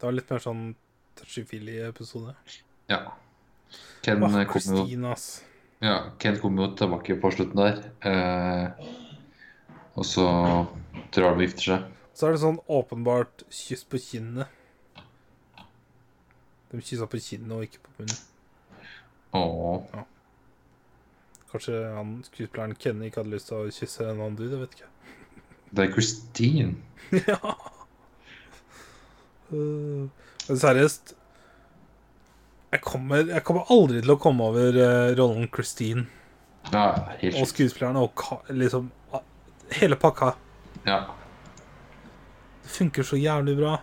S1: det var litt mer sånn touchy-feely episode.
S2: Ja. Ken
S1: Åh,
S2: kom jo
S1: Christine, ass.
S2: Ja, Ken kommer jo tilbake på slutten der. Eh, og så drar de og gifter seg.
S1: Så er det sånn åpenbart kyss på kinnet. De kyssa på kinnet og ikke på munnen.
S2: Åh,
S1: Kanskje han skuespilleren Kenny ikke hadde lyst til å kysse en annen dude, jeg vet ikke.
S2: det er Christine.
S1: ja. Øh, Men seriøst jeg kommer, jeg kommer aldri til å komme over eh, rollen Christine
S2: Ja, helt
S1: og
S2: sjukt.
S1: skuespillerne og ka, liksom a- hele pakka.
S2: Ja.
S1: Det funker så jævlig bra.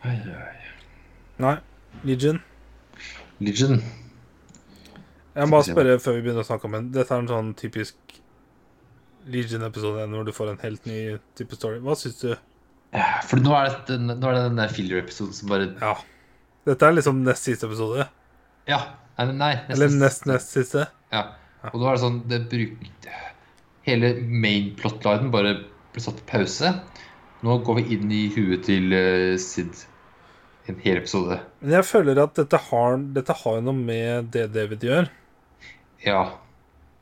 S2: Oi, oi.
S1: Nei, Legion.
S2: Legion.
S1: Jeg må bare spørre før vi begynner å snakke om den. Dette er en sånn typisk Legion-episode når du får en helt ny type story. Hva syns du?
S2: Ja, For nå er det, nå er det den der filler-episoden som bare
S1: Ja. Dette er liksom nest siste episode.
S2: Ja. Nei, nei nesten-
S1: Eller nest nest siste.
S2: Ja. Og nå er det sånn det bruk... Hele main plotlinen bare ble satt på pause. Nå går vi inn i huet til eh, Sid. En hel episode.
S1: Men jeg føler at dette har, dette har jo noe med det David gjør.
S2: Ja.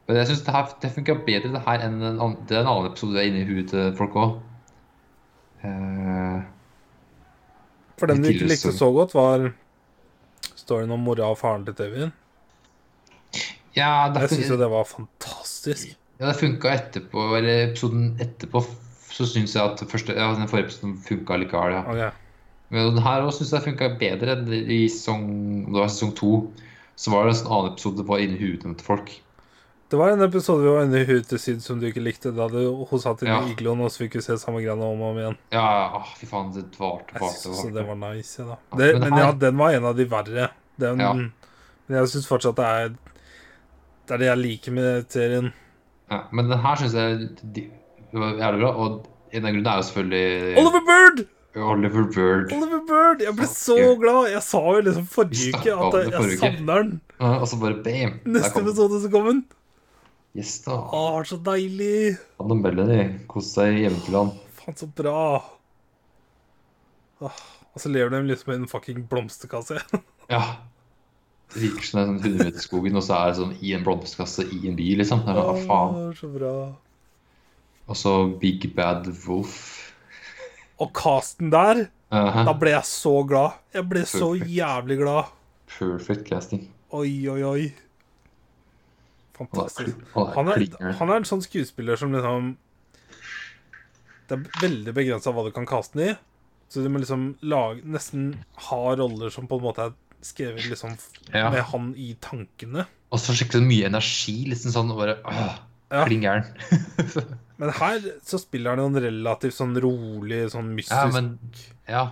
S2: Men jeg syns det, her- det funka bedre det her enn en annen, det er en annen episode det er inne i huet til folk Eh, òg.
S1: For den du ikke
S2: Tidligere
S1: likte
S2: så-
S1: så godt, var storyen om mora og faren til David.
S2: ja, det,
S1: Jeg syns jo det var fantastisk.
S2: ja, det funka etterpå, eller episoden etterpå, så syns jeg at første, ja, den forrige episoden funka likevel, ja.
S1: Ok,
S2: Men den her også synes jeg funka bedre enn i sesong, om det var sesong to. Så var det en sånn annen episode det var inni huet til folk.
S1: Det var en episode vi var inne i huet til Syd som du ikke likte. Da du, hun satt inne i
S2: Ja.
S1: igloen, og så fikk vi se samme greiene om og om igjen.
S2: Ja, åh, fy faen, det varte
S1: Jeg
S2: og
S1: syns
S2: varte.
S1: også
S2: og
S1: det
S2: varte.
S1: var nice, ja, da.
S2: Ja,
S1: Det,
S2: men
S1: men
S2: her-
S1: ja, den var en av de verre. Den,
S2: Ja.
S1: Men jeg syns fortsatt det er Det er det jeg liker med serien.
S2: Ja, men den her syns jeg de- det var jævlig bra. Og en av grunnene er jo selvfølgelig
S1: Oliver Bird!
S2: Oliver Bird.
S1: Oliver Bird! Jeg ble så
S2: Fuck
S1: glad! Jeg sa jo liksom
S2: Vi
S1: forrige uke
S2: snakket om
S1: at
S2: det
S1: jeg,
S2: forrige uke.
S1: savner den.
S2: Ja, Og så bare bam! Der
S1: Neste
S2: kom den.
S1: episode så kommer den.
S2: Yes, da.
S1: Å, så deilig!
S2: Adam Bellany. Kos deg hjemme til han.
S1: Faen, så bra. Åh, og så lever de liksom i en fucking blomsterkasse.
S2: Ja. Det virker som det er sånn 100 meter i skogen, og så er det sånn i en blomsterkasse i en by, liksom. Det er sånn, Hva faen?
S1: Åh, Ah, så bra.
S2: Og så Big Bad Wolf.
S1: Og casten der,
S2: Aha.
S1: da ble jeg så glad. Jeg ble så jævlig glad.
S2: Perfect casting.
S1: Oi, oi, oi.
S2: Han er,
S1: Fantastisk.
S2: kli- han
S1: Han er,
S2: klinger.
S1: han er en sånn skuespiller som liksom Det er veldig begrensa hva du kan kaste den i. Så du må liksom lage, nesten ha roller som på en måte er skrevet liksom f- med
S2: ja.
S1: han i tankene.
S2: Og så skikkelig mye energi, liksom sånn og bare øh,
S1: Ja.
S2: Kling gæren.
S1: Men her så spiller han jo en relativt sånn rolig, sånn mystisk
S2: Ja, men Ja.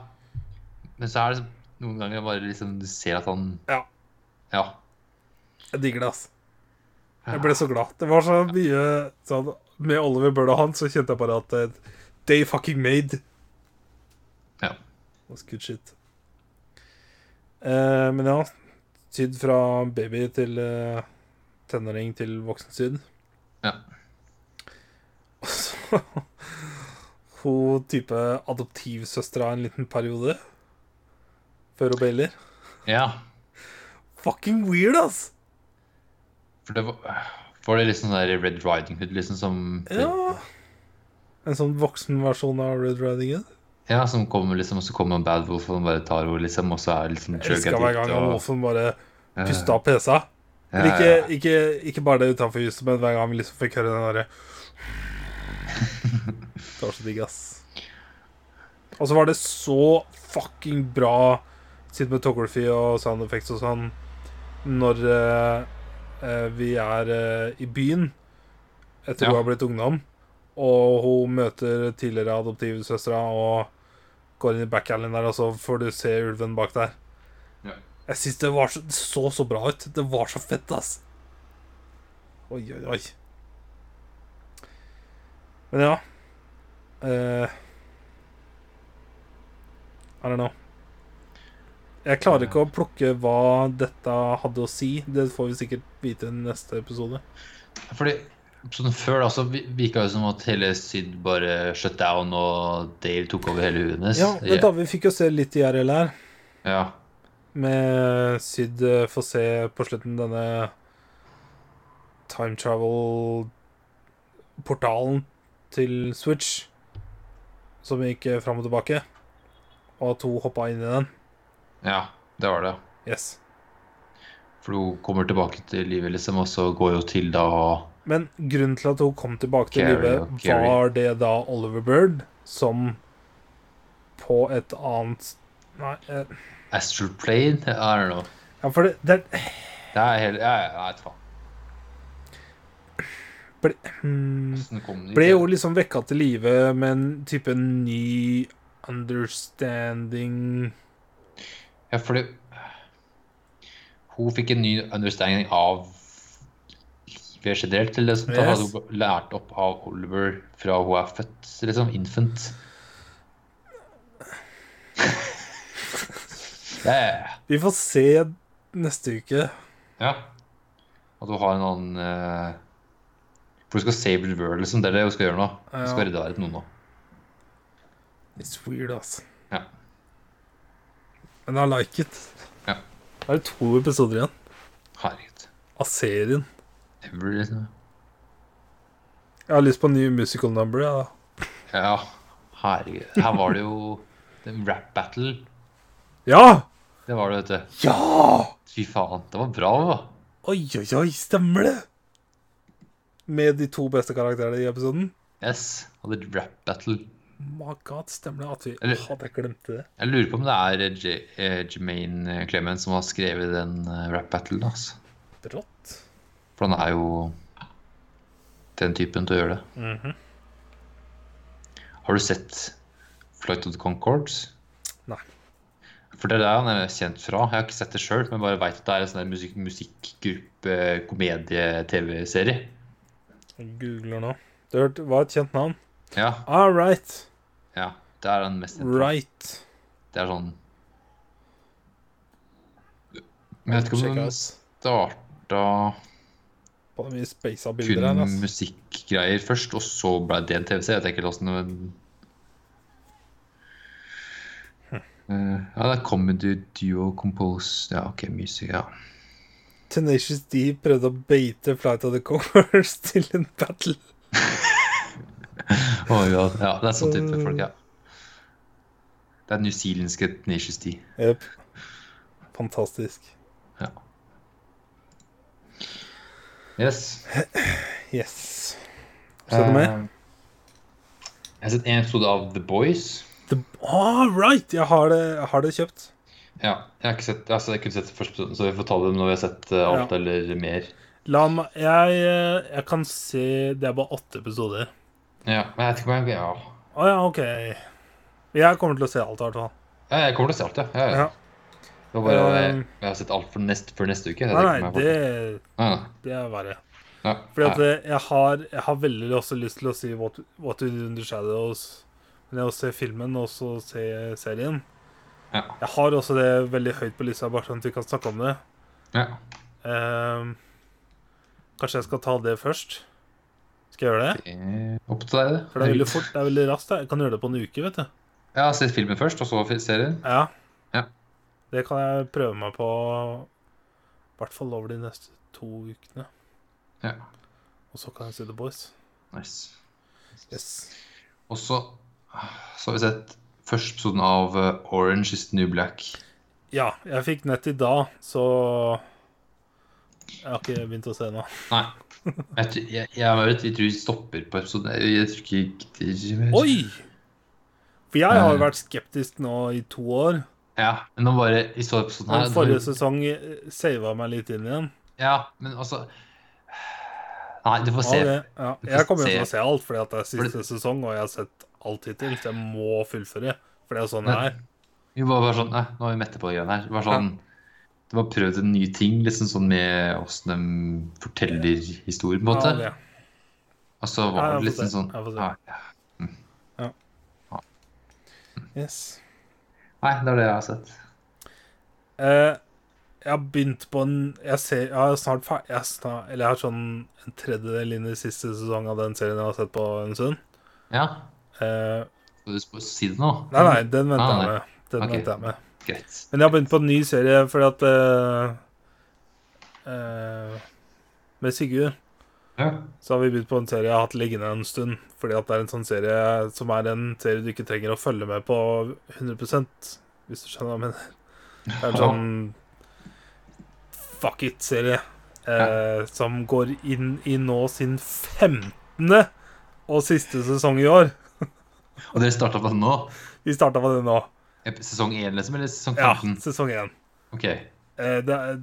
S2: Men så er det så- noen ganger bare liksom Du ser at han
S1: Ja.
S2: Ja.
S1: Jeg digger det, ass. Jeg ble så glad. Det var så mye sånn Med Oliver Bird og han så kjente jeg bare at eh, They fucking made.
S2: Ja.
S1: That's good shit. Eh, men ja. Syd fra baby til eh, tenåring til voksen syd.
S2: Ja.
S1: Og så Hun type adoptivsøstera en liten periode. Før hun bailer.
S2: ja.
S1: Fucking weird, ass!
S2: For det var Var det liksom sånn der Red Riding Hood, liksom, som
S1: Ja. En sånn voksenversjon av Red Riding Hood.
S2: Ja, som kommer liksom, og så kommer Bad Wolf og han bare tar henne, liksom, og så er det liksom
S1: Jeg elsker
S2: drug
S1: hver
S2: addict
S1: gang han
S2: og-
S1: Wolfen bare
S2: Ja,
S1: pusta opp pesa.
S2: ja,
S1: Men
S2: ja.
S1: ikke, ikke, ikke bare det utenfor huset, men hver gang vi liksom fikk høre den derre Det var så digg, ass. Og så var det så fucking bra cinematography og sound effects og sånn når eh, eh, vi er eh, i byen etter
S2: Ja.
S1: hun har blitt ungdom, og hun møter tidligere adoptivsøstera og Går inn i backhallen der, og så får du se ulven bak der.
S2: Ja.
S1: Jeg syns det var så, det så så bra ut. Det var så fett, ass. Oi, oi, oi. Men ja eh, I don't know. Jeg klarer ikke å plukke hva dette hadde å si. Det får vi sikkert vite i neste episode.
S2: Fordi sånn før da, så vi- virka det som at hele Syd bare shut down, og Dale tok over hele huet hennes.
S1: Ja, men da vi fikk jo se litt IRL her.
S2: Ja.
S1: med Syd eh, får se på slutten denne time travel-portalen til Switch, som gikk eh, fram og tilbake, og at hun hoppa inn i den.
S2: ja, det var det.
S1: Yes.
S2: For hun kommer tilbake til livet, liksom, og så går jo til da
S1: Men grunnen til at hun kom tilbake til
S2: Carrie
S1: livet,
S2: og Carrie.
S1: var det da Oliver Bird som på et annet Nei. eh,
S2: Astral Plane? I don't know.
S1: Ja, for det, det
S2: Det er hele Jeg jeg vet faen.
S1: hmm.
S2: Hvordan kom de
S1: Ble
S2: til-
S1: jo liksom vekka til live med en type ny understanding
S2: Ja, fordi hun fikk en ny understanding av livet generelt. Eller det som da
S1: Yes.
S2: hadde hun lært opp av Oliver fra hun er født, liksom. Infant. Det er-
S1: Vi får se neste uke.
S2: ja. At hun har en annen eh, For hun skal save the world, liksom. Det er det hun skal gjøre nå. Hun skal
S1: Ja.
S2: redde verden nå. nå.
S1: It's weird, altså.
S2: Ja.
S1: Men I like it.
S2: Ja.
S1: Da er det to episoder igjen
S2: Herregud.
S1: av serien.
S2: Ever, liksom.
S1: Jeg har lyst på en ny musical number. Ja.
S2: Ja. Herregud. Her var det jo den rap battle.
S1: ja!
S2: Det var det, vet du.
S1: Ja!
S2: Fy faen, det var bra, da.
S1: Oi, oi, oi, stemmer det? Med de to beste karakterene i episoden.
S2: Yes, hadde rap battle.
S1: My god, stemmer det at vi
S2: Eller-
S1: Hadde jeg glemt det?
S2: Jeg lurer på om det er J eh, Jermaine Clement som har skrevet den eh, rap battlen, altså.
S1: Rått.
S2: For han er jo den typen til å gjøre det.
S1: Mhm.
S2: Har du sett Flight of the Concords?
S1: Nei.
S2: For det er der han er kjent fra. Jeg har ikke sett det sjøl, men bare veit at det er en sånn der musikk, musikkgruppe, komedie, TV-serie.
S1: Jeg googler nå. Det hørte- var et kjent navn.
S2: Ja,
S1: All right.
S2: ja. Det er han mest kjent fra.
S1: Right.
S2: Det er sånn Jeg vet ikke om den starta
S1: På de mye spaisa
S2: kun
S1: bilder her, ass.
S2: musikkgreier først, og så ble det en TVC. Jeg vet ikke helt åssen det Eh, Ja, det er comedy duo compose Ja, OK, music, ja.
S1: Tenacious D prøvde å beite Flight of the Covers til en battle.
S2: Å, ja. ja. Det er sånn type folk, ja. Det er newzealandske Tenacious D.
S1: Jep. Fantastisk.
S2: Ja. Yes.
S1: Yes. Ser du med?
S2: Eh, Jeg har sett en episode av The Boys.
S1: The... All right! Jeg har det, jeg har det kjøpt.
S2: Ja, jeg har ikke sett, altså jeg kunne sett første episoden, så vi får ta det når vi har sett eh, alt
S1: Ja.
S2: eller mer.
S1: La meg jeg, eh, jeg kan se Det er bare åtte episoder.
S2: Ja, men jeg vet ikke om jeg ja.
S1: Å ja, OK. Jeg kommer til å se alt, i hvert fall.
S2: ja, jeg kommer til å se alt, ja. ja,
S1: Ja.
S2: ja. Det var bare, at jeg,
S1: Um,
S2: jeg har sett alt for neste, for neste uke. så jeg
S1: Nei, nei,
S2: tenker meg for-
S1: det,
S2: Nei, nei.
S1: det er verre.
S2: Ja,
S1: Fordi at
S2: nei.
S1: eh, jeg har, jeg har veldig også lyst til å si What, What We Do In The Shadows. Men jeg også ser filmen og så ser serien.
S2: Ja.
S1: Jeg har også det veldig høyt på lista, bare sånn at vi kan snakke om det.
S2: Ja.
S1: Ehm, kanskje jeg skal ta det først? Skal jeg gjøre det?
S2: det er Eh, Opp til deg, det.
S1: For det er veldig fort, det er veldig raskt. da. Jeg kan gjøre det på en uke, vet du.
S2: Jeg har sett filmen først, og så fi- serien.
S1: Ja.
S2: Ja.
S1: Det kan jeg prøve meg på i hvert fall over de neste to ukene.
S2: Ja,
S1: Og så kan jeg si The Boys.
S2: nice.
S1: Yes.
S2: Og så ah, så har vi sett første episoden av eh, Orange is the New Black.
S1: Ja, jeg fikk nett i dag, så Jeg har ikke begynt å se nå.
S2: Nei. Jeg, tror- jeg, jeg, har hørt- jeg tror vi stopper på episoden. Jeg, jeg tror ikke jeg gidder mer.
S1: Oi! For jeg har jo vært skeptisk nå i to år.
S2: Ja, men nå bare i så episoden her
S1: Og forrige sesong eh, sava meg litt inn igjen.
S2: Ja, men altså Nei, du får
S1: Ja,
S2: se.
S1: det, ja. Jeg kommer jo til å se alt, fordi at det er siste sesong, og jeg har sett alt hittil. Så jeg må fullføre. For det er jo sånn det
S2: Men-
S1: er.
S2: Vi var bare sånn, nei, nå er vi mette på de greiene her. Det var sånn, det var prøvd en ny ting, liksom sånn med hvordan de forteller historien, på en
S1: Ja,
S2: måte.
S1: det.
S2: Og så
S1: Ja,
S2: var
S1: jeg
S2: det
S1: får
S2: liksom
S1: se.
S2: sånn,
S1: Jeg får se.
S2: nei, ja.
S1: Yes.
S2: nei, det er det jeg har sett.
S1: Eh, jeg har begynt på en Jeg ser Jeg er snart ferdig jeg, er snar- Eller jeg har sånn en tredjedel inn i siste sesong av den serien jeg har sett på en stund.
S2: Ja,
S1: Eh,
S2: skal du sp- si det nå?
S1: nei, nei, den venter
S2: Ah,
S1: jeg
S2: nei.
S1: med. Den
S2: Ok.
S1: venter jeg med.
S2: Greit.
S1: Men jeg har begynt på en ny serie fordi at eh, eh, Med Sigurd
S2: Ja,
S1: så har vi begynt på en serie jeg har hatt liggende en stund. Fordi at det er en sånn serie som er en serie du ikke trenger å følge med på 100 hvis du skjønner hva jeg mener. Det er en sånn fuck it-serie eh, som går inn i nå sin 15. og siste sesong i år.
S2: og dere startet på den nå?
S1: Vi starta med det nå.
S2: Ep- Sesong 1 liksom, eller sesong
S1: Ja,
S2: 15?
S1: sesong én.
S2: Ok,
S1: Eh, det er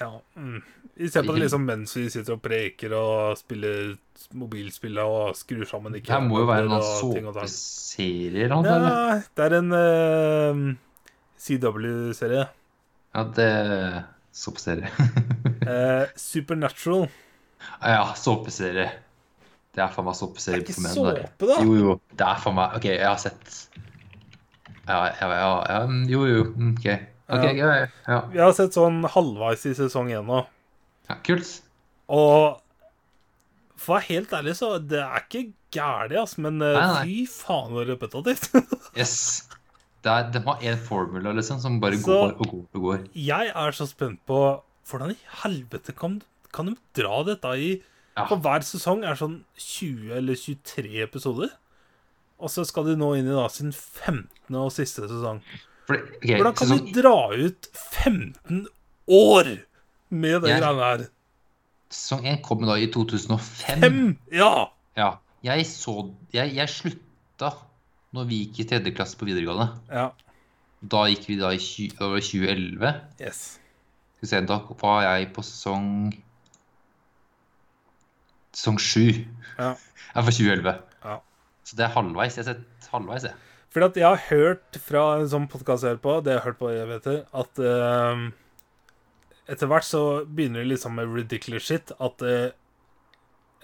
S1: Ja. Mm. Vi ser på det liksom mens vi sitter og preker og spiller mobilspill og skrur sammen
S2: det her må jo være en eller
S1: og ting
S2: annen
S1: og tang.
S2: såpeserie eller noe, eller?
S1: Ja, det er en eh, CW-serie.
S2: Ja, det er såpeserie.
S1: Eh, Supernatural.
S2: Ja, såpeserie. Det er faen meg
S1: Det er
S2: såpeserie
S1: ikke
S2: for menn. det.
S1: såpe, da.
S2: Jo, jo. Det er faen meg OK, jeg har sett Ja, ja, ja, ja mm, Jo, jo. mm, OK. Ok,
S1: Ja.
S2: ja. Ja, ja.
S1: Vi har sett sånn halvveis i sesong én nå.
S2: ja. Kult.
S1: Og for å være helt ærlig, så det er ikke gærent, ass, men eh,
S2: Nei, nei.
S1: fy faen så repetitivt.
S2: Yes. Det er, de har én formula liksom, som bare
S1: Så-
S2: går og går og går.
S1: Jeg er så spent på hvordan i helvete kan, kan de dra dette i
S2: Ja.
S1: For hver sesong er sånn 20 eller 23 episoder. Og så skal de nå inn i da sin 15. og siste sesong.
S2: For, det- ok,
S1: Hvordan kan
S2: sesong,
S1: de dra ut 15 år med de
S2: Jeg-
S1: greiene her?
S2: sesong 1 kom da i 2005.
S1: Fem! Ja!
S2: Ja. Jeg så jeg, jeg slutta når vi gikk i tredje klasse på videregående.
S1: Ja.
S2: Da gikk vi da i tjue- det var 2011.
S1: Yes.
S2: Skal vi se, da var jeg på sesong Sesong sju.
S1: Ja.
S2: Jeg er fra 2011.
S1: Ja.
S2: Så det er halvveis. Jeg har sett halvveis, jeg.
S1: Fordi at jeg har hørt fra en sånn podkast jeg hører på, det jeg har hørt på, jeg vet det, at eh, etter hvert så begynner det liksom med ridiculous shit. At eh,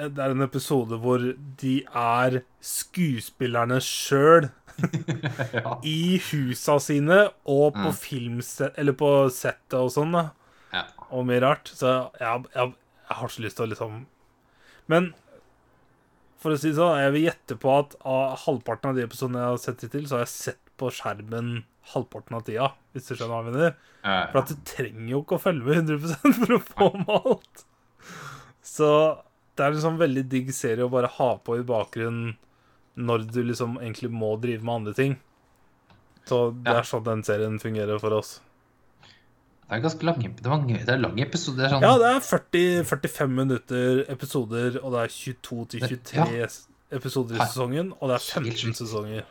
S1: det er en episode hvor de er skuespillerne sjøl
S2: ja.
S1: i husa sine og på
S2: Mm.
S1: filmset, eller på settet og sånn, da.
S2: Ja.
S1: Og mye rart. Så jeg, jeg, jeg har så lyst til å liksom Men for å si det sånn, jeg vil gjette på at av halvparten av de episodene jeg har sett hittil, så har jeg sett på skjermen halvparten av tida, hvis du skjønner hva jeg mener. For
S2: Eh,
S1: at du trenger jo ikke å følge med 100 for å få med alt. Så det er en sånn veldig digg serie å bare ha på i bakgrunnen når du liksom egentlig må drive med andre ting. Så det
S2: Ja.
S1: er sånn den serien fungerer for oss.
S2: Det er ganske lange Det er, mange, det er lange episoder. Det er sånn
S1: Ja, det er 40, 45 minutter episoder, og det er 22 til 23 s- episoder i
S2: Hei.
S1: sesongen, og det er
S2: Helt
S1: 15
S2: sjukt.
S1: sesonger.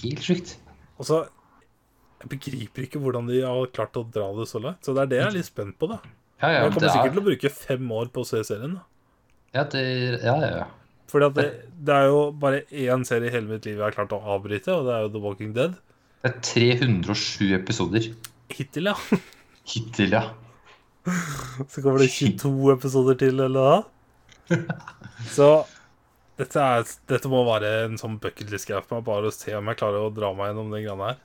S2: helt sjukt.
S1: Og så Jeg begriper ikke hvordan de har klart å dra det så langt, så det er det jeg er litt spent på, da.
S2: Ja, ja,
S1: Jeg
S2: det
S1: kommer
S2: er,
S1: sikkert til å bruke fem år på å se serien, da.
S2: ja, det, ja, ja, ja.
S1: Fordi at det, det er jo bare én serie i hele mitt liv jeg har klart å avbryte, og det er jo The Walking Dead.
S2: Det er 307 episoder
S1: Hittil, ja.
S2: hittil, ja.
S1: Så kommer det 22 episoder til, eller hva? Så dette, er, dette må være en sånn bucketlist-greie for meg, bare å se om jeg klarer å dra meg gjennom den greiene her.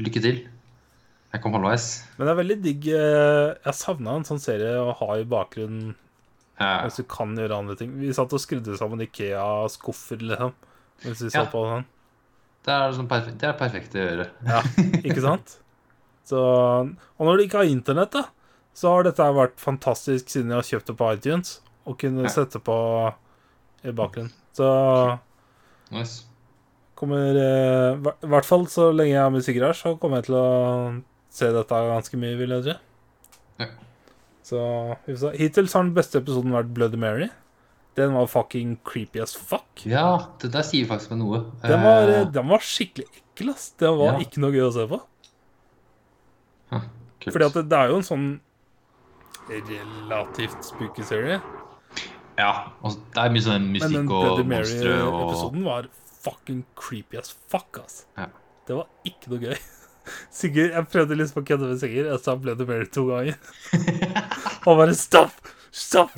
S2: Lykke til. Jeg kom halvveis.
S1: Men det er veldig digg eh, Jeg savna en sånn serie å ha i bakgrunnen
S2: Ja.
S1: mens du kan gjøre andre ting. Vi satt og skrudde sammen Ikea-skuffer, liksom, mens vi så
S2: Ja.
S1: på den.
S2: Det er sånn perfekt, det er perfekt å gjøre.
S1: Ja, ikke sant? Så, og når du ikke har internett, da, så har dette vært fantastisk siden jeg har kjøpt det på iTunes, å kunne
S2: Ja.
S1: sette på i bakgrunnen. Så
S2: Nice. kommer
S1: kommer eh, hver- I hvert fall så lenge jeg har musikker her, så kommer jeg til å se dette ganske mye, vil jeg tro.
S2: Ja.
S1: Så vi får se. Hittil så har den beste episoden vært Bloody Mary. Den var fucking creepy as fuck.
S2: Ja, det der sier faktisk meg noe.
S1: Den var,
S2: Eh,
S1: den var skikkelig ekkel, ass. Den var
S2: Ja.
S1: ikke noe gøy å se på.
S2: kult.
S1: Fordi at det, det er jo en sånn relativt spooky serie.
S2: Ja, og det er mye
S1: Men
S2: sånn
S1: den
S2: mystikk og
S1: Bloody
S2: monstre og
S1: Mary-episoden var fucking creepy as fuck, ass.
S2: ja.
S1: Det var ikke noe gøy. Sigurd, Jeg prøvde liksom å kødde med Sigurd, og så ble det mer to ganger. Han bare stopp! Stopp!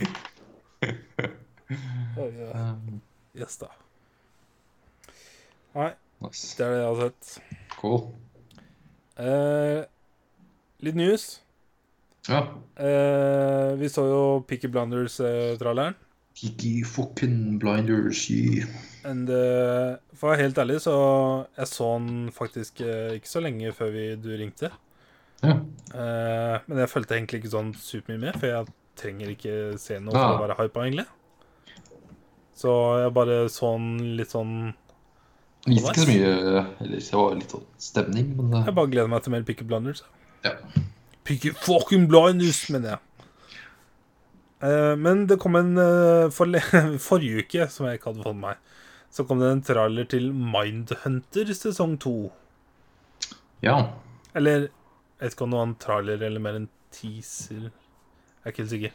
S1: Oi, ja.
S2: Um,
S1: Yes, da. Nei,
S2: nice.
S1: det er det jeg har sett.
S2: Cool.
S1: Eh, litt news.
S2: Ja.
S1: Eh, vi så jo Peaky eh, Blinders-tralleren.
S2: Kiki fucking blinders. yeah.
S1: And, eh, for å være helt ærlig, så jeg så den faktisk eh, ikke så lenge før vi, du ringte.
S2: Ja.
S1: Eh, men jeg fulgte egentlig ikke sånn supermye med, for jeg trenger ikke se noe for
S2: Ah.
S1: å være hypa, egentlig. Så jeg bare så den litt sånn
S2: Det Viste ikke så mye Eller det var litt sånn stemning, men
S1: Jeg
S2: eh,
S1: bare gleder meg til mer Picky Blinders.
S2: ja.
S1: Picky fucking Blinders, mener jeg. Eh, men det kom en eh, forle Forrige uke, som jeg ikke hadde fått med meg, så kom det en trailer til Mindhunter sesong to.
S2: ja.
S1: Eller jeg vet ikke om det var en trailer eller mer en teaser. Jeg er ikke helt sikker.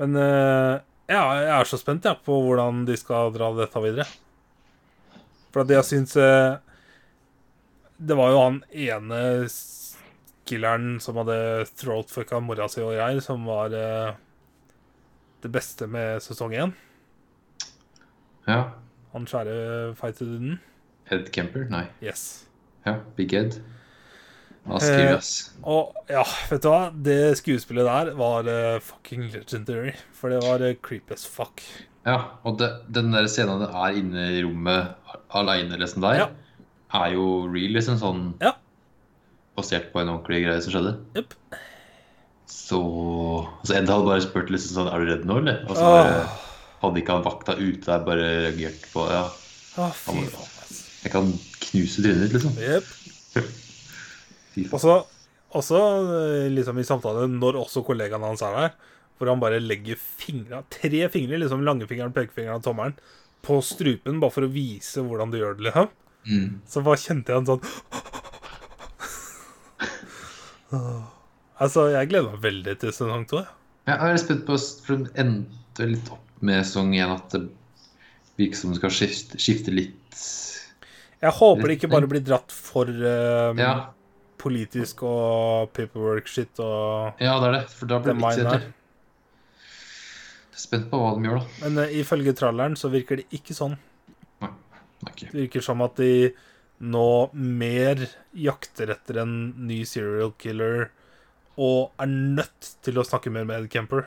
S1: Men eh, ja, jeg er så spent jeg, på hvordan de skal dra dette videre. For at jeg syns eh, Det var jo han ene s- killeren som hadde throatfucka mora si og greier, som var eh, det beste med sesong én.
S2: ja.
S1: Han skjære feiteduden.
S2: Ed Kemper? Nei.
S1: Yes.
S2: Ja, Big Ed.
S1: Eh,
S2: Ja, skriver, ass.
S1: Og ja, vet du hva? Det skuespillet der var eh, fucking legendary. For det var eh, creepy as fuck.
S2: Ja, og det, den der scenen det er inne i rommet aleine, liksom der,
S1: Ja.
S2: er jo real, liksom sånn
S1: Ja.
S2: Basert på en ordentlig greie som skjedde.
S1: Jepp.
S2: Så altså Ed hadde bare spurt liksom sånn Er du redd nå, eller? Og så
S1: Åh.
S2: bare, hadde ikke han vakta ute der, bare reagert på Ja,
S1: Å, Ah, fy
S2: Ja, men-
S1: faen. ass.
S2: jeg kan knuse trynet ditt, liksom.
S1: Jepp.
S2: Fy
S1: Og
S2: faen.
S1: så også eh, liksom i samtalen, når også kollegaen hans er der, hvor han bare legger fingra, tre fingre, liksom langfingeren, pekefingeren og tommelen, på strupen, bare for å vise hvordan du gjør det, liksom.
S2: Mm.
S1: Så bare kjente jeg en sånn Åh. Altså, jeg gleder meg veldig til sesong to. jeg.
S2: Ja, Jeg er litt spent på For det endte litt opp med sesong én at det virker som det skal skifte, skifte litt
S1: Jeg håper det ikke bare blir dratt for eh,
S2: Ja,
S1: politisk og paperwork-shit og
S2: ja, det er det. For da
S1: Det er
S2: blir det
S1: mine
S2: litt
S1: her.
S2: kjedelig. Spent på hva de gjør, da.
S1: Men eh, ifølge tralleren så virker det ikke sånn.
S2: Ok.
S1: Det virker som at de nå mer jakter etter en ny serial killer og er nødt til å snakke mer med Ed Kemper,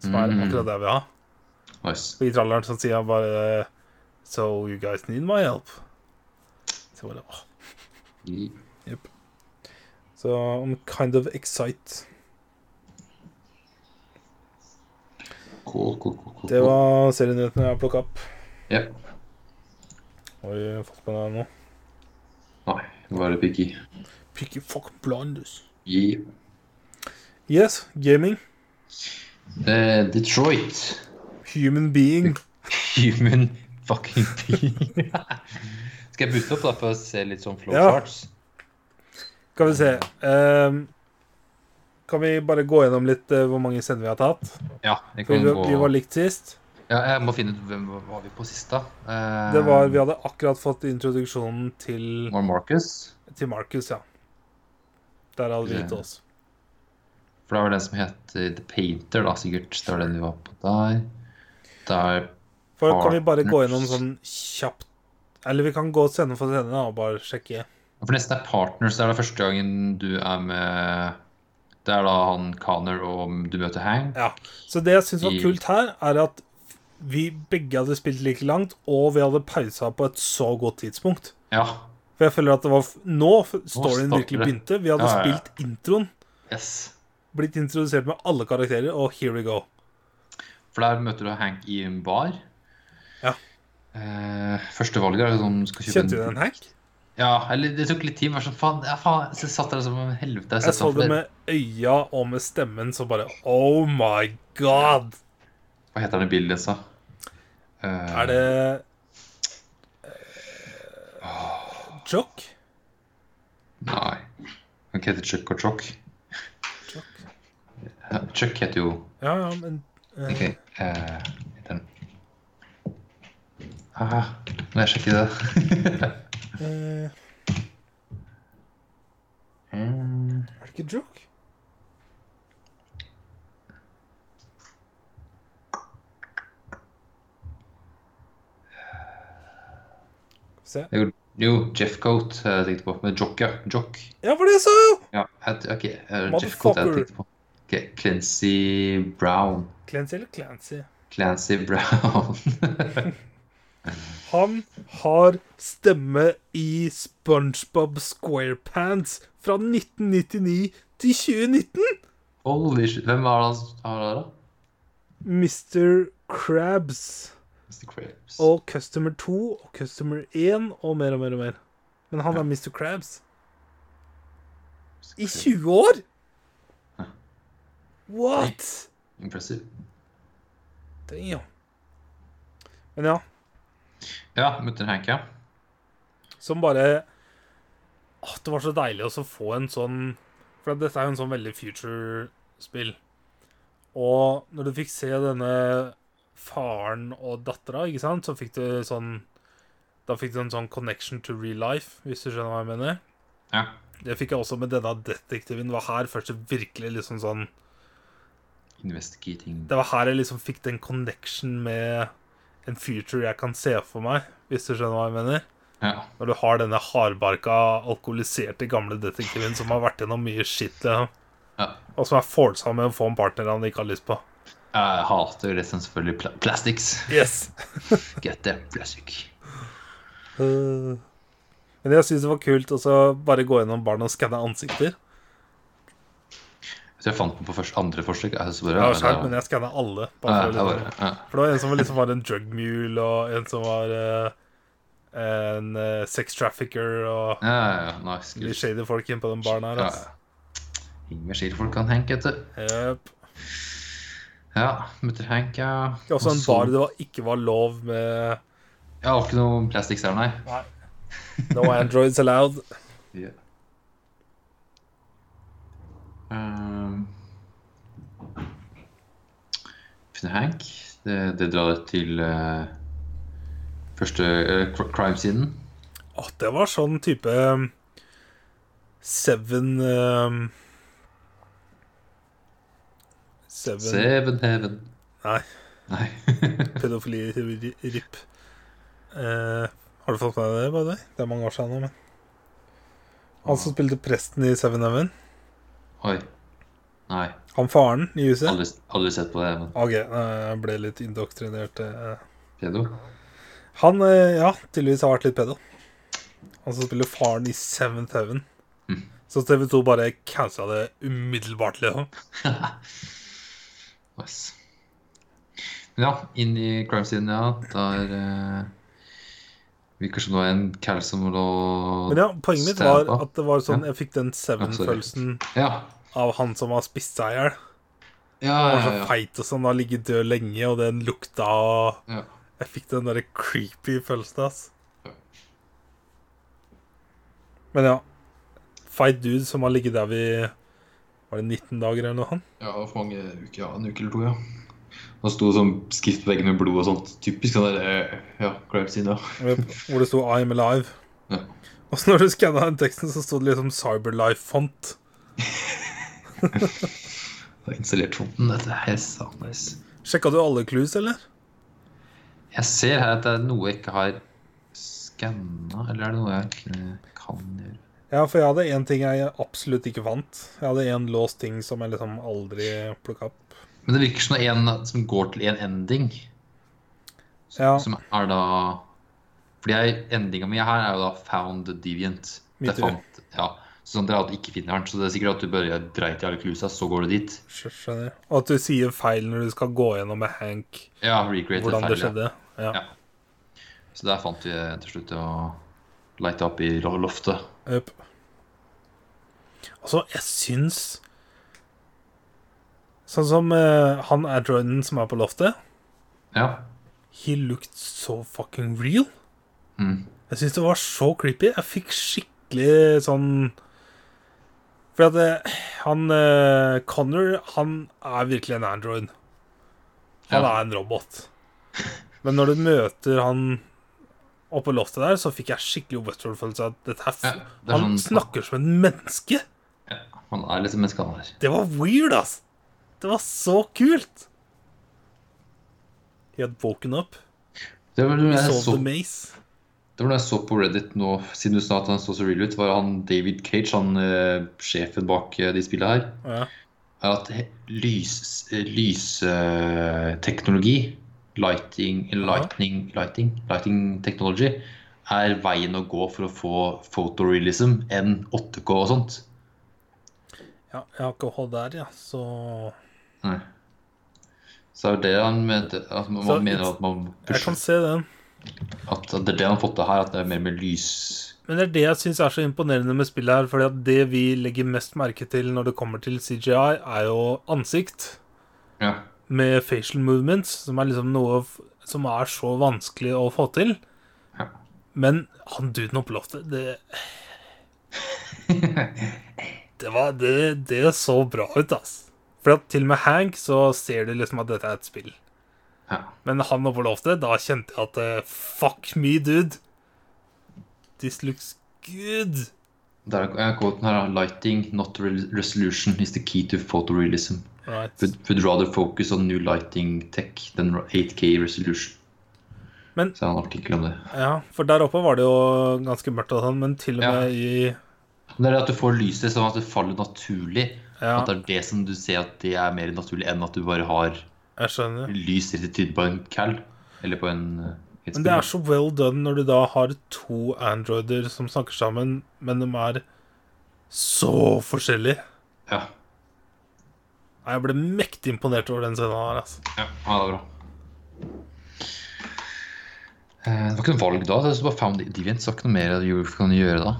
S1: som er
S2: Mm.
S1: akkurat det vi har.
S2: Nice.
S1: For i tralleren så sier han bare So you guys need my help. Så, bare, åh. så I'm kind of excited.
S2: Cool, cool, cool, cool.
S1: Det var serienyhetene jeg har plukka opp.
S2: Ja.
S1: Har du fått med deg noe?
S2: Nei, nå er det Piggy.
S1: Picky fuck blinders.
S2: Yeah.
S1: Yes, gaming.
S2: Eh, Detroit.
S1: Human being.
S2: Human fucking being. Skal jeg boote opp da for å se litt sånn flow
S1: Ja.
S2: charts?
S1: Skal vi se. ehm, kan vi bare gå gjennom litt eh, hvor mange sender vi har tatt?
S2: Ja, jeg
S1: For
S2: kan
S1: vi,
S2: gå.
S1: vi var likt sist.
S2: ja, jeg må finne ut hvem var vi på sist, da. Eh,
S1: Det var, Vi hadde akkurat fått introduksjonen til,
S2: Var det Marcus?
S1: til Marcus, ja. Der hadde vi gitt oss.
S2: For det var den som heter The Painter, da, sikkert. Det var den vi var på der. Der
S1: For Kan vi bare gå gjennom sånn kjapt Eller vi kan gå scene for scene da, og bare sjekke.
S2: For nesten er Partners. Det er da første gangen du er med Det er da han Connor og du møter Hang.
S1: Ja. Så det jeg syns var
S2: I-
S1: kult her, er at vi begge hadde spilt like langt, og vi hadde pausa på et så godt tidspunkt.
S2: Ja.
S1: For jeg føler at det var f- nå f- storyen
S2: starter
S1: virkelig
S2: det.
S1: begynte. Vi hadde
S2: Ja, ja, ja.
S1: spilt introen,
S2: Yes.
S1: blitt introdusert med alle karakterer, og here we go.
S2: For der møter du Hank i en bar.
S1: Ja.
S2: Eh, første valget er liksom skal kjøpe
S1: Kjente du den, Hank?
S2: Ja, eller det tok litt tid. Var sånn, faen, ja, faen, så satt der som en helvete.
S1: Jeg så det med øya og med stemmen, så bare Oh my god!
S2: Hva heter han i bildet, sa? Eh,
S1: Er det eh, Jock?
S2: Nei. Han heter Chuck og Chock.
S1: Jock?
S2: Ja, Chuck heter jo
S1: Ja, ja, men eh,
S2: Ok. eh, heter han Ah, må jeg sjekke det?
S1: eh,
S2: Mm.
S1: Er det ikke joke? Skal vi se.
S2: Jo, Jeff Coat eh, tenkte jeg på. Men Jock, ja. Jock.
S1: Ja, for det sa jeg jo!
S2: Ja, jeg- ok. eh, Jeff Coat jeg
S1: Motherfucker.
S2: tenkte på. Ok, Clancy Brown.
S1: Clancy eller Clancy?
S2: Clancy Brown.
S1: Han har stemme i SpongeBob SquarePants fra 1999 til 2019!
S2: Holy shit. Hvem var det han han var der, da?
S1: Mr. Krabs
S2: Mr. Krabs.
S1: og Customer 2 og Customer 1 og mer og mer og mer. Men han er Mr. Krabs. I 20 år?! What?!
S2: Impressive.
S1: Damn. Men ja,
S2: Ja, mutter'n Hank, ja.
S1: som bare Åh, Det var så deilig også å få en sånn For at dette er jo en sånn veldig future-spill. Og når du fikk se denne faren og dattera, ikke sant, så fikk du sånn Da fikk du en sånn connection to real life, hvis du skjønner hva jeg mener.
S2: Ja.
S1: Det fikk jeg også med denne detektiven. Det var her først det virkelig liksom sånn
S2: Investigating.
S1: Det var her jeg liksom fikk den connection med en future jeg kan se for meg, hvis du skjønner hva jeg mener.
S2: Ja.
S1: Når du har denne hardbarka, alkoholiserte gamle detektiven som har vært gjennom mye shit, liksom.
S2: ja.
S1: Og som er forsa med å få en partner han ikke har lyst på.
S2: Jeg hater jo liksom selvfølgelig pla plastics.
S1: Yes!
S2: Get the plastic.
S1: Men jeg syns det var kult å så bare gå gjennom barn og skanne ansikter.
S2: Så jeg fant den på første, andre forsøk. Jeg så bare,
S1: Jeg har
S2: ja,
S1: skjønt,
S2: det-
S1: men jeg skanna alle.
S2: ja,
S1: Bare
S2: jeg
S1: for, å
S2: bare,
S1: liksom.
S2: ja.
S1: for det var en som var liksom var en drug mule, og en som var eh, en eh, sex trafficker, og
S2: Ja, ja, ja, nice.
S1: de
S2: kult.
S1: shady folk inn på den baren her.
S2: Ja,
S1: Altså.
S2: ja. Ingen skilfolk kan Hank, vet du.
S1: Yep.
S2: Ja, mutter Hank, ja.
S1: Også en
S2: Og så-
S1: bar det var, ikke var lov med
S2: Ja, det var ikke noe plastics der, nei.
S1: No androids allowed.
S2: Ja. Ehm. Mutter Hank, det, det drar til eh, første eh, cr- crime-siden.
S1: Åh, det var sånn type um, Seven um, Seven
S2: Seven Heaven.
S1: Nei.
S2: Nei.
S1: pedofili-rip. Eh, har du fått med deg det? by the way? Det er mange år siden nå, men Han som spilte presten i Seven Heaven?
S2: Oi. Nei.
S1: Han faren i huset?
S2: Aldri, aldri sett på det, men
S1: OK, eh, jeg ble litt indoktrinert. eh.
S2: pedo?
S1: Han, eh, ja, tydeligvis har vært litt pedo. Han som spiller faren i Seventh Heaven.
S2: Mm.
S1: Så TV2 bare cancela det umiddelbart, liksom.
S2: Nice. Men ja, inn i crime-siden, ja. Der eh, virker som det var en kall som lå
S1: Men ja, poenget mitt var
S2: Stabba.
S1: at det var sånn jeg fikk den Seven-følelsen
S2: Ja.
S1: av han som har spist seg i hjel. Han
S2: Ja, ja,
S1: var så
S2: ja,
S1: feit og sånn, har ligget død lenge, og den lukta og
S2: ja.
S1: Jeg fikk den derre creepy følelsen,
S2: Ja.
S1: ass. Men ja. Feit dude som har ligget der vi Var det 19 dager eller noe? han?
S2: Ja, for mange uker. Ja, en uke eller to, ja. Han sto sånn skrift på veggen med blod og sånt. Typisk sånn der eh, Ja, crime-side, ja.
S1: Hvor det sto 'I'm alive'.
S2: Ja.
S1: Og så når du skanna den teksten, så sto det liksom Cyberlife-font.
S2: Det er installert fonten, dette. er satanis.
S1: Sjekka du alle clues, eller?
S2: Jeg ser her at det er noe jeg ikke har skanna, eller er det noe jeg ikke kan gjøre?
S1: Ja, for jeg hadde én ting jeg absolutt ikke fant. Jeg hadde én låst ting som jeg liksom aldri plukka opp.
S2: Men det virker som det er en som går til en ending. Som,
S1: Ja.
S2: som er da Fordi jeg, endinga mi her er jo da found deviant.
S1: Me
S2: Det
S1: too.
S2: fant, ja. Så sånn at jeg ikke finner den. Så det er sikkert at du bare dreit i alle klusa, så går du dit.
S1: Skj- Skjønner. Og at du sier feil når du skal gå gjennom med Hank
S2: Ja, recreate
S1: hvordan det
S2: feil, ja.
S1: skjedde. Ja.
S2: Ja. Så der fant vi eh, til slutt og leita opp i lo- loftet.
S1: Jøp. Altså, jeg syns Sånn som eh, han Adroyden som er på loftet,
S2: Ja.
S1: he looked so fucking real.
S2: Mm.
S1: Jeg syns det var så creepy. Jeg fikk skikkelig sånn For at eh, han eh, Connor, han er virkelig en android. Han
S2: Ja.
S1: er en robot. Men når du møter han oppe på loftet der, så fikk jeg skikkelig Westworld-følelse av at dette her f-
S2: Ja, det er
S1: Han
S2: sånn-
S1: snakker som et menneske!
S2: Han er liksom en skanner.
S1: Det var weird, ass! Det var så kult! He had woken up.
S2: Det var noe
S1: He
S2: jeg
S1: solved
S2: så,
S1: the maze.
S2: det var noe jeg så på Reddit nå, siden du sa at han så så real ut, var han David Cage, han eh, sjefen bak eh, de spillene her,
S1: Ja.
S2: er at he- lys- eh, lysteknologi, lighting, lightning, lighting, lighting technology, er veien å gå for å få photorealism enn 8K og sånt.
S1: ja, jeg har ikke H der, ja, så
S2: Nei. Så er det det han mente, at man
S1: Så
S2: mener
S1: it's-
S2: at man
S1: Jeg kan
S2: pusher,
S1: se den.
S2: at det er det han har fått til her, at det er mer med lys...
S1: Men det er det jeg syns er så imponerende med spillet her. Fordi at det vi legger mest merke til når det kommer til CGI, er jo ansikt
S2: Ja.
S1: med facial movements, som er liksom noe f- som er så vanskelig å få til.
S2: Ja.
S1: Men han duden oppå loftet, det Det var det, det så bra ut, ass. For at til og med Hank så ser du liksom at dette er et spill.
S2: ja.
S1: Men han oppå loftet, da kjente jeg at eh, Fuck me, dude. This looks good.
S2: Der er er quoten her, da. Lighting, not re- resolution, is the key to photorealism.
S1: Right.
S2: Would, would rather focus on new lighting tech than 8K resolution.
S1: Men-
S2: Så er det en artikkel om det.
S1: Ja, for der oppe var det jo ganske mørkt og sånn, men til og
S2: Ja.
S1: med i
S2: Men Det er det at du får lyset sånn at det faller naturlig.
S1: Ja,
S2: At det er det som du ser at det er mer naturlig enn at du bare har
S1: jeg skjønner.
S2: lys rett i tiden på en cal. Eller på en eh, et
S1: Men det er
S2: spill.
S1: så well done når du da har to androider som snakker sammen, men de er så forskjellige.
S2: Ja.
S1: Nei, Jeg ble mektig imponert over den scenen her, altså.
S2: ja. Ja, det er bra. Eh, Det var ikke noe valg da. Det var bare found deviant. Det var ikke noe mer du kan gjøre da.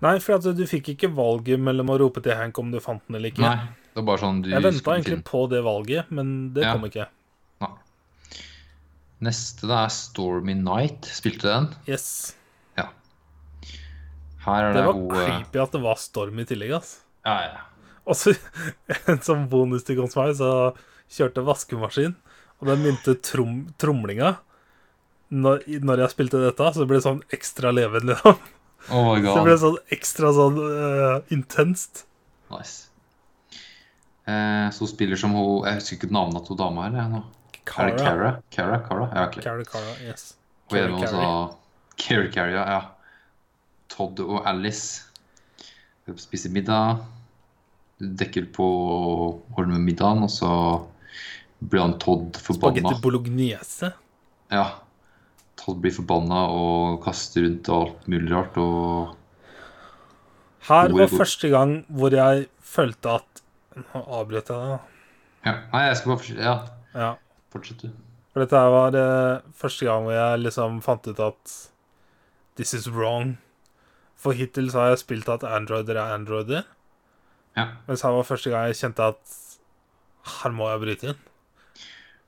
S1: Nei, for at du fikk ikke valget mellom å rope til Hank om du fant den eller ikke.
S2: Nei. Det var bare sånn du
S1: Jeg venta
S2: skulle finne.
S1: egentlig på det valget, men det
S2: Ja.
S1: kom ikke.
S2: Neste det er Stormy Night. Spilte du den?
S1: Yes.
S2: Her er
S1: Det
S2: det,
S1: var
S2: hun, eh,
S1: creepy at det var storm i tillegg, altså.
S2: Ja, ja.
S1: Og så en sånn bonus til hos meg, så kjørte jeg vaskemaskin, og den begynte trom, tromlinga. Når, i- når jeg spilte dette, så ble det sånn ekstra levende. liksom.
S2: Oh my
S1: Så det ble
S2: god.
S1: sånn ekstra sånn øh, intenst.
S2: Nice. Eh, så hun spiller som hun Jeg husker ikke navnet til hun dama her. jeg, nå. Er det Cara? Cara? Cara? Ja, ok.
S1: Cara, Cara, yes.
S2: Hun er med
S1: Cara,
S2: oss av Cara Cara, ja, ja. Todd og Alice Hun spiser middag. Hun dekker på og ordner med middagen, og så blir han Todd forbanna.
S1: Spagetti bolognese.
S2: Ja. Todd blir forbanna og kaster rundt og alt mulig rart. Og
S1: Her
S2: Hvor-
S1: var første gang hvor jeg følte at Nå avbrøt jeg deg, da.
S2: ja. Nei, jeg skal bare fortsette. Ja,
S1: Ja.
S2: fortsett, du.
S1: For dette her var eh, første gang hvor jeg liksom fant ut at this is wrong. For hittil så har jeg spilt at androider er androider,
S2: Ja.
S1: mens her var første gang jeg kjente at her må jeg bryte inn.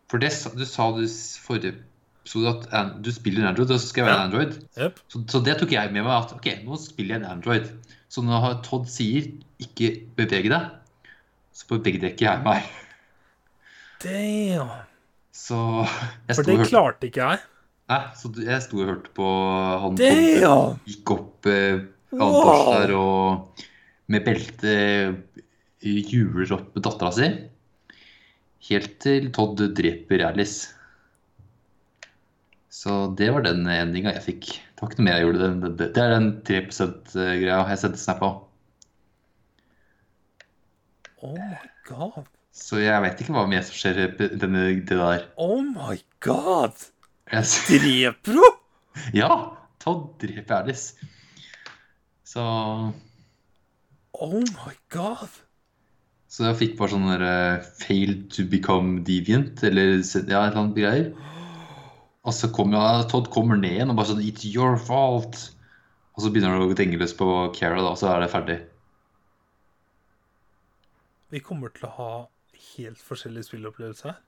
S2: For det, sa- du sa du s- forrige episode at an- du spiller Android, og så skal jeg være
S1: Ja.
S2: en Android.
S1: Jep.
S2: Så, så det tok jeg med meg at ok, nå spiller jeg en Android. Så når har- Todd sier 'ikke bevege deg', så beveger ikke jeg meg.
S1: Damn!
S2: Så jeg
S1: For
S2: sto og
S1: det
S2: hørte,
S1: klarte ikke jeg.
S2: nei, så du- jeg sto og hørte på han Todd
S1: Damn!
S2: gikk opp eh, Anders
S1: Wow!
S2: der og med belte hjuler opp dattera si. Helt til Todd dreper Alice. Så det var den endinga jeg fikk. Det var ikke noe mer jeg gjorde. Den- den- Det er den 3 %-greia jeg sendte snap av.
S1: Oh my god.
S2: Så jeg veit ikke hva mer som skjer i denne, det der.
S1: Oh my god!
S2: Jeg s-
S1: Dreper hun?
S2: Ja! Todd dreper Alice. Så
S1: Oh my god!
S2: Så jeg fikk bare sånn der eh, fail to become deviant, eller se- ja, et eller annet greier. Og så kommer ja, Todd kommer ned igjen og bare sånn It's your fault. Og så begynner han å denge løs på Cara, da, og så er det ferdig.
S1: Vi kommer til å ha helt forskjellige spillopplevelser her.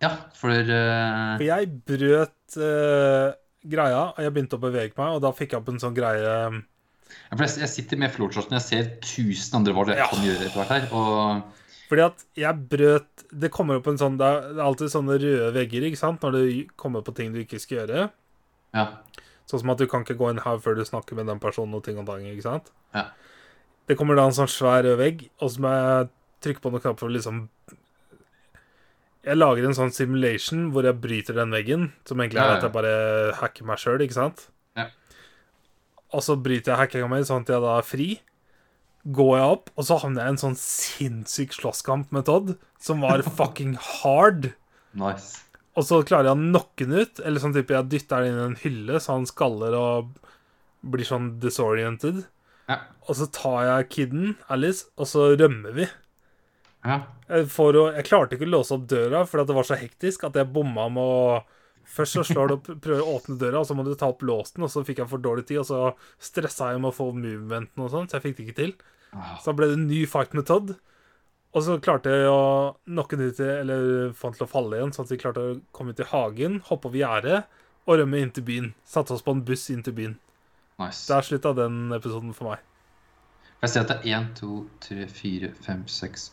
S2: Ja, for eh,
S1: For jeg brøt eh, greia, og jeg begynte å bevege meg, og da fikk jeg opp en sånn greie
S2: for jeg, jeg sitter med flowcharten, jeg ser tusen andre valg jeg
S1: Ja.
S2: kan gjøre etter hvert her. Og
S1: Fordi at jeg brøt Det kommer opp en sånn Det er det er alltid sånne røde vegger, ikke sant, når du kommer på ting du ikke skal gjøre.
S2: ja.
S1: Sånn som at du kan ikke gå inn her før du snakker med den personen og ting og tang, ikke sant.
S2: Ja.
S1: Det kommer da en sånn svær rød vegg, og så må jeg trykke på noen knapper for å liksom Jeg lager en sånn simulation hvor jeg bryter den veggen, som egentlig
S2: Ja,
S1: er
S2: ja.
S1: at jeg bare hacker meg sjøl, ikke sant?
S2: Ja.
S1: Og så bryter jeg hackinga mi, sånn at jeg da er fri. Går jeg opp, og så havner jeg i en sånn sinnssyk slåsskamp med Todd, som var fucking hard.
S2: Nice.
S1: Og så klarer jeg å knocke den ut, eller sånn type jeg dytter den inn i en hylle, så han skaller og blir sånn disoriented.
S2: Ja.
S1: Og så tar jeg kiden, Alice, og så rømmer vi.
S2: ja.
S1: Jeg, får jo, jeg klarte ikke å låse opp døra, fordi at det var så hektisk at jeg bomma med å Først så slår du opp, prøver å åpne døra, og så må du ta opp låsen, og så fikk jeg for dårlig tid, og så stressa jeg med å få movementen og sånn, så jeg fikk det ikke til.
S2: Ah,
S1: Så da ble det en ny fight med Todd. Og så klarte jeg å knocke den ut, i- eller få han til å falle igjen, sånn at vi klarte å komme ut i hagen, hoppe over gjerdet og rømme inn til byen. Satte oss på en buss inn til byen.
S2: nice.
S1: Der slutta den episoden for meg.
S2: Jeg ser at det er 1, 2, 3, 4, 5, 6,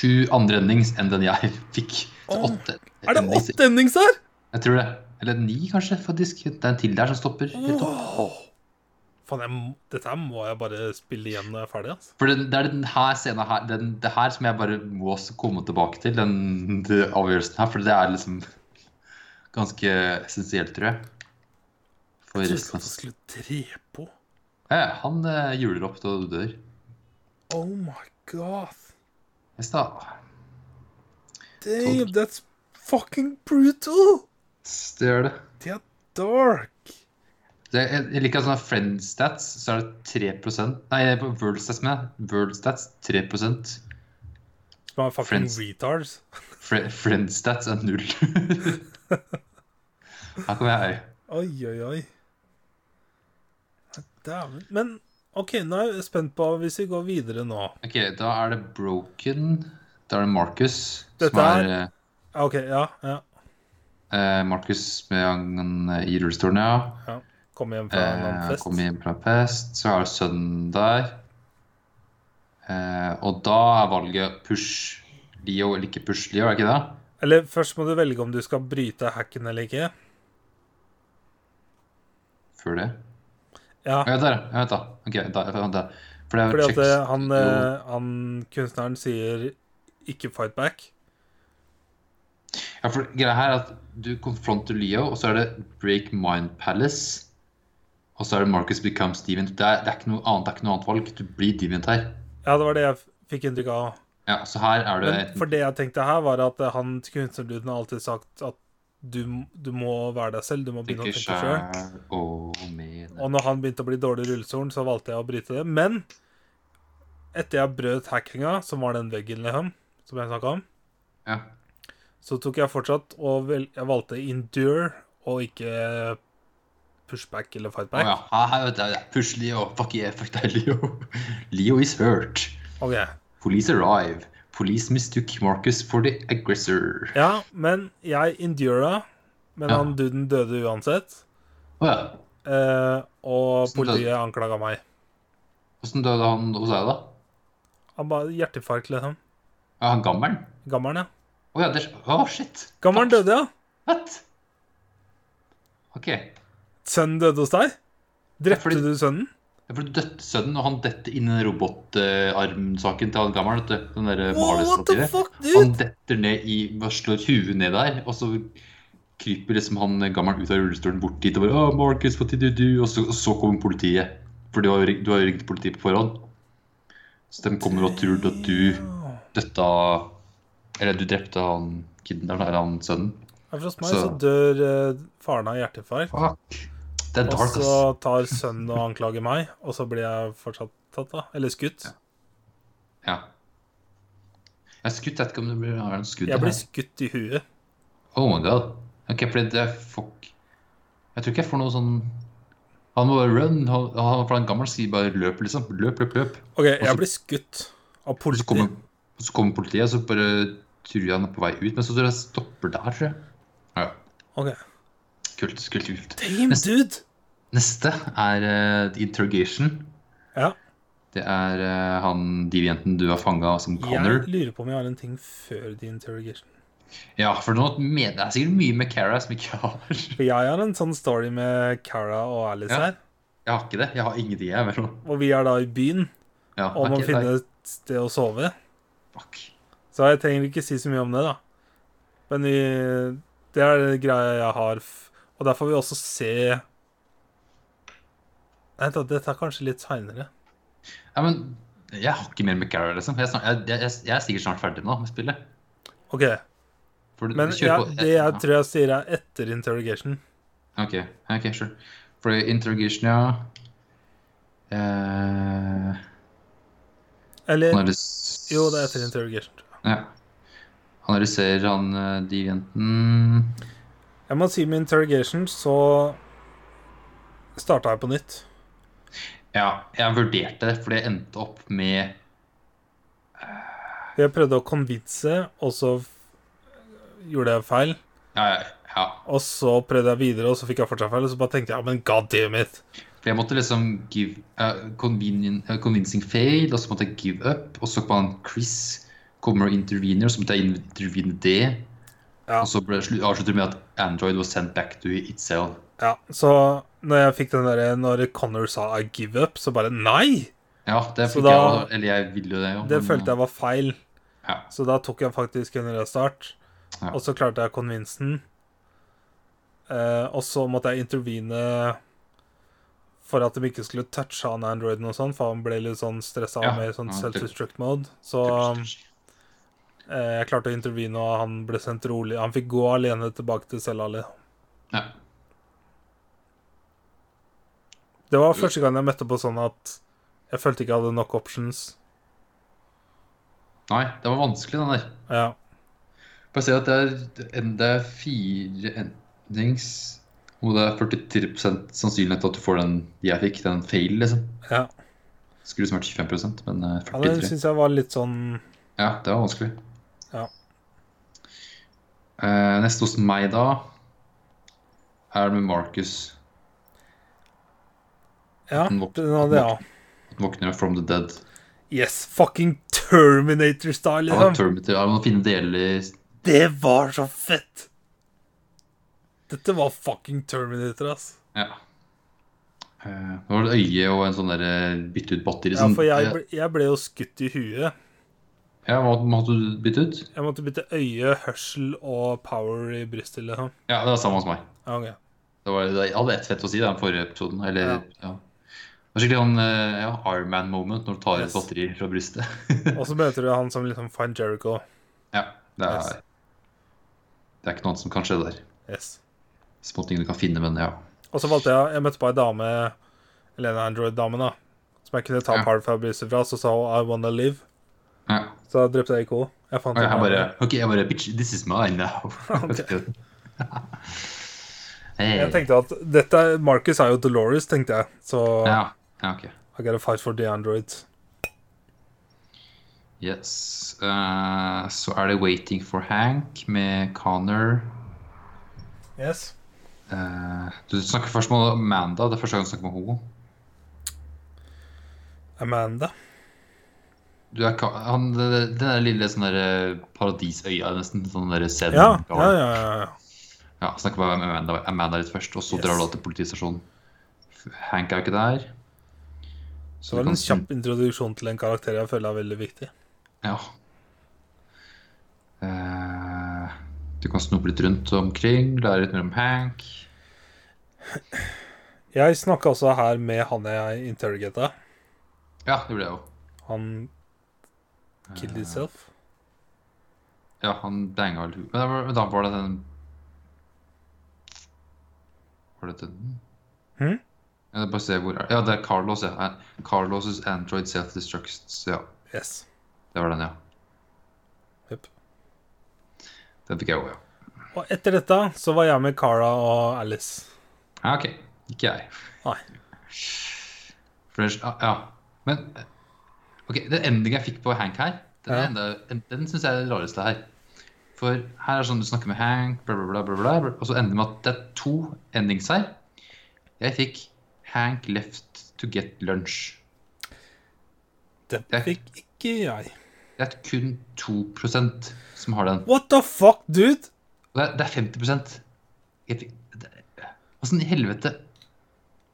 S2: 7 andre endings enn den jeg fikk. Så
S1: Åh,
S2: åtte
S1: Er det
S2: endings.
S1: åtte endings her?!
S2: Jeg tror det. Eller ni, kanskje, faktisk. Det er en til der som stopper. Helt opp.
S1: Åh. Faen, jeg, må- dette her må jeg bare spille igjen når jeg er ferdig. Altså.
S2: For det, det er den her scenen her, den, det her som jeg bare må også komme tilbake til, den, den avgjørelsen her, for det er liksom ganske essensielt, tror jeg. For
S1: Jeg
S2: resten
S1: trodde
S2: av
S1: du skulle drepe henne.
S2: ja, ja, Han eh, hjuler opp til du dør.
S1: Oh my god.
S2: Yes, da.
S1: Damn, that's fucking brutal!
S2: S- Det gjør det.
S1: Det er dark.
S2: det jeg, jeg liker sånne friend stats, så er det 3 Nei, på world stats, mener jeg. World stats 3 Fre,
S1: Som er fucking
S2: Friends.
S1: retards.
S2: Friend stats er null. her kommer jeg.
S1: Oi, oi, oi. Nei, Dæven. Men OK, nå er jeg spent på hvis vi går videre nå.
S2: Ok, da er det Broken. Da er det Marcus.
S1: Dette
S2: som
S1: er-
S2: er eh,
S1: Ja, OK, ja. ja.
S2: Eh, Markus med han eh, i rullestolen, ja.
S1: Kom hjem fra en annen
S2: Eh,
S1: fest.
S2: kom hjem fra fest. Så er det sønnen der. Eh, og da er valget push Leo eller ikke push Leo, er det ikke det?
S1: Eller først må du velge om du skal bryte hacken eller ikke.
S2: Før det?
S1: Ja,
S2: Ja, der, ja. Vent, da. Ok, da, vent da. For det er
S1: fordi at
S2: checks-
S1: eh, han, eh, han kunstneren sier 'ikke fight back'.
S2: Ja, for greia her er at du konfronter Leo, og så er det Break Mind Palace. Og så er det Marcus Becomes Deviant. Det er, det er ikke noe annet, det er ikke noe annet valg. Du blir Deviant her.
S1: Ja, det var det jeg f- fikk inntrykk av.
S2: Ja, så her er det
S1: Men for det jeg tenkte her, var at eh, han kunstnerduden har alltid sagt at du, m- du må være deg selv, du må begynne å
S2: tenker
S1: tenke sjøl.
S2: sjæl og mener
S1: Og når han begynte å bli dårlig i rullestolen, så valgte jeg å bryte det. Men etter jeg brøt hackinga, som var den veggen liksom, som jeg snakka om,
S2: Ja.
S1: så tok jeg fortsatt og vel, jeg valgte endure og ikke pushback eller
S2: Å
S1: fightback.
S2: ja. Her, her, vet du, push Leo. Fuck yeah, fuck deg, Leo. Leo is hurt.
S1: Ok.
S2: Police arrive. Police mistook Marcus for the aggressor.
S1: ja, men jeg endura, men
S2: Ja.
S1: han duden døde uansett.
S2: Å ja.
S1: Eh, og
S2: Hvordan døde-
S1: politiet anklaga meg.
S2: Åssen døde han hos deg, da?
S1: Han bare hjerteinfarkt, liksom.
S2: Ja, han gammelen?
S1: Gammelen, ja.
S2: Å ja, det Å, shit.
S1: Gammelen
S2: Fuck.
S1: døde, ja.
S2: What? OK. Ja,
S1: Sønnen døde hos deg. Drepte
S2: fordi-
S1: du sønnen?
S2: For du døtte sønnen, og han detter inn i den robotarmsaken til han gammelen. vet du. Den derre
S1: Wow, what the
S2: malerstativet.
S1: fuck, dude?
S2: Han detter ned i bare Slår huet ned der, og så kryper liksom han gammelen ut av rullestolen bort dit og bare «Åh, Marcus, what did you do?» Og så, og så kommer politiet. For du har jo ring- du har jo ringt politiet på forhånd. Så de kommer og tror at du
S1: Ja.
S2: døtta Eller du drepte han kiden der, eller han sønnen.
S1: Ja, for hos meg så,
S2: Så-
S1: dør eh, faren av hjerteinfarkt,
S2: Fuck. Det
S1: og
S2: er dark,
S1: så
S2: ass.
S1: tar sønnen og anklager meg, og så blir jeg fortsatt tatt, da. Eller skutt.
S2: Ja. Jeg er skutt, jeg vet ikke om det blir er det skudd.
S1: Jeg
S2: eller?
S1: blir skutt i huet.
S2: Oh my god. Ok, fordi det fuck. Jeg tror ikke jeg får noe sånn Han må bare run. Han, han for den gamle sier bare løp, liksom. Løp, løp, løp.
S1: OK,
S2: Og så-
S1: jeg blir skutt av
S2: Og så
S1: politi.
S2: kommer, og så kommer politiet, og så bare tror jeg han er på vei ut. Men så tror jeg det stopper der, tror jeg. Ja,
S1: OK.
S2: kult, kult, kult.
S1: Damn,
S2: Neste-
S1: dude!
S2: Neste er eh, The Interrogation.
S1: Ja,
S2: Det er eh, han devianten du har fanga som Connor.
S1: jeg lurer på om jeg har en ting før The Interrogation.
S2: Ja, for nå mener jeg sikkert mye med Cara som ikke har Jeg
S1: For jeg har en sånn story med Cara og Alice
S2: Ja.
S1: her,
S2: har ikke det. Jeg har ingenting, jeg. vel.
S1: og vi er da i byen.
S2: Ja,
S1: Og man
S2: ok, nei,
S1: finner et sted å sove.
S2: Fuck.
S1: Så jeg trenger ikke si så mye om det, da. Men vi, det er det greia jeg har. f- Og der får vi også se Vent, da. Dette er kanskje litt seinere.
S2: Ja, men jeg har ikke mer med Carol, liksom. Jeg, er snak- jeg, jeg, jeg er sikkert snart ferdig nå med spillet.
S1: OK.
S2: For du-
S1: Men
S2: du
S1: jeg,
S2: kjører på-
S1: det jeg tror jeg sier, er etter interrogation.
S2: Ok, ok, sure. For interrogation, ja. Eh,
S1: Eller
S2: analys-
S1: Jo, det er etter interrogation. tror jeg.
S2: Ja. Analyserer han eh, de jenten
S1: Jeg må si med interrogation så starta jeg på nytt.
S2: Ja, jeg vurderte det, fordi jeg endte opp med
S1: Jeg prøvde å convince, og så f- gjorde jeg feil.
S2: Ja, ja, ja.
S1: Og så prøvde jeg videre, og så fikk jeg fortsatt feil. Og så bare tenkte jeg ja, men god damn it.
S2: For jeg måtte liksom give eh, convenient- eh, convincing fail, og så måtte jeg give up. Og så kom han Chris, kommer og intervener, og så måtte jeg intervene det.
S1: Ja.
S2: Og så ble, slu- avslutter det med at Android was sent back to itself.
S1: Ja, så når jeg fikk den derre Når Connor sa I give up, så bare nei!
S2: Ja, det
S1: Så
S2: fikk jeg
S1: da-
S2: også, Eller jeg ville jo det. Jo,
S1: Det følte jeg var feil.
S2: Mm. Ja.
S1: Så da tok jeg faktisk en restart.
S2: Ja.
S1: Og så klarte jeg å convince den. Eh, og så måtte jeg intervene for at de ikke skulle touche han androiden og sånn, for han ble litt sånn stressa
S2: Ja,
S1: med sånn
S2: ja, det-
S1: self-destruct mode. Så eh, jeg klarte å intervene, og han ble sendt rolig. Han fikk gå alene tilbake til cella. li.
S2: Ja.
S1: Det var første gang jeg møtte på sånn at jeg følte ikke jeg hadde nok options.
S2: Nei, det var vanskelig, den der.
S1: Ja.
S2: Bare se at det er, en- det er fire endings, og det er 43 sannsynlighet at du får den jeg fikk, den fail, liksom.
S1: ja.
S2: Skulle liksom vært 25 men eh,
S1: Ja, den
S2: 43
S1: syns jeg var litt sånn
S2: Ja, det var vanskelig.
S1: Ja.
S2: Eh, neste hos meg, da, er det med Marcus.
S1: Ja,
S2: Den våk-
S1: den hadde jeg òg.
S2: Han våkner med From the Dead.
S1: Yes, fucking Terminator-style,
S2: Han har
S1: liksom.
S2: Terminator, han har fine deler
S1: Det var så fett! Dette var fucking Terminator, ass.
S2: Ja. Eh, Nå var det et øye og en sånn der eh, bytte ut batteri.
S1: Ja,
S2: Sånn,
S1: for jeg
S2: eh,
S1: ble, jeg ble jo skutt i huet.
S2: ja, hva måtte du bytte ut?
S1: Jeg måtte bytte øye, hørsel og power i brystet, liksom.
S2: Ja, det var samme hos meg.
S1: Ja, ok.
S2: Det var, det, jeg hadde ett fett å si i den forrige episoden. Eller,
S1: Ja.
S2: ja. Det var skikkelig sånn eh, ja, Iron Man-moment når du tar
S1: Yes.
S2: et batteri fra brystet.
S1: Og så møter du han som liksom Find Jericho.
S2: ja, det er,
S1: Yes.
S2: det er ikke noe annet som kan skje der.
S1: Yes.
S2: Små ting du kan finne, men ja.
S1: Og så valgte jeg Jeg møtte på ei dame, eller en Android-dame, da, som jeg kunne ta
S2: Ja.
S1: power fra brystet fra, så sa hun I wanna live.
S2: ja.
S1: Så da drepte jeg ikke henne. Jeg fant
S2: Og
S1: ut
S2: jeg
S1: av
S2: bare
S1: det.
S2: OK, jeg bare Bitch, this is mine now.
S1: Jeg
S2: hey.
S1: tenkte at dette Marcus er jo Dolores, tenkte jeg. Så
S2: Ja, ja, ok.
S1: I gotta fight for the androids.
S2: Yes. eh, så er det 'Waiting for Hank' med Connor.
S1: Yes.
S2: Eh, du snakker først om Amanda. Det er første gang du snakker med henne.
S1: Amanda.
S2: Du er, ka- han, den der lille sånn der paradisøya, nesten. Sånn der Zen.
S1: Ja, ja, ja. ja, ja.
S2: Ja, snakker med Amanda, Amanda litt først, og så drar
S1: Yes.
S2: du da til politistasjonen. Hank er jo ikke der.
S1: Det var en kjapp introduksjon til en karakter jeg føler er veldig viktig.
S2: Ja. Eh, du kan snope litt rundt omkring, lære litt mer om Hank.
S1: Jeg snakka også her med han jeg interrogata.
S2: Ja, det gjorde jeg jo.
S1: Han killed himself.
S2: Ja, han banga vel huet. Men da var- Men da var det den Var det den?
S1: Hm?
S2: Ja, det er bare se hvor er Ja, det er Carlos, ja. Eh, Carlos' Android self-destructs. Ja,
S1: Yes.
S2: det var den, ja.
S1: Jep.
S2: Den fikk jeg òg, ja.
S1: Og etter dette så var jeg med Cara og Alice.
S2: Ja, OK. Ikke jeg.
S1: Nei.
S2: For ellers Ja. ja. Men eh, OK, den endingen jeg fikk på Hank her, den,
S1: Ja.
S2: er enda, en- den syns jeg er det rareste her. For her er sånn du snakker med Hank, bla, bla, bla, bla, bla, bla og så ender det med at det er to endings her. Jeg fikk Hank left to get lunch.
S1: Det
S2: Jeg-
S1: fikk ikke jeg.
S2: Det er kun 2 som har den.
S1: What the fuck, dude?
S2: Og det er, det er 50 Jeg fikk det- Åssen i helvete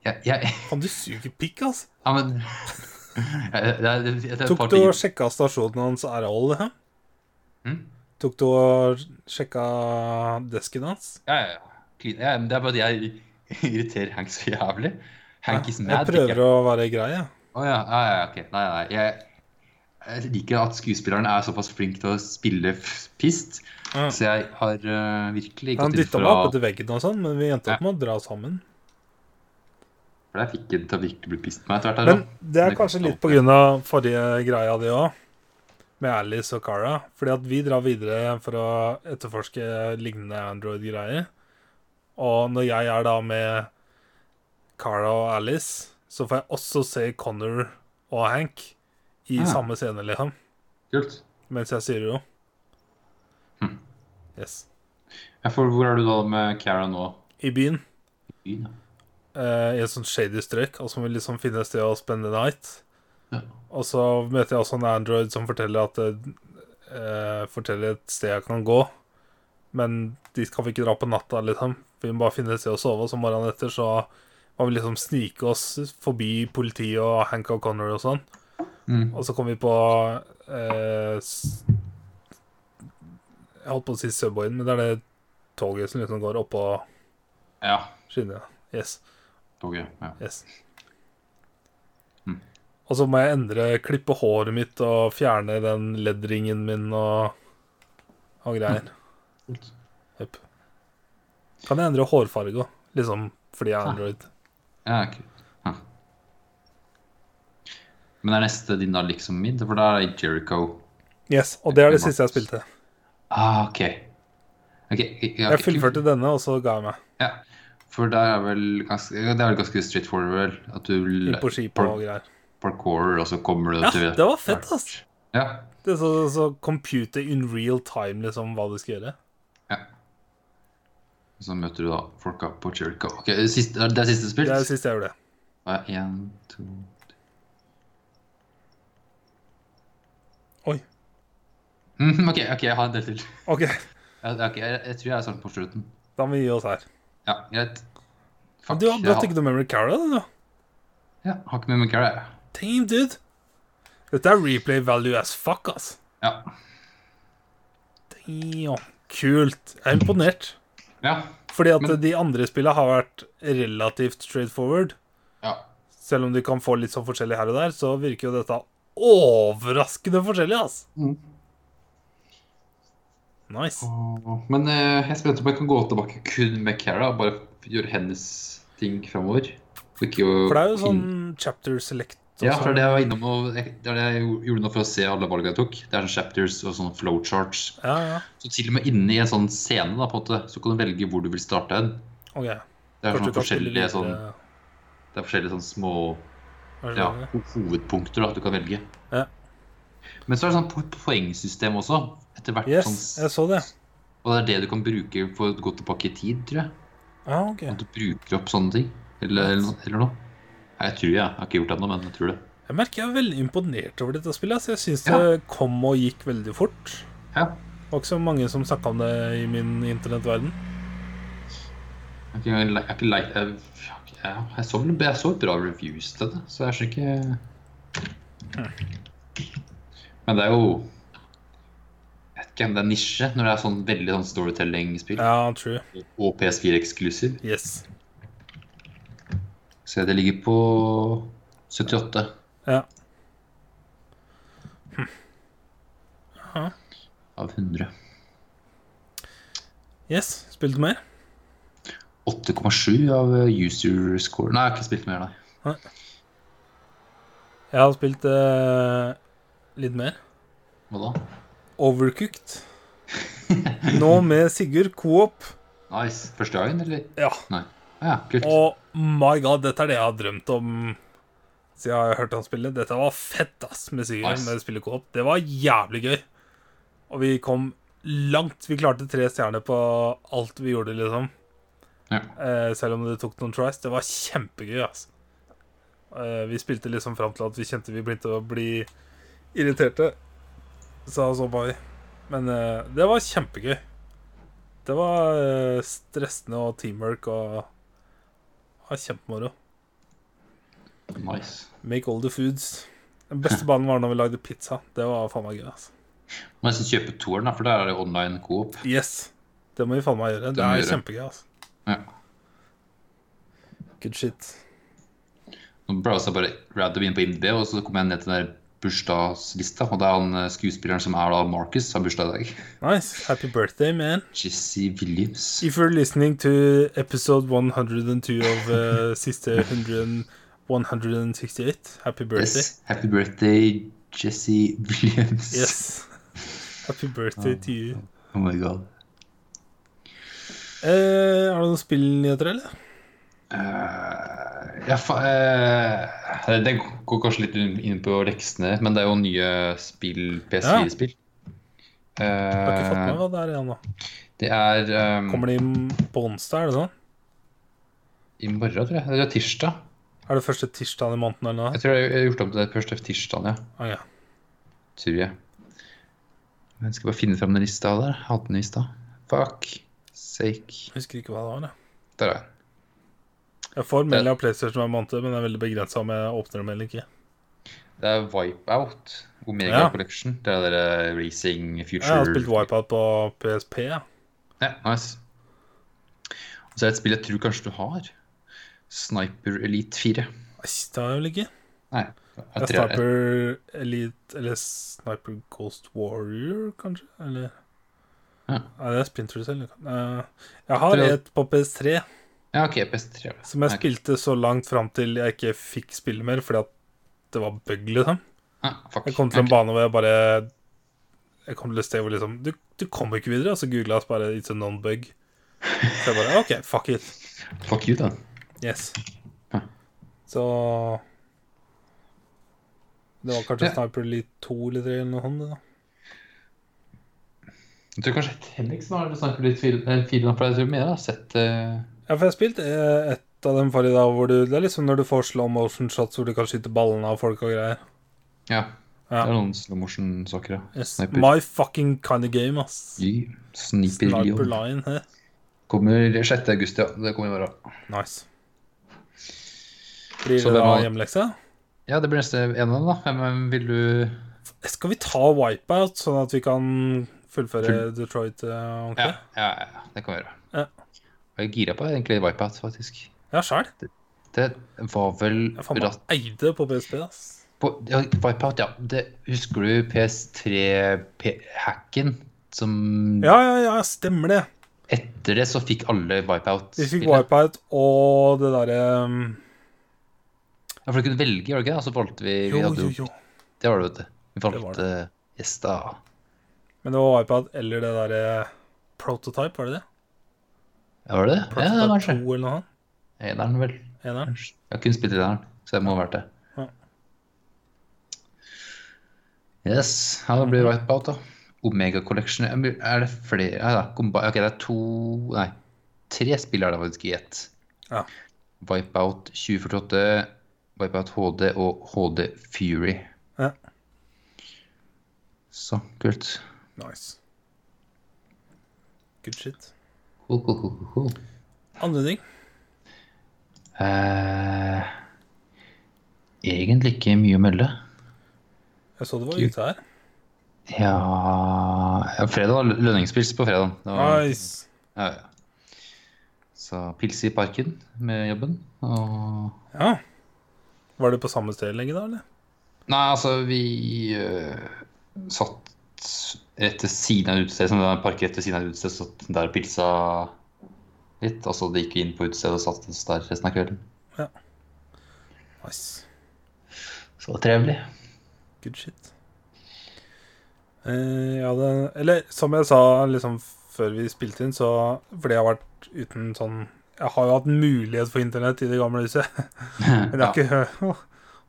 S2: jeg, jeg,
S1: Kan du suge pikk, ass?
S2: Ja, men Eh, Det er, det er et
S1: Tok
S2: par
S1: du og
S2: ting
S1: sjekka stasjonen hans RL? Hæ?
S2: Hm?
S1: Tok du og sjekka desken hans?
S2: Ja, ja, ja. Clean. ja. men Det er bare at jeg irriterer Hank så jævlig. Hank is mad.
S1: jeg prøver
S2: å
S1: å være grei, jeg.
S2: Å ja, ja, ja, ok. Nei, nei. Jeg, jeg liker at skuespilleren er såpass flink til å spille f- pist,
S1: Ja.
S2: så jeg har eh, virkelig
S1: Han
S2: gått inn
S1: dytta
S2: for
S1: meg
S2: å
S1: opp etter veggen og sånn, men vi endte opp med å dra sammen.
S2: For jeg fikk det til å virkelig bli pist på meg etter hvert. her,
S1: Men
S2: da.
S1: det er
S2: Det
S1: kanskje
S2: kan
S1: litt
S2: stå.
S1: på grunn av forrige greia di òg, med Alice og Cara. Fordi at vi drar videre for å etterforske lignende Android-greier. Og når jeg er da med Cara og Alice, så får jeg også se Connor og Hank i
S2: Ah.
S1: samme scene, liksom.
S2: Kult.
S1: Mens jeg sier jo.
S2: Hm.
S1: Yes.
S2: Ja, for hvor er du da med Cara nå?
S1: I byen.
S2: I byen, da?
S1: eh, I et sånt shady strøk, og så må vi liksom finne et sted å spenne night.
S2: Ja.
S1: Og så møter jeg også en Android som forteller at eh, Forteller et sted jeg kan gå. Men dit kan vi ikke dra på natta, liksom. Vi må bare finne et sted å sove. Og så morgenen etter så må vi liksom snike oss forbi politiet og Hank og Connor og sånn.
S2: Mm.
S1: Og så kom vi på eh, s- Jeg holdt på å si Subwayen, men det er det toget som liksom går oppå
S2: ja.
S1: skinnet. Yes.
S2: Toget. Ja.
S1: Yes.
S2: Mm.
S1: Og så må jeg endre, klippe håret mitt og fjerne den leddringen min og, og greier.
S2: Kult.
S1: Jepp. Kan jeg endre hårfarge òg, liksom fordi jeg er android.
S2: Ja, kult. Hm. Men er neste din da liksom min? For da er det Jericho.
S1: Yes, Og det er det siste jeg spilte.
S2: Ah, ok. Ok, ja,
S1: Jeg fullførte denne, og så ga jeg meg.
S2: Ja, for der er vel ganske, ja, det er vel ganske straightforward vel? At du vil-
S1: Inn på skipet og greier.
S2: parkour, og så kommer du
S1: Ja,
S2: til
S1: det var fett, ass.
S2: Ja,
S1: Det er så, så computer in real time, liksom, hva du skal gjøre.
S2: og så møter du da folka på Jericho. Ok, det siste, det er siste
S1: Det
S2: spilt?
S1: er det siste jeg gjorde.
S2: Ja, en, to...
S1: Oi.
S2: Mhm, ok, ok, jeg har en del til.
S1: OK,
S2: Ja, ok, jeg, jeg tror jeg er sånn på slutten.
S1: da må vi gi oss her.
S2: Ja, greit. Fuck,
S1: Du har
S2: jeg
S1: blått ikke noe memory carol, du, da?
S2: Ja, har ikke med meg kjære.
S1: Damn, dude. Dette er replay value as fuck, ass.
S2: Ja,
S1: Damn. Kult. Jeg er imponert.
S2: ja,
S1: Fordi at
S2: Men-
S1: de andre spillene har vært relativt straightforward.
S2: ja.
S1: Selv om de kan få litt sånn forskjellig her og der, så virker jo dette overraskende forskjellig, ass.
S2: Mm.
S1: Nice.
S2: Åh, Men eh, jeg er spent om jeg kan gå tilbake kun med Cara og bare gjøre hennes ting framover. Ikke å
S1: For det er jo sånn chapter select og
S2: Ja, for
S1: sånn.
S2: det jeg var innom og jeg- det er det jeg gjorde nå for å se alle valgene jeg tok. Det er sånn chapters og sånn flowcharts.
S1: Ja, ja.
S2: Så til og med inne i en sånn scene da, på en måte, så kan du velge hvor du vil starte hen.
S1: OK.
S2: Det er
S1: Kanskje
S2: sånn
S1: du kan spille
S2: forskjellige, sånn,
S1: videre,
S2: det er forskjellige sånn små
S1: er det
S2: ja,
S1: det?
S2: ho- hovedpunkter da, du kan velge.
S1: Ja.
S2: Men så er det sånn po- poengsystem også. Etter hvert
S1: Yes,
S2: sånn
S1: jeg så det.
S2: Og det er det du kan bruke for å gå tilbake i tid, tror jeg.
S1: Ja, Ah, OK.
S2: At du bruker opp sånne ting. Eller, eller, noe- eller noe. Nei, jeg tror jeg. Jeg har ikke gjort det ennå, men jeg tror det.
S1: Jeg merker jeg er veldig imponert over dette spillet. ass. Jeg syns
S2: Ja.
S1: det kom og gikk veldig fort.
S2: Ja.
S1: Det var ikke så mange som snakka om det i min internettverden.
S2: Jeg har ikke engang le- jeg har ikke leit jeg, jeg, jeg, så, vel- jeg så bra reviews til det, så jeg skjønner ikke Men det er jo Jeg vet ikke om det er nisje når det er sånn veldig sånn storytelling-spill.
S1: Ja, true.
S2: Og PS4 eksklusiv.
S1: Yes.
S2: Så det ligger på 78.
S1: Ja. Ja.
S2: Av 100.
S1: Yes, spilte du mer?
S2: 8,7 av eh, user score. Nei, jeg har ikke spilt mer, nei.
S1: Jeg har spilt eh, litt mer.
S2: Hva da?
S1: Overcooked. Nå med Sigurd Coop.
S2: Nice. Første dagen, eller?
S1: Ja.
S2: Ah, ja, kult.
S1: Og my god, dette er det jeg har drømt om siden jeg har hørt han spille. Dette var fett, ass, med Sigurd.
S2: Nice.
S1: Med å spille Coop. Det var jævlig gøy. Og vi kom langt. Vi klarte tre stjerner på alt vi gjorde, liksom.
S2: Ja.
S1: Eh, selv om det tok noen tries. Det var kjempegøy, ass. Eh, vi spilte liksom fram til at vi kjente vi begynte å bli irriterte. Så så bare vi. Men eh, det var kjempegøy. Det var eh, stressende og teamwork og var kjempemoro.
S2: Nice.
S1: Make all the foods. Den beste banen var når vi lagde pizza. Det var faen meg gøy. altså.
S2: må nesten kjøpe toeren, da, for der er det online coop.
S1: Yes. Det må vi faen meg gjøre.
S2: Det
S1: Det
S2: må vi
S1: er
S2: gjøre.
S1: kjempegøy. altså.
S2: Ja.
S1: Good shit.
S2: Nå browsa jeg bare random inn på IMDb, og så kom jeg ned til den der bursdagslista. Og det er han eh, skuespilleren som er da Marcus, har bursdag i dag.
S1: Nice. Happy birthday, man.
S2: Jesse Williams.
S1: If you're listening to episode 102 av eh, siste 100, 168, happy birthday.
S2: Yes. Happy birthday, Jesse Williams.
S1: Yes. Happy birthday to you.
S2: Oh my god.
S1: Eh, har du noen spillnyheter, eller?
S2: Ja, fa eh, det går kanskje litt inn på leksene, men det er jo nye spill, PS4-spill.
S1: Jeg har ikke fått
S2: Eh,
S1: med meg hva det er igjen nå.
S2: det er eh,
S1: Kommer det i- på onsdag, er det sånn?
S2: i morgen, tror jeg. Eller tirsdag.
S1: Er det første tirsdag i måneden eller noe?
S2: Jeg tror jeg har gjort om til det første tirsdag, ja.
S1: Ah, ja.
S2: Tror jeg. Men skal bare finne fram den lista der. Jeg Hadde den i stad. Fuck sake.
S1: Jeg Husker ikke hva det var. Jeg,
S2: Der er den.
S1: jeg får melding av PlayStation hver måned, men jeg er veldig begrensa om jeg åpner dem eller ikke.
S2: Det er Wipeout. Omega
S1: Ja.
S2: Collection. Det er der eh, Racing Future
S1: Jeg har spilt Wipeout på PSP. Ja.
S2: Ja, nice. Og så er det et spill jeg tror kanskje du har. Sniper Elite 4.
S1: Nei, det har jeg vel ikke.
S2: Nei.
S1: Det
S2: Jeg
S1: er
S2: tror jeg,
S1: Sniper Elite eller Sniper Ghost Warrior, kanskje? Eller
S2: Ja.
S1: Nei, det er Splinter Cell. Eh, Jeg har
S2: Tror jeg-
S1: et på PS3
S2: ja, OK, PS3. er det.
S1: som jeg
S2: Ok.
S1: spilte så langt fram til jeg ikke fikk spille mer fordi at det var bug, liksom.
S2: Ja, Ah, fuck.
S1: Jeg kom til en
S2: Ok.
S1: bane hvor jeg bare Jeg kom til et sted hvor liksom Du, du kommer ikke videre, og så googla jeg bare It's a non-bug. Så jeg bare OK, fuck it.
S2: Fuck you, da.
S1: Yes.
S2: Hæ.
S1: Så Det var kanskje
S2: Ja.
S1: Sniper Elite 2 eller 3 eller noe sånt. det da
S2: Jeg tror kanskje Henriksen har Sniper Elite 4. eh, 4 da, for jeg tror mer jeg har sett
S1: Ja,
S2: eh,
S1: for jeg har spilt eh, et av dem forrige dag hvor du Det er liksom når du får slow motion shots hvor du kan skyte ballene av folk og greier.
S2: Ja. Det
S1: Ja.
S2: er noen slow motion-saker, ja.
S1: Yes.
S2: Sniper.
S1: My fucking kind of game, ass.
S2: Fy, Sniper
S1: Sniper
S2: Leon.
S1: Lion. He.
S2: Kommer 6. august, ja. Det kommer i morgen.
S1: Nice. Blir
S2: Så
S1: det
S2: hvem
S1: da
S2: har-
S1: hjemmelekse?
S2: Ja, det blir neste en av dem, da. Hvem hvem vil du
S1: Skal vi ta wipeout, sånn at vi kan fullføre Detroit eh,
S2: Ja,
S1: ordentlig?
S2: ja, ja. Det kan vi gjøre.
S1: Ja.
S2: Og Jeg er gira på egentlig Wipeout, faktisk.
S1: Ja, sjæl.
S2: Det var vel
S1: Jeg faen meg
S2: ratt
S1: eide på PSP, ass.
S2: på, ja, Wipeout, ja. Det, husker du PS3-hacken? Som
S1: Ja, ja, ja, stemmer det.
S2: Etter det så fikk alle Wipeout.
S1: Vi fikk
S2: spillet.
S1: wipeout og det derre um,
S2: Ja, for du kunne velge, gjorde du ikke? det? Og så valgte vi, vi
S1: Jo,
S2: hadde,
S1: jo,
S2: jo-
S1: jo.
S2: Det var det, vet du. Vi
S1: var
S2: valgte Yes, da.
S1: Men det var wipeout eller det derre prototype, var det det?
S2: Ja, var det det? Ja,
S1: Prototype
S2: kanskje.
S1: 2 eller noe annet?
S2: Eneren, vel.
S1: Eneren?
S2: Kanskje. Jeg har kun spilt eneren, så det må ha vært det.
S1: Ja.
S2: Yes. Ja, det blir Wipeout, da. Omega Collection. Ja, men Er det flere ja, da. Komba- Ok, det er to Nei, tre spill er det faktisk i ett.
S1: Ja.
S2: Wipeout 2048, Wipeout HD og HD Fury.
S1: Ja.
S2: Så kult.
S1: Nice. Good shit.
S2: Cool, cool, cool, cool, cool.
S1: Andre ting?
S2: Eh, egentlig ikke mye å melde.
S1: Jeg så det var ute her.
S2: Ja, ja, fredag var lønningspils på fredagen. Det var-
S1: Nice.
S2: Ja, ja. Så pilse i parken med jobben. Og
S1: Ja. Var det på samme sted lenge da, eller?
S2: Nei, altså, vi eh, satt rett ved siden av et utested, sånn, det var en park rett ved siden av et utested, satt der og pilsa litt. Og så gikk vi inn på utestedet og satt oss der resten av kvelden.
S1: Nice.
S2: Så det var trevelig.
S1: Good shit. Eh, ja, det, eller som jeg sa liksom før vi spilte inn, så fordi jeg har vært uten sånn Jeg har jo hatt mulighet for internett i det gamle huset, men jeg har ikke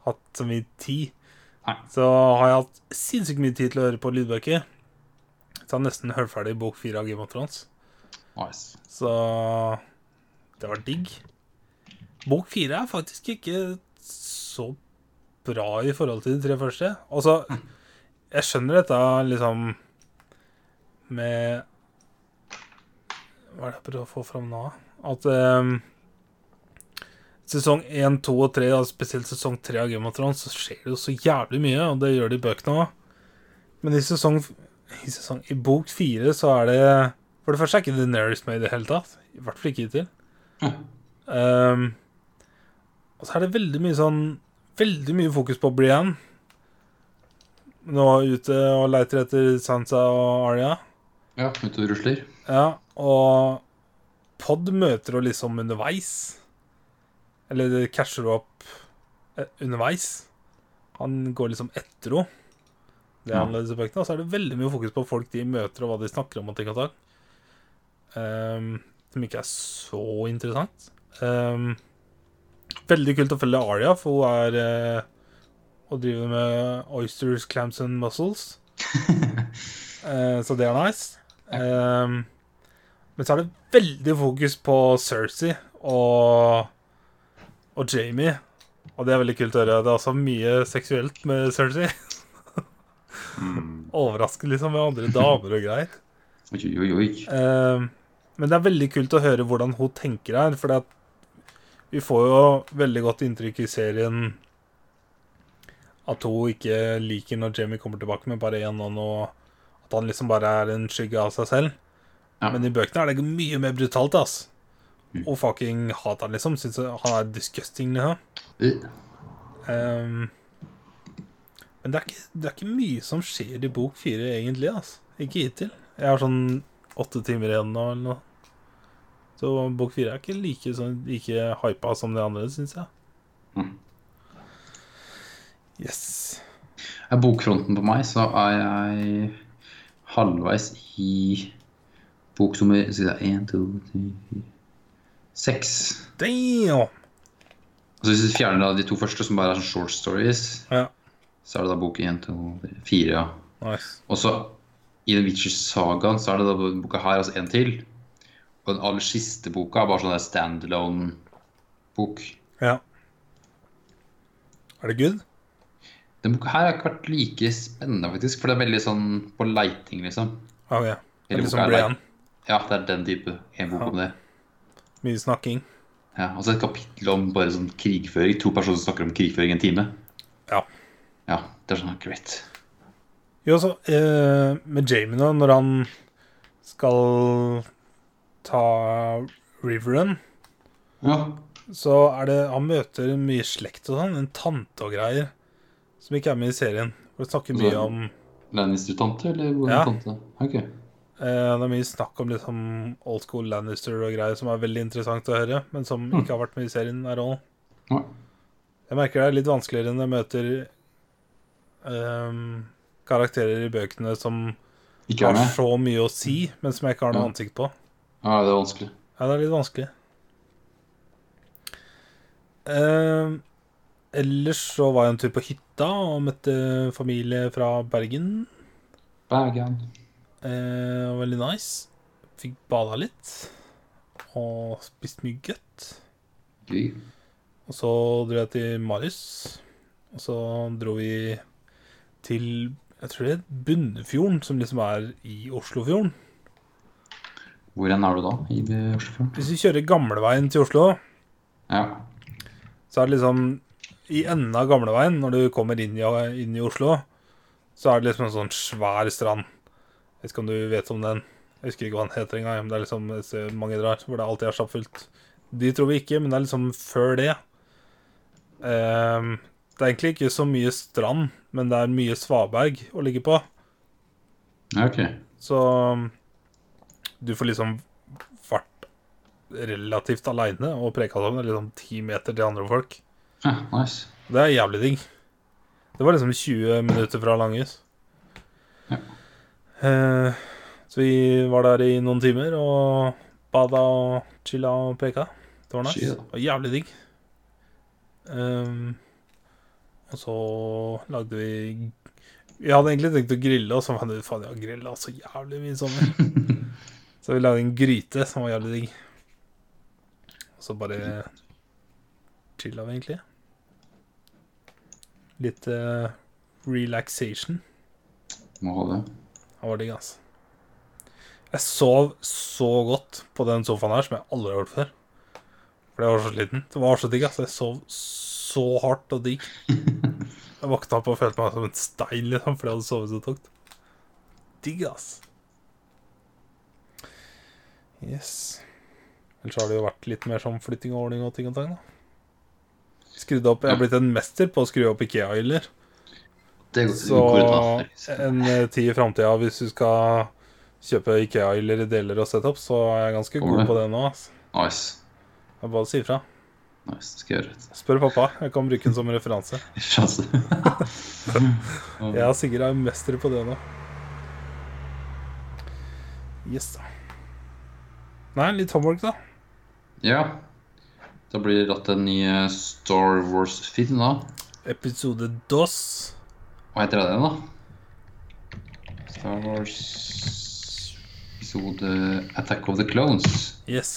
S1: hatt så mye tid.
S2: Nei.
S1: Så har jeg hatt sinnssykt mye tid til å høre på lydbøker. Så jeg har nesten hørt ferdig bok fire av Game of Thrones.
S2: Ja, nice.
S1: Så det var digg. Bok fire er faktisk ikke så bra i forhold til de tre første. Altså, jeg skjønner dette liksom med Hva er det jeg prøver å få fram nå? At eh, ehm, sesong 1, 2 og 3, da, spesielt sesong 3 av Game of Thrones, så skjer det jo så jævlig mye, og det gjør det i bøkene òg. Men i sesong, i sesong I bok 4 så er det For det første er ikke Daenerys med i det hele tatt. I hvert fall ikke hittil. Ehm, og så er det veldig mye sånn Veldig mye fokus på Brienne. Nå er hun ute og leiter etter Sansa og Arya.
S2: Ja, ute og rusler.
S1: Ja, og Pod møter hun liksom underveis. Eller det catcher hun opp eh, underveis. Han går liksom etter henne. Det er
S2: Ja.
S1: annerledes i bøkene. Og så er det veldig mye fokus på folk de møter, og hva de snakker om. og ting og tang. Ehm, som ikke er så interessant. Ehm, veldig kult å følge Aria, for hun er eh, og driver med oysters, clams and mussels. Eh, så det er nice. Ehm, men så er det veldig fokus på Cersei og, og Jamie. Og det er veldig kult å høre. Det er også mye seksuelt med Cersei. Overraskende liksom med andre damer og greier.
S2: Oi, oi, oi.
S1: Ehm, men det er veldig kult å høre hvordan hun tenker her, for vi får jo veldig godt inntrykk i serien at hun ikke liker når Jamie kommer tilbake med bare én hånd, og at han liksom bare er en skygge av seg selv.
S2: Ja.
S1: Men i bøkene er det mye mer brutalt, ass.
S2: Mm.
S1: Og fucking hater han, liksom. Syns han er disgusting, liksom.
S2: Eh,
S1: Ehm, men det er, ikke, det er ikke mye som skjer i bok fire, egentlig. Altså. Ikke hittil. Jeg har sånn åtte timer igjen nå, eller noe. Så bok fire er ikke like, sånn, like hypa som det andre, syns jeg.
S2: Mm.
S1: Yes.
S2: Er bokfronten på meg, så er jeg halvveis i bok nummer Skal vi se Én, to, tre, fire Seks.
S1: Damn!
S2: Altså hvis du fjerner da de to første, som bare er sånn short stories,
S1: Ja.
S2: så er det da bok én, to, tre, fire. ja.
S1: Nice.
S2: Og så i The Witcher-sagaen så er det da denne boka her, altså en til. Og den aller siste boka er bare sånn der standalone-bok.
S1: Ja. Er det good?
S2: Den boka her har ikke vært like spennende, faktisk, for det er veldig sånn på leiting, liksom.
S1: Ah, Ok. Det er liksom litt
S2: Hele boka
S1: som
S2: er
S1: Brian.
S2: Ja, det er den type. En bok
S1: Ja.
S2: om det.
S1: Mye snakking.
S2: Ja, Og så et kapittel om bare sånn krigføring. To personer som snakker om krigføring i en time.
S1: Ja.
S2: Ja, det er sånn great.
S1: Jo, så eh, med Jamie da, når han skal ta Riveren,
S2: Ja.
S1: så er det Han møter mye slekt og sånn, en tante og greier, som ikke er med i serien. For det snakker mye om
S2: Lannister-tante, eller hvor
S1: Ja.
S2: er tante? Ok.
S1: eh, Det er mye snakk om liksom old school Lannister og greier, som er veldig interessant å høre, men som ikke har vært med i serien at all.
S2: Ja.
S1: Jeg merker det er litt vanskeligere når jeg møter ehm, karakterer i bøkene som
S2: Ikke
S1: har
S2: er med?
S1: så mye å si, men som jeg ikke har noe
S2: Ja.
S1: ansikt på.
S2: Ja, det er vanskelig.
S1: Ja, det er litt vanskelig. Eh, ellers så var jeg en tur på hytta og møtte familie fra Bergen.
S2: Bagan.
S1: Eh, det var veldig nice. Fikk bada litt. Og spist mye godt.
S2: Gøy.
S1: Og så dro jeg til Marius. Og så dro vi til jeg tror det er Bunnefjorden, som liksom er i Oslofjorden.
S2: Hvor enn er du da? I det Oslofjorden?
S1: Hvis vi kjører gamleveien til Oslo,
S2: Ja.
S1: så er det liksom I enden av gamleveien, når du kommer inn i, inn i Oslo, så er det liksom en sånn svær strand. Jeg vet ikke om du vet om den. Jeg husker ikke hva den heter engang. Men det er liksom et sted mange drar, hvor det alltid er stappfullt. De tror vi ikke, men det er liksom før det. Ehm, det er egentlig ikke så mye strand, men det er mye svaberg å ligge på.
S2: ja ok.
S1: Så du får liksom vært relativt aleine og preka sammen. Det er liksom ti meter til andre folk.
S2: Ja, nice.
S1: Det er jævlig digg. Det var liksom 20 minutter fra Langhus.
S2: Ja.
S1: Eh, så vi var der i noen timer og bada og chilla og preka. Det var nice.
S2: Chill.
S1: Det var jævlig digg. Ehm, og så lagde vi Vi hadde egentlig tenkt å grille, og så fant vi ut faen, jeg har grilla så jævlig mye i sommer. så vi lagde en gryte som var jævlig digg. Og så bare chilla vi, egentlig. Litt eh, relaxation.
S2: Må ha det.
S1: Det var digg, altså. Jeg sov så godt på den sofaen her som jeg aldri har gjort før. For jeg var så sliten. Det var så digg. Altså. Jeg sov så hardt og digg. Jeg våkna opp og følte meg som en stein, liksom, fordi jeg hadde sovet så tungt. Digg, ass. Yes. Ellers har det jo vært litt mer sånn flytting og ordning og ting og tang, da. Skrudd opp Jeg har blitt en mester på å skru opp Ikea-hyller.
S2: Det går,
S1: Så
S2: går utenfor, liksom.
S1: en eh, tid i framtida, hvis du skal kjøpe Ikea-hyller i deler og setup, så er jeg ganske god
S2: Kommer.
S1: på det nå. ass.
S2: Nice.
S1: Det er bare å si ifra.
S2: nice. Det skal jeg gjøre. det.
S1: Spør pappa. Jeg kan bruke den som referanse.
S2: Sjanse.
S1: Jeg og Sigurd er mestere på det nå. Yes, da. Nei, litt homework, da.
S2: ja. Da blir det rett en ny eh, Star Wars-film, da.
S1: Episode DOS.
S2: Hva heter den, da? Star Wars episode Attack of the Clones.
S1: Yes.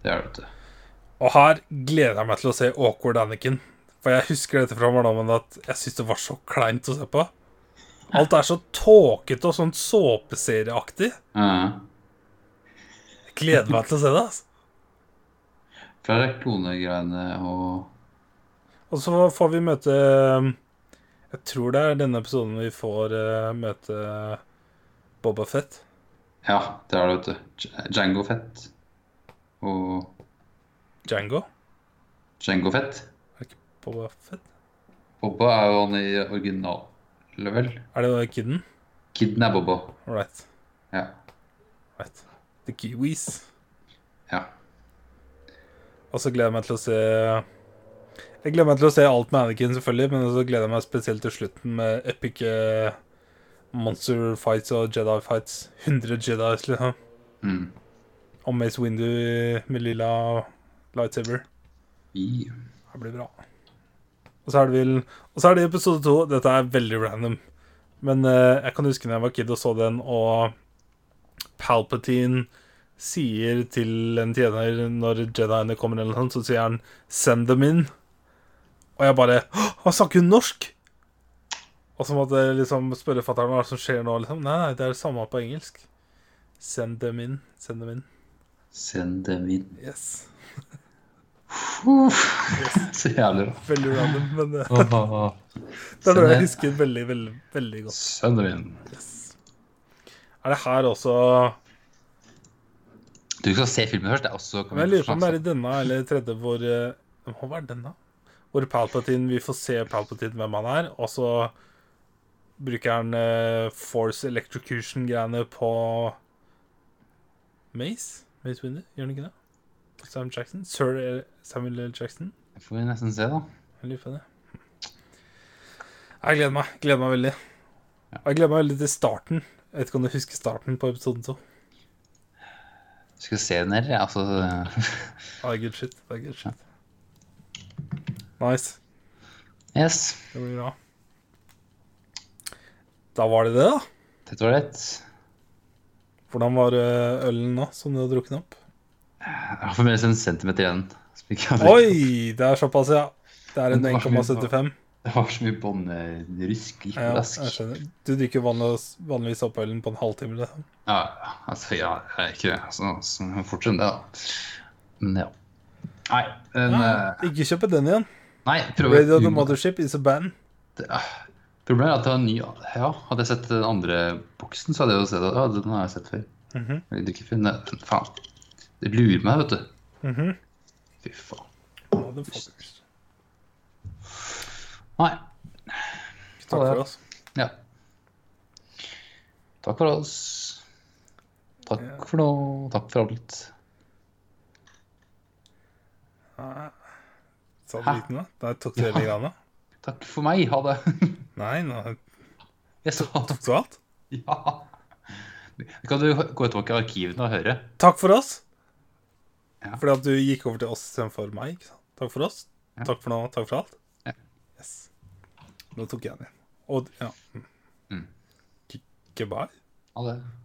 S2: Det er det, vet du.
S1: Og her gleder jeg meg til å se Awkward Anniken. For jeg husker dette fra barndommen at jeg syntes det var så kleint å se på. Alt er så tåkete og sånn såpeserieaktig.
S2: Ja.
S1: Jeg gleder meg til å se det. altså. ass.
S2: Fra de klonegreiene og
S1: Og så får vi møte um, Jeg tror det er denne episoden vi får eh, møte Boba Fett.
S2: Ja, det er det, vet du. Django Fett. Og
S1: Django.
S2: Django Fett.
S1: Er det ikke Boba Fett?
S2: Bobba er jo han i originalen, vel?
S1: Er det kidden?
S2: Kidden er Bobba.
S1: Alright.
S2: Ja.
S1: Right. The Kiwis.
S2: ja.
S1: Og så gleder jeg meg til å se Jeg gleder meg til å se alt med Anakin, selvfølgelig, men så gleder jeg meg spesielt til slutten med epic eh, monster fights og Jedi fights. 100 Jedis, liksom.
S2: Mm.
S1: Og Mace Windu med lilla lightsaber.
S2: I.
S1: Det blir bra. Og så er det vel Og så er det episode to. Dette er veldig random. Men eh, jeg kan huske når jeg var kid og så den, og Palpatine sier til en tjener når Jediene kommer, eller noe sånt, så sier han 'send them in'. Og jeg bare «Hå, Han snakker jo norsk! Og så måtte jeg liksom spørre fatter'n hva er det som skjer nå. liksom Nei, nei, det er det samme på engelsk. Send them in. Send them in.
S2: Send dem inn.
S1: Yes.
S2: Uff. Så jævlig bra.
S1: Veldig random, men eh,
S2: Åh.
S1: det er
S2: Send
S1: noe jeg
S2: det-
S1: husker veldig, veldig, veldig godt.
S2: Send dem inn.
S1: Er det her også
S2: Du skal se filmen først. Det er også
S1: Men Jeg lurer på om det er i denne eller tredje hvor eh, Det må være denne. Hvor Palpatine Vi får se Palpatine hvem han er, og så bruker han eh, Force Electrocution-greiene på Mace? Mace Windu, gjør han ikke det? Sam Jackson? Sir eh, Samuel L. Jackson?
S2: Det får vi nesten se, da.
S1: Jeg lurer på det. Jeg gleder meg. Gleder meg veldig. Og jeg gleder meg veldig til starten. Jeg vet ikke om du husker starten på episoden to.
S2: Skal vi se den her? Altså
S1: Ja, det er good shit. Det er good shit. Nice.
S2: Yes.
S1: Det blir bra. Da var det det, da.
S2: Dette var det.
S1: Hvordan var eh, ølen nå, som du har drukket opp?
S2: Jeg har fremdeles en centimeter igjen. som ikke har-
S1: Oi! Det er såpass, ja. Det er en
S2: Det var så mye
S1: 1,75.
S2: Det var så mye båndrysk i
S1: Ja,
S2: flask.
S1: jeg skjønner. Du drikker vanligvis, vanligvis opp ølen på en halvtime. liksom. Det.
S2: Ja, ja, altså, ja, jeg er ikke det. Altså, altså, fortsett det, da. Men ja. Nei, men, eh,
S1: Ikke kjøpe den igjen.
S2: nei prøv å
S1: Radio The
S2: unngå-
S1: Mothership is a band.
S2: det, eh, Problemet er at det var en ny Ja, hadde jeg sett den andre boksen, så hadde jeg jo sett at ja, den har jeg sett før.
S1: Mhm.
S2: Jeg drikker ikke den. men Faen. Det lurer meg, vet du.
S1: Mhm.
S2: Fy faen.
S1: Motherfuckers.
S2: Nei.
S1: Takk for oss.
S2: Ja. Takk for oss.
S1: Ja.
S2: Takk for nå. Takk for alt.
S1: Nei. Sa du
S2: Hæ?
S1: liten, da? Der tok du hele greiene?
S2: Takk for meg. Ha det.
S1: Nei, nå
S2: Jeg sa
S1: tok du alt.
S2: ja. Kan du gå tilbake i arkivene og høre?
S1: Takk for oss.
S2: Ja.
S1: Fordi at du gikk over til oss istedenfor meg. ikke sant? Takk for oss.
S2: Ja.
S1: Takk for nå. Takk for alt.
S2: Ja.
S1: Yes. Nå tok jeg den igjen. Og ja.
S2: Mm.
S1: Goodbye.
S2: Ha det.